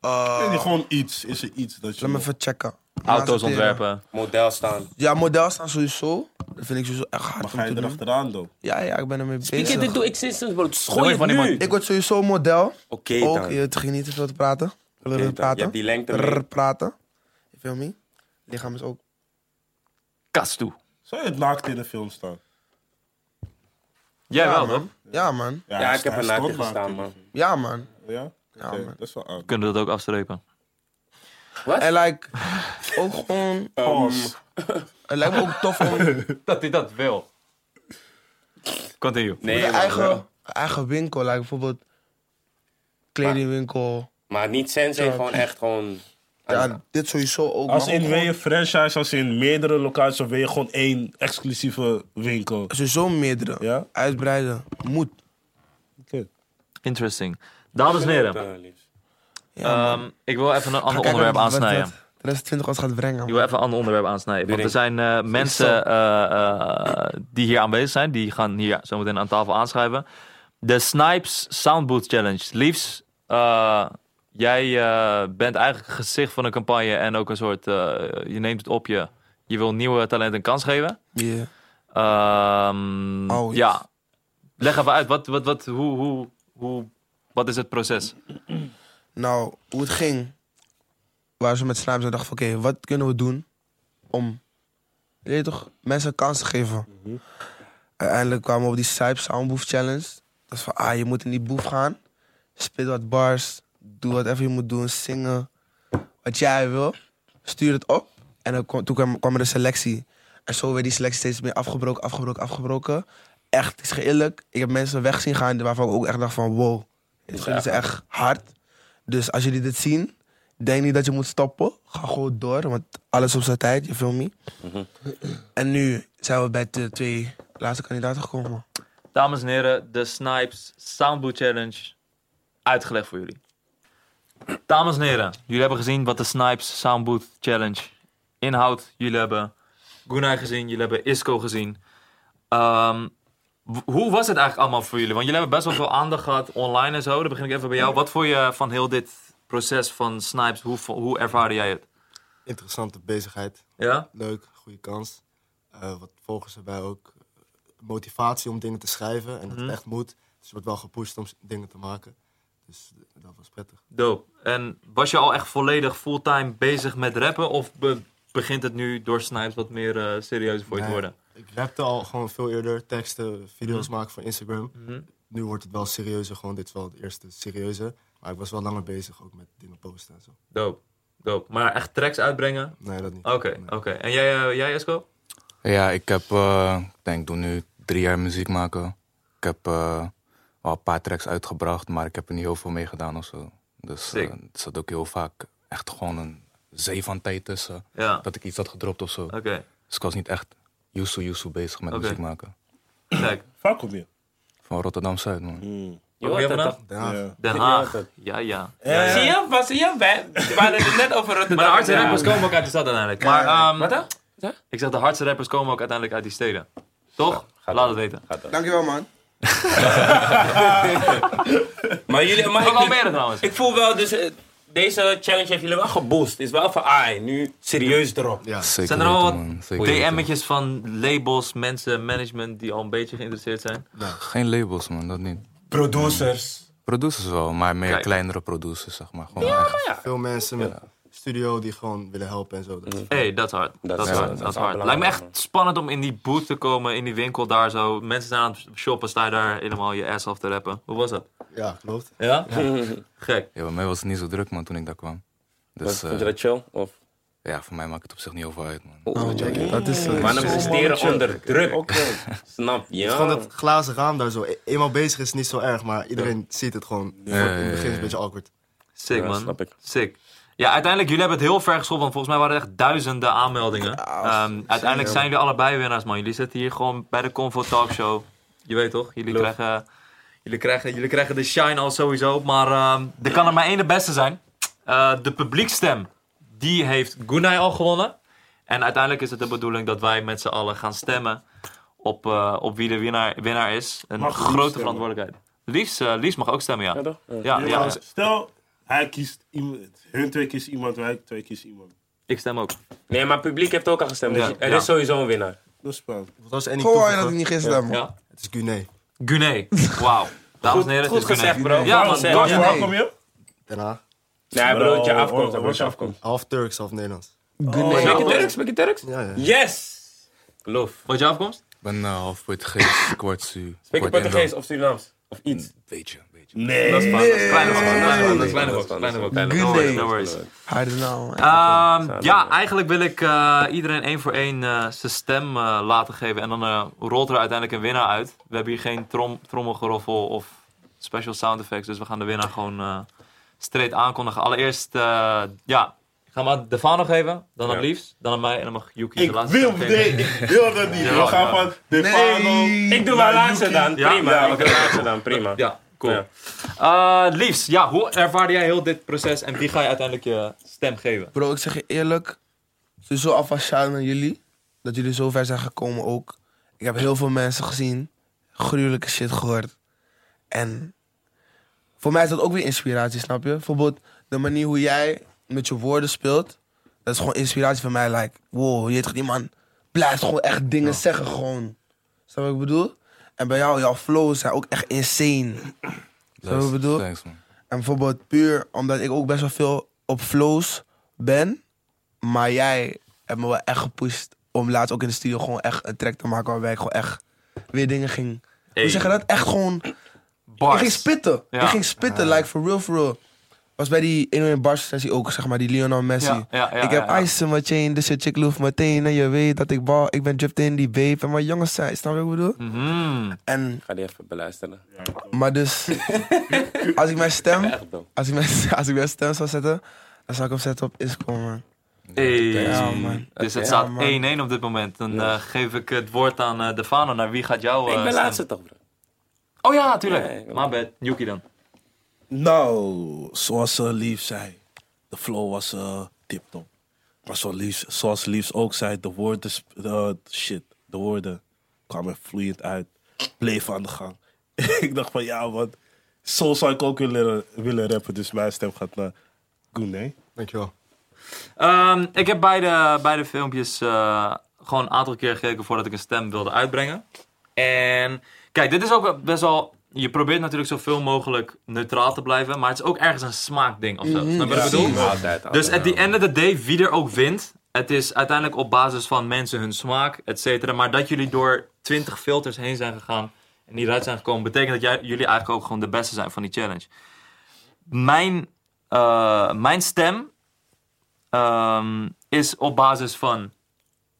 B: eh,
D: Nee, gewoon iets. Is er iets dat je...
B: laat me even checken.
C: Auto's
B: Naast het leren.
C: ontwerpen.
A: Model staan.
B: Ja, model staan sowieso. Dat vind ik sowieso echt
D: Maar
B: hard
D: ga
B: om
D: je
B: te doen.
D: erachteraan dan?
B: Ja, ja, ik ben ermee bezig.
A: Ik dit doe ik sinds sinds, bro.
C: Dan
A: Schooi het
C: word je van
A: nu.
C: iemand-
B: Ik word sowieso model.
A: Oké
B: ook,
A: dan.
B: je het ging niet te veel te praten. Rrr,
A: dan.
B: praten.
A: Je hebt die lengte mee.
B: Rrr, praten. Je feel me? Lichaam is ook...
C: Kast toe.
D: Zou je het naakt in de film staan?
C: Jij
B: Ja,
C: wel,
B: man.
C: toch?
B: Ja, man.
A: Ja,
D: hij
A: ik heb
D: sta-
A: er
D: hij
A: naakt in
D: stond
A: gestaan,
D: naakt
A: man.
D: in
B: Ja, man.
D: de film. Ja?
B: Ja,
D: Oké,
B: man.
D: Dat is wel aan.
C: Kunnen we dat ook afstrepen?
B: En like... Ook gewoon...
D: Pause.
B: Het lijkt me ook tof om een
C: Dat hij dat wil. Continue.
A: Nee, man, bro.
B: eigen, eigen winkel. Like bijvoorbeeld... Kledingwinkel.
A: Maar niet sensei, gewoon echt gewoon...
B: Ja, dit sowieso ook.
D: Als
B: maar ook
D: in
B: gewoon-
D: weer franchise, als in meerdere locaties, of wil je gewoon één exclusieve winkel.
B: Sowieso meerdere.
D: Ja?
B: Uitbreiden. Moet.
D: Oké.
C: Interesting. Dames en heren,
A: Eh, liefst.
C: ehm, ik wil even een ander
B: Ga kijken
C: onderwerp
B: wat- wat-
C: aansnijden.
B: wat De rest 20 ons gaat brengen.
C: Ik
B: man.
C: wil even een ander onderwerp aansnijden. Want er
A: Doe
C: zijn eh, mensen eh, eh, die hier aanwezig zijn. Die gaan hier zometeen aan tafel aanschrijven. De Snipes Soundbooth Challenge. Liefs, eh, jij eh, bent eigenlijk het gezicht van een campagne. En ook een soort, eh, je neemt het op je. Je wil nieuwe talenten een kans geven.
B: Yeah.
C: Ehm,
B: Oh, yes.
C: ja. Leg even uit, wat, wat, wat, hoe, hoe, hoe, wat is het proces?
B: Nou, hoe het ging. Waar ze met Snipes aan dachten van... Oké, wat kunnen we doen om... Je weet toch, mensen kansen te geven. Uiteindelijk kwamen we op die Snipes Soundbooth Challenge. Dat is van, ah, je moet in die boef gaan. Spit wat bars. Doe whatever je moet doen. Zingen. Wat jij wil. Stuur het op. En dan kwam- toen kwam, kwam er een selectie. En zo werd die selectie steeds meer afgebroken, afgebroken, afgebroken. Echt, het is ge- eerlijk. Ik heb mensen weg zien gaan waarvan ik ook echt dacht van... Wow, dit is echt hard. Dus als jullie dit zien, denk niet dat je moet stoppen. Ga gewoon door, want alles op zijn tijd, je film me. En nu zijn we bij de twee laatste kandidaten gekomen.
C: Dames en heren, de Snipes Soundbooth Challenge uitgelegd voor jullie. Dames en heren, jullie hebben gezien wat de Snipes Soundbooth Challenge inhoudt. Jullie hebben Gunai gezien, jullie hebben Isco gezien. Ehm, w- hoe was het eigenlijk allemaal voor jullie? Want jullie hebben best wel veel aandacht gehad online en zo. Dan begin ik even bij jou. Wat vond je van heel dit proces van Snipes? Hoe, vo- hoe ervaarde jij het?
F: Interessante bezigheid.
C: Ja?
F: Leuk, goede kans. Eh, wat volgens erbij ook eh, motivatie om dingen te schrijven en dat het echt moet. Dus je wordt wel gepusht om s- dingen te maken. Dus eh, dat was prettig.
C: Dope. En was je al echt volledig fulltime bezig met rappen? Of be- begint het nu door Snipes wat meer eh serieus voor je te
F: Nee,
C: worden?
F: Ik rapte al gewoon veel eerder teksten, video's maken voor Instagram. Nu wordt het wel serieuzer, gewoon dit is wel het eerste serieuze. Maar ik was wel langer bezig ook met dingen posten en zo.
C: Doop, doop. Maar echt tracks uitbrengen?
F: Nee, dat niet.
C: Oké, oké. En jij, eh, jij Esco?
G: Ja, ik heb, eh, ik denk, ik doe nu drie jaar muziek maken. Ik heb eh al een paar tracks uitgebracht, maar ik heb er niet heel veel mee gedaan of zo. Dus eh,
C: Sick.
G: het zat ook heel vaak echt gewoon een zee van tijd tussen.
C: Ja.
G: Dat ik iets had gedropt of zo.
C: Oké,
G: Dus ik was niet echt Yusu Yusu bezig met
C: Oké.
G: muziek maken.
C: kijk.
D: Vaak kom je.
G: Van Rotterdam Zuid, man.
A: Mm. Je hoort het toch?
F: Daarna
D: Ja.
C: Den Haag. Ja, ja.
A: Zie je? Was zie je? Wij- We hadden het net over Rotterdam.
C: Maar de hardste
A: Ja.
C: rappers komen ook uit de stad uiteindelijk. Maar, ehm,
A: Wat dan?
C: ik zeg, de hardste rappers komen ook uiteindelijk uit die steden. Toch? Laat het weten.
B: Dankjewel, man.
A: Maar jullie... Maar
C: Ook
A: ik,
C: Almere trouwens.
A: ik voel wel, dus... eh, Deze challenge heeft jullie wel geboost. Is wel van, ah, nu serieus erop.
G: Zeker
C: Zijn er al
G: weten,
C: wat
G: man. Zeker weten.
C: DM'tjes van labels, mensen, management die al een beetje geïnteresseerd zijn?
G: Geen labels, man. Dat niet.
A: Producers.
G: Producers wel, maar meer
C: Kijk.
G: kleinere producers, zeg maar. Gewoon echt-
F: veel mensen met studio die gewoon willen helpen en zo. Dat is
C: Hé, hey, dat is hard. Dat is
A: is-
C: hard.
A: dat is
C: Dat is
A: wel
C: hard. Lijkt me
A: belangrijk,
C: echt spannend om in die booth te komen, in die winkel daar zo. Mensen zijn aan het shoppen, sta je daar helemaal je ass af te rappen. Hoe was dat?
F: Ja, klopt.
C: Ja? Gek.
G: Ja, bij mij was het niet zo druk, man, toen ik daar kwam. Dus
A: Vond je
G: eh,
A: dat chill? Of?
G: ja, voor mij maakt het op zich niet over uit, man.
B: Dat is
A: Maar dan
B: dat is-
A: presteren onder druk. Snap je?
F: Het is gewoon dat glazen raam daar zo. E- Eenmaal bezig is het niet zo erg, maar iedereen ziet het gewoon.
G: Ja,
F: in het begin is
G: ja,
F: het
G: ja.
F: een beetje awkward.
C: Sick,
A: Ja,
C: man.
A: snap ik.
C: Sick. Ja, uiteindelijk, jullie hebben het heel ver geschopt, want volgens mij waren er echt duizenden aanmeldingen. Ehm, uiteindelijk zijn jullie allebei winnaars, man. Jullie zitten hier gewoon bij de Convo Talk Show. Je weet toch, jullie krijgen, jullie, krijgen, jullie krijgen de shine al sowieso. Maar ehm, er kan er maar één de beste zijn. Eh, de publiekstem, die heeft Gunai al gewonnen. En uiteindelijk is het de bedoeling dat wij met z'n allen gaan stemmen op, eh, op wie de winnaar, winnaar is. Een
D: Mag ik
C: grote
D: stemmen?
C: verantwoordelijkheid. Liefs, eh, Liefs mag ook stemmen, ja.
A: Ja, toch? Ja.
C: ja, ja. dus
D: Stel, hij kiest iemand, hun twee kiezen iemand, wij twee kiezen iemand.
C: Ik stem ook.
A: Nee, maar het publiek heeft ook al gestemd. dus
C: Ja.
A: er
C: Ja.
A: is sowieso een winnaar.
D: Dat is spannend.
F: Wat was Annie
B: Gewoon dat ik
F: toevoegen?
B: niet gisteren man.
C: Ja.
F: Het is Guinea,
C: Guné. Wauw. Dames en heren, het
A: Goed
C: is Guné.
A: gezegd, bro.
C: Ja, man.
A: Goed
D: Waar
A: gezegd.
D: waar kom je?
F: daarna
A: Nee, bro, je
D: Bro,
A: afkomt.
D: hoor,
A: Wat je
D: hoor.
A: afkomt.
F: half Turks, half Nederlands.
A: Spreek je Turks? Spreek je Turks?
F: Ja, ja.
A: Yes! Geloof.
C: Wat je afkomst?
G: Ik ben eh, half Portugees, kwart Su.
A: Spreek je
G: kwart
A: Portugees
G: Indo.
A: of Surinaams? Of iets?
G: Weet je, weet je.
D: Nee.
A: Dat is fijn. Dat is kleine box,
C: Nee.
A: kleine box,
C: Kleine
A: kleine box,
C: box, kleine
A: kleine box.
C: box. No
B: Guinea.
C: worries, no worries.
B: Hij is nou. man.
C: Ehm, ja,
A: Samen.
C: eigenlijk wil ik eh, iedereen één voor één eh, zijn stem eh, laten geven. En dan eh, rolt er uiteindelijk een winnaar uit. We hebben hier geen trom trommelgeroffel of special sound effects. Dus we gaan de winnaar gewoon eh straight aankondigen. Allereerst, eh, ja, ik ga maar de Fano geven. Dan aan
A: Ja.
C: Liefs, dan aan mij en dan mag Yuki
D: Ik
C: de laatste
D: wil,
C: stem geven.
D: nee, ik wil dat niet.
C: Ja,
D: We gaan
C: ja.
D: van Defano.
A: Ik doe
D: Nou,
A: mijn laatste dan.
C: Ja,
A: Prima.
D: ja,
A: Ik doe mijn laatste dan. Prima.
C: Ja, cool.
A: Ja.
C: Eh, Liefs, ja, hoe ervaarde jij heel dit proces en wie ga je uiteindelijk je stem geven?
B: Bro, ik zeg je eerlijk. Sowieso alvast shout naar jullie. Dat jullie zo ver zijn gekomen ook. Ik heb heel veel mensen gezien. Gruwelijke shit gehoord. En voor mij is dat ook weer inspiratie, snap je? Bijvoorbeeld de manier hoe jij met je woorden speelt. Dat is gewoon inspiratie voor mij. Like, wow, je weet toch, die man blijft gewoon echt dingen zeggen. Gewoon. Snap je wat ik bedoel? En bij jou, jouw flows zijn ook echt insane. Zo
G: Thanks,
B: bedoel-
G: Thanks, man.
B: En bijvoorbeeld puur omdat ik ook best wel veel op flows ben. Maar jij hebt me wel echt gepusht om laatst ook in de studio gewoon echt een track te maken waarbij ik gewoon echt weer dingen ging. Hoe zeg je dat? Echt gewoon. Ik ging spitten.
C: Ja.
B: Ik ging spitten, like for real, for real. Was bij die 101 bars sessie ook, zeg maar, die Lionel Messi.
C: Ja, ja, ja,
B: ik heb
C: ja, ja.
B: ice in mijn chain, dus je chick loeft meteen. En je weet dat ik bal, ik ben dripped in die babe. En mijn jongens zijn, snap je wat ik bedoel?
C: Mm.
B: En,
A: Ik ga die even beluisteren.
B: maar dus, als ik mijn stem
A: Echt, bro.
B: als ik mijn, als ik mijn stem zou zetten, dan zou ik hem zetten op Iscom, man.
C: Hey.
B: Ja, man.
C: Dus
A: Oké,
C: het
A: ja,
C: staat
B: man.
C: 1-1 op dit moment. Dan eh, geef ik het woord aan eh, Defano. Naar wie gaat jouw... eh,
A: Ik ben
C: stem?
A: laatste toch, bro.
C: Oh ja, tuurlijk.
A: Nee, ik ben
C: My bad. Yuki dan.
D: Nou, zoals ze Lief zei, de flow was eh tip-top. Maar zoals Lief, zoals Lief ook zei, de woorden, sp- eh, shit, de woorden kwamen vloeiend uit. Bleef aan de gang. ik dacht van ja, want zo zou ik ook willen, willen rappen. Dus mijn stem gaat naar Gune.
F: Dankjewel.
C: Ehm, ik heb beide, beide filmpjes eh, gewoon een aantal keer gekeken voordat ik een stem wilde uitbrengen. En kijk, dit is ook best wel. Je probeert natuurlijk zoveel mogelijk neutraal te blijven, maar het is ook ergens een smaakding of zo. Snap je wat ik bedoel?
A: Altijd, altijd.
C: Dus at the end of the day, wie er ook wint, het is uiteindelijk op basis van mensen hun smaak, et cetera. Maar dat jullie door 20 filters heen zijn gegaan en hieruit zijn gekomen, betekent dat jij, jullie eigenlijk ook gewoon de beste zijn van die challenge. Mijn, eh, mijn stem ehm, is op basis van.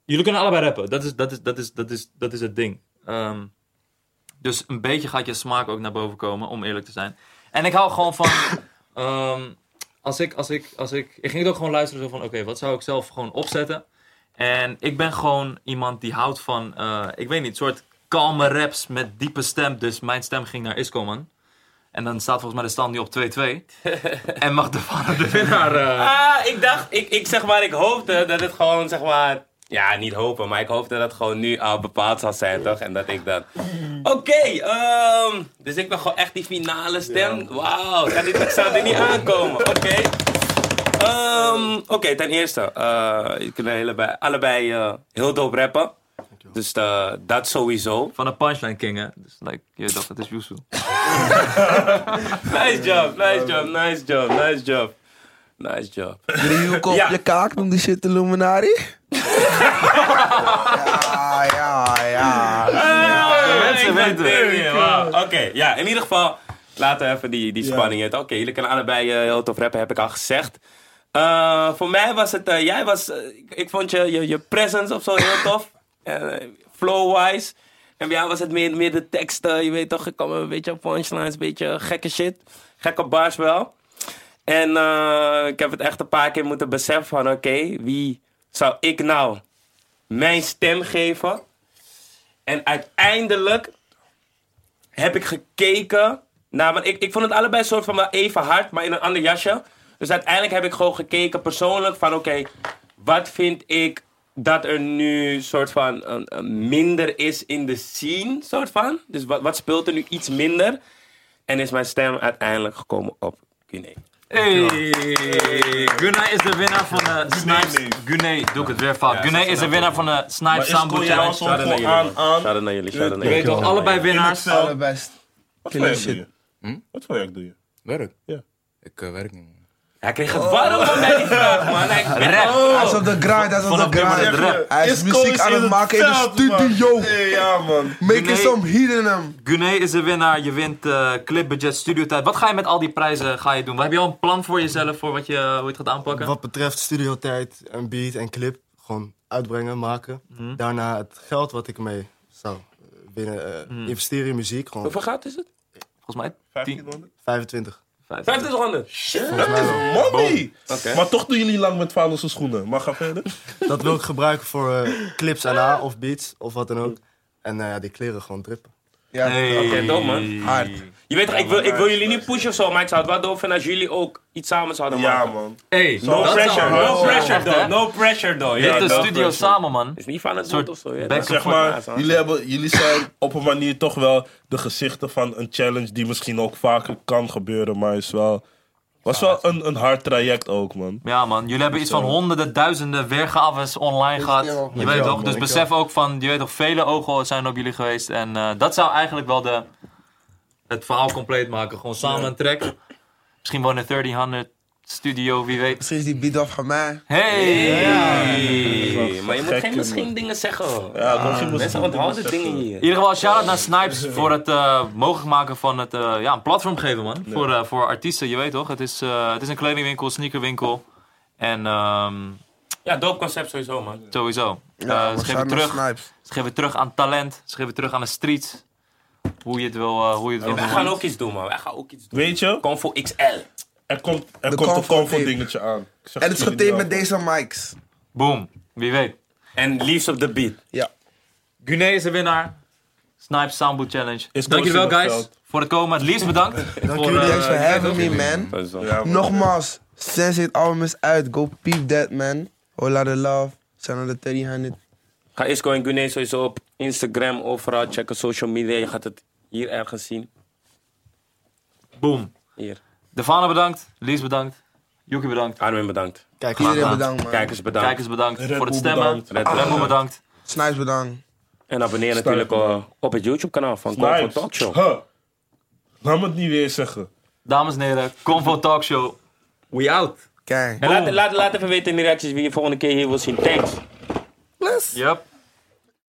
C: Jullie kunnen allebei rappen, dat is, dat is, dat is, dat is, dat is het ding. Ehm, dus een beetje gaat je smaak ook naar boven komen, om eerlijk te zijn. En ik hou gewoon van. ehm, als ik, als ik, als ik, ik ging het ook gewoon luisteren zo van, oké, wat zou ik zelf gewoon opzetten? En ik ben gewoon iemand die houdt van, eh, ik weet niet, soort kalme raps met diepe stem. Dus mijn stem ging naar Isco, man. En dan staat volgens mij de stand nu op 2-2. en mag de vader de winnaar... eh,
A: Ah, ik dacht, ik, ik zeg maar, ik hoopte dat het gewoon, zeg maar. Ja, niet hopen, maar ik hoopte dat het gewoon nu al bepaald zou zijn, toch? En dat ik dan. Oké, ehm, dus ik ben gewoon echt die finale stem. Wauw, ik had dit- ik zou er niet aankomen. Oké. Ehm, Oké, ten eerste, eh je kunt allebei, allebei eh, heel dope rappen. Dus eh, dat sowieso.
C: van een punchline king, hè. Dus like, je dacht, het is Yusu.
A: Nice job, nice job, nice job, nice job. Nice job.
B: Driehoek op
A: Ja.
B: je kaak, noem die shit de Luminari. ja, ja, ja.
C: mensen
A: ik
C: weten
A: dacht,
C: het.
A: nee, wauw. Oké, ja, in ieder geval laten we even die, die spanning uit. Oké, jullie kunnen allebei eh, heel tof rappen, heb ik al gezegd. Eh, Eh, voor mij was het, eh, jij was, eh, ik, ik vond je, je, je presence of zo heel tof. Eh, Flow-wise. En bij jou was het meer, meer de teksten, je weet toch, ik kwam een beetje op punchlines, een beetje gekke shit. Gekke bars wel. En eh, ik heb het echt een paar keer moeten beseffen van, oké, wie zou ik nou mijn stem geven? En uiteindelijk heb ik gekeken naar. Want ik, ik vond het allebei soort van wel even hard, maar in een ander jasje. Dus uiteindelijk heb ik gewoon gekeken persoonlijk van: oké, wat vind ik dat er nu soort van eh, eh, minder is in de scene, soort van. Dus wat, wat speelt er nu iets minder? En is mijn stem uiteindelijk gekomen op Guinea.
C: Hey, Gunay is de winnaar van de Snipes.
D: nee.
C: Gunay, doe ik het weer fout. Gunay is de winnaar van de
D: Maar
C: Snipes
D: is het
C: Soundboard
D: gewoon jouw
C: Challenge.
A: Shout-out
D: song gewoon
A: naar jullie,
D: aan,
A: man. eh,
D: aan?
A: Shout-out naar jullie, shout-out naar
D: Weet
C: Weet
A: jullie.
C: je wel, allebei
D: In
C: winnaars.
D: Excel.
B: Allerbest.
D: Wat voor werk
B: shit.
D: doe je?
A: Hm?
D: Wat voor werk doe je?
G: Werk?
D: Ja.
G: Ik eh, werk niet, man.
A: Hij kreeg het warm van mij, die vraag, man. Hij kreeg-
C: Rap.
B: Hij is op de grind, hij is op
C: Vanaf
B: de
C: nu maar
B: grind.
C: de rap.
B: Hij is muziek aan het maken in de studio.
D: Hey, ja, man.
B: Making
C: Nee.
B: some heat in hem.
C: Gunay is de winnaar. Je wint eh clip, budget, studiotijd. Wat ga je met al die prijzen eh, ga je doen? Wat- Heb je al een plan voor jezelf voor wat je, eh, hoe je het gaat aanpakken?
F: Wat betreft studiotijd en beat en clip, gewoon uitbrengen, maken. Daarna het geld wat ik mee zou winnen, eh, investeren in muziek, gewoon
A: Hoeveel goud is het?
C: Volgens mij 10,
D: 1500?
F: 25.
C: 15.
A: 2500.
D: Shit, dat is money.
A: Oké.
D: Maar toch doen jullie lang met vaderse schoenen. Maar ga verder.
F: Dat wil ik gebruiken voor eh, clips en A of beats of wat dan ook. En nou ja, die kleren gewoon drippen.
B: Ja,
C: Hey.
A: Oké, dope, man.
B: hard.
A: Je weet toch, ik wil, ik wil jullie niet pushen of zo, maar ik zou het wel doof vinden als jullie ook iets samen zouden
D: Ja,
A: maken.
D: man.
C: Hey,
A: No
D: Dat
A: pressure,
D: zou
A: no
D: hard zijn.
A: pressure
C: Echt, hè?
A: though, no pressure though.
C: Dit
A: Ja,
C: is de
A: no
C: studio
A: pressure.
C: samen, man.
A: Het is niet van het
C: Soort
A: woord of zo. Ja,
C: back-
A: dat-
D: Zeg maar, jullie, hebben, jullie zijn op een manier toch wel de gezichten van een challenge die misschien ook vaker kan gebeuren, maar is wel. Was wel een, een hard traject ook, man.
C: Ja man, jullie hebben iets van honderden, duizenden weergaves online gehad.
B: Dankjewel.
C: Je weet
B: Dankjewel,
C: toch, dus besef ook van, je weet toch, vele ogen zijn op jullie geweest. En eh, dat zou eigenlijk wel de, het verhaal compleet maken. Gewoon samen een track. Misschien wel in een 1300 studio, wie weet.
B: Misschien is die beat af van mij.
C: Hey!
A: Hey, maar je moet
D: Gekke
A: geen
D: man.
A: misschien dingen zeggen. hoor.
D: Ja, misschien moest
A: Mensen
D: ik-
A: onthouden dingen hier.
C: In ieder geval, shout-out naar Snipes voor het eh, mogelijk maken van het, eh, ja, een platform geven, man. Voor, eh, voor artiesten, je weet toch. Het is, eh, het is een kledingwinkel, sneakerwinkel. En ehm,
A: Ja, dope concept sowieso, man.
C: sowieso.
B: Ja,
C: Eh,
B: we
C: ze geven
B: gaan naar
C: terug.
B: Snipes.
C: Ze geven terug aan talent. Ze geven terug aan de street. Hoe je het wil, eh, hoe je het wil
A: Wij
C: doen.
A: gaan ook iets doen, man. Wij gaan ook iets doen.
D: Weet je,
A: Convo XL.
D: er komt, er
B: De
D: komt een
B: comfort
D: comfort
B: tape.
D: dingetje aan. Ik zeg
B: En het is
D: jullie
B: getaped met
D: wel.
B: deze mics.
C: Boom. Wie weet.
A: En liefst op de beat.
B: Ja.
C: Guinea is de winnaar. Snipe Soundboot Challenge.
D: Is
C: Dank jullie wel,
D: Koos in het
C: guys.
D: veld?
C: Voor het komen. Het liefst bedankt. eh, Dank
F: jullie,
B: Thanks for having me, man.
D: Ja, man.
B: Nogmaals, Sensei album is uit. Go peep that, man. Hola de love. Zijn de 300.
A: Ga Isco en Gune sowieso op Instagram, overal checken, social media. Je gaat het hier ergens zien.
C: Boom.
A: Hier.
C: Devana bedankt. Lies bedankt. Yuki bedankt.
A: Armin bedankt.
F: Kijk,
B: Iedereen
C: man.
B: bedankt, man.
A: Kijkers bedankt.
C: Kijkers bedankt
D: Red
C: voor het
D: Bull
C: stemmen.
D: bedankt.
A: Red Bull
B: Ah.
C: Remo
A: bedankt.
C: bedankt.
B: Snipes bedankt.
A: En abonneer natuurlijk eh, op het YouTube kanaal van Convo
D: Nice.
A: Talk Show.
D: Huh. Laat me het niet weer zeggen.
C: Dames en heren, Convo Talk Show. We out.
B: Kijk.
A: En laat, laat, laat even weten in de reacties wie je volgende keer hier wil zien. Thanks.
C: Yep.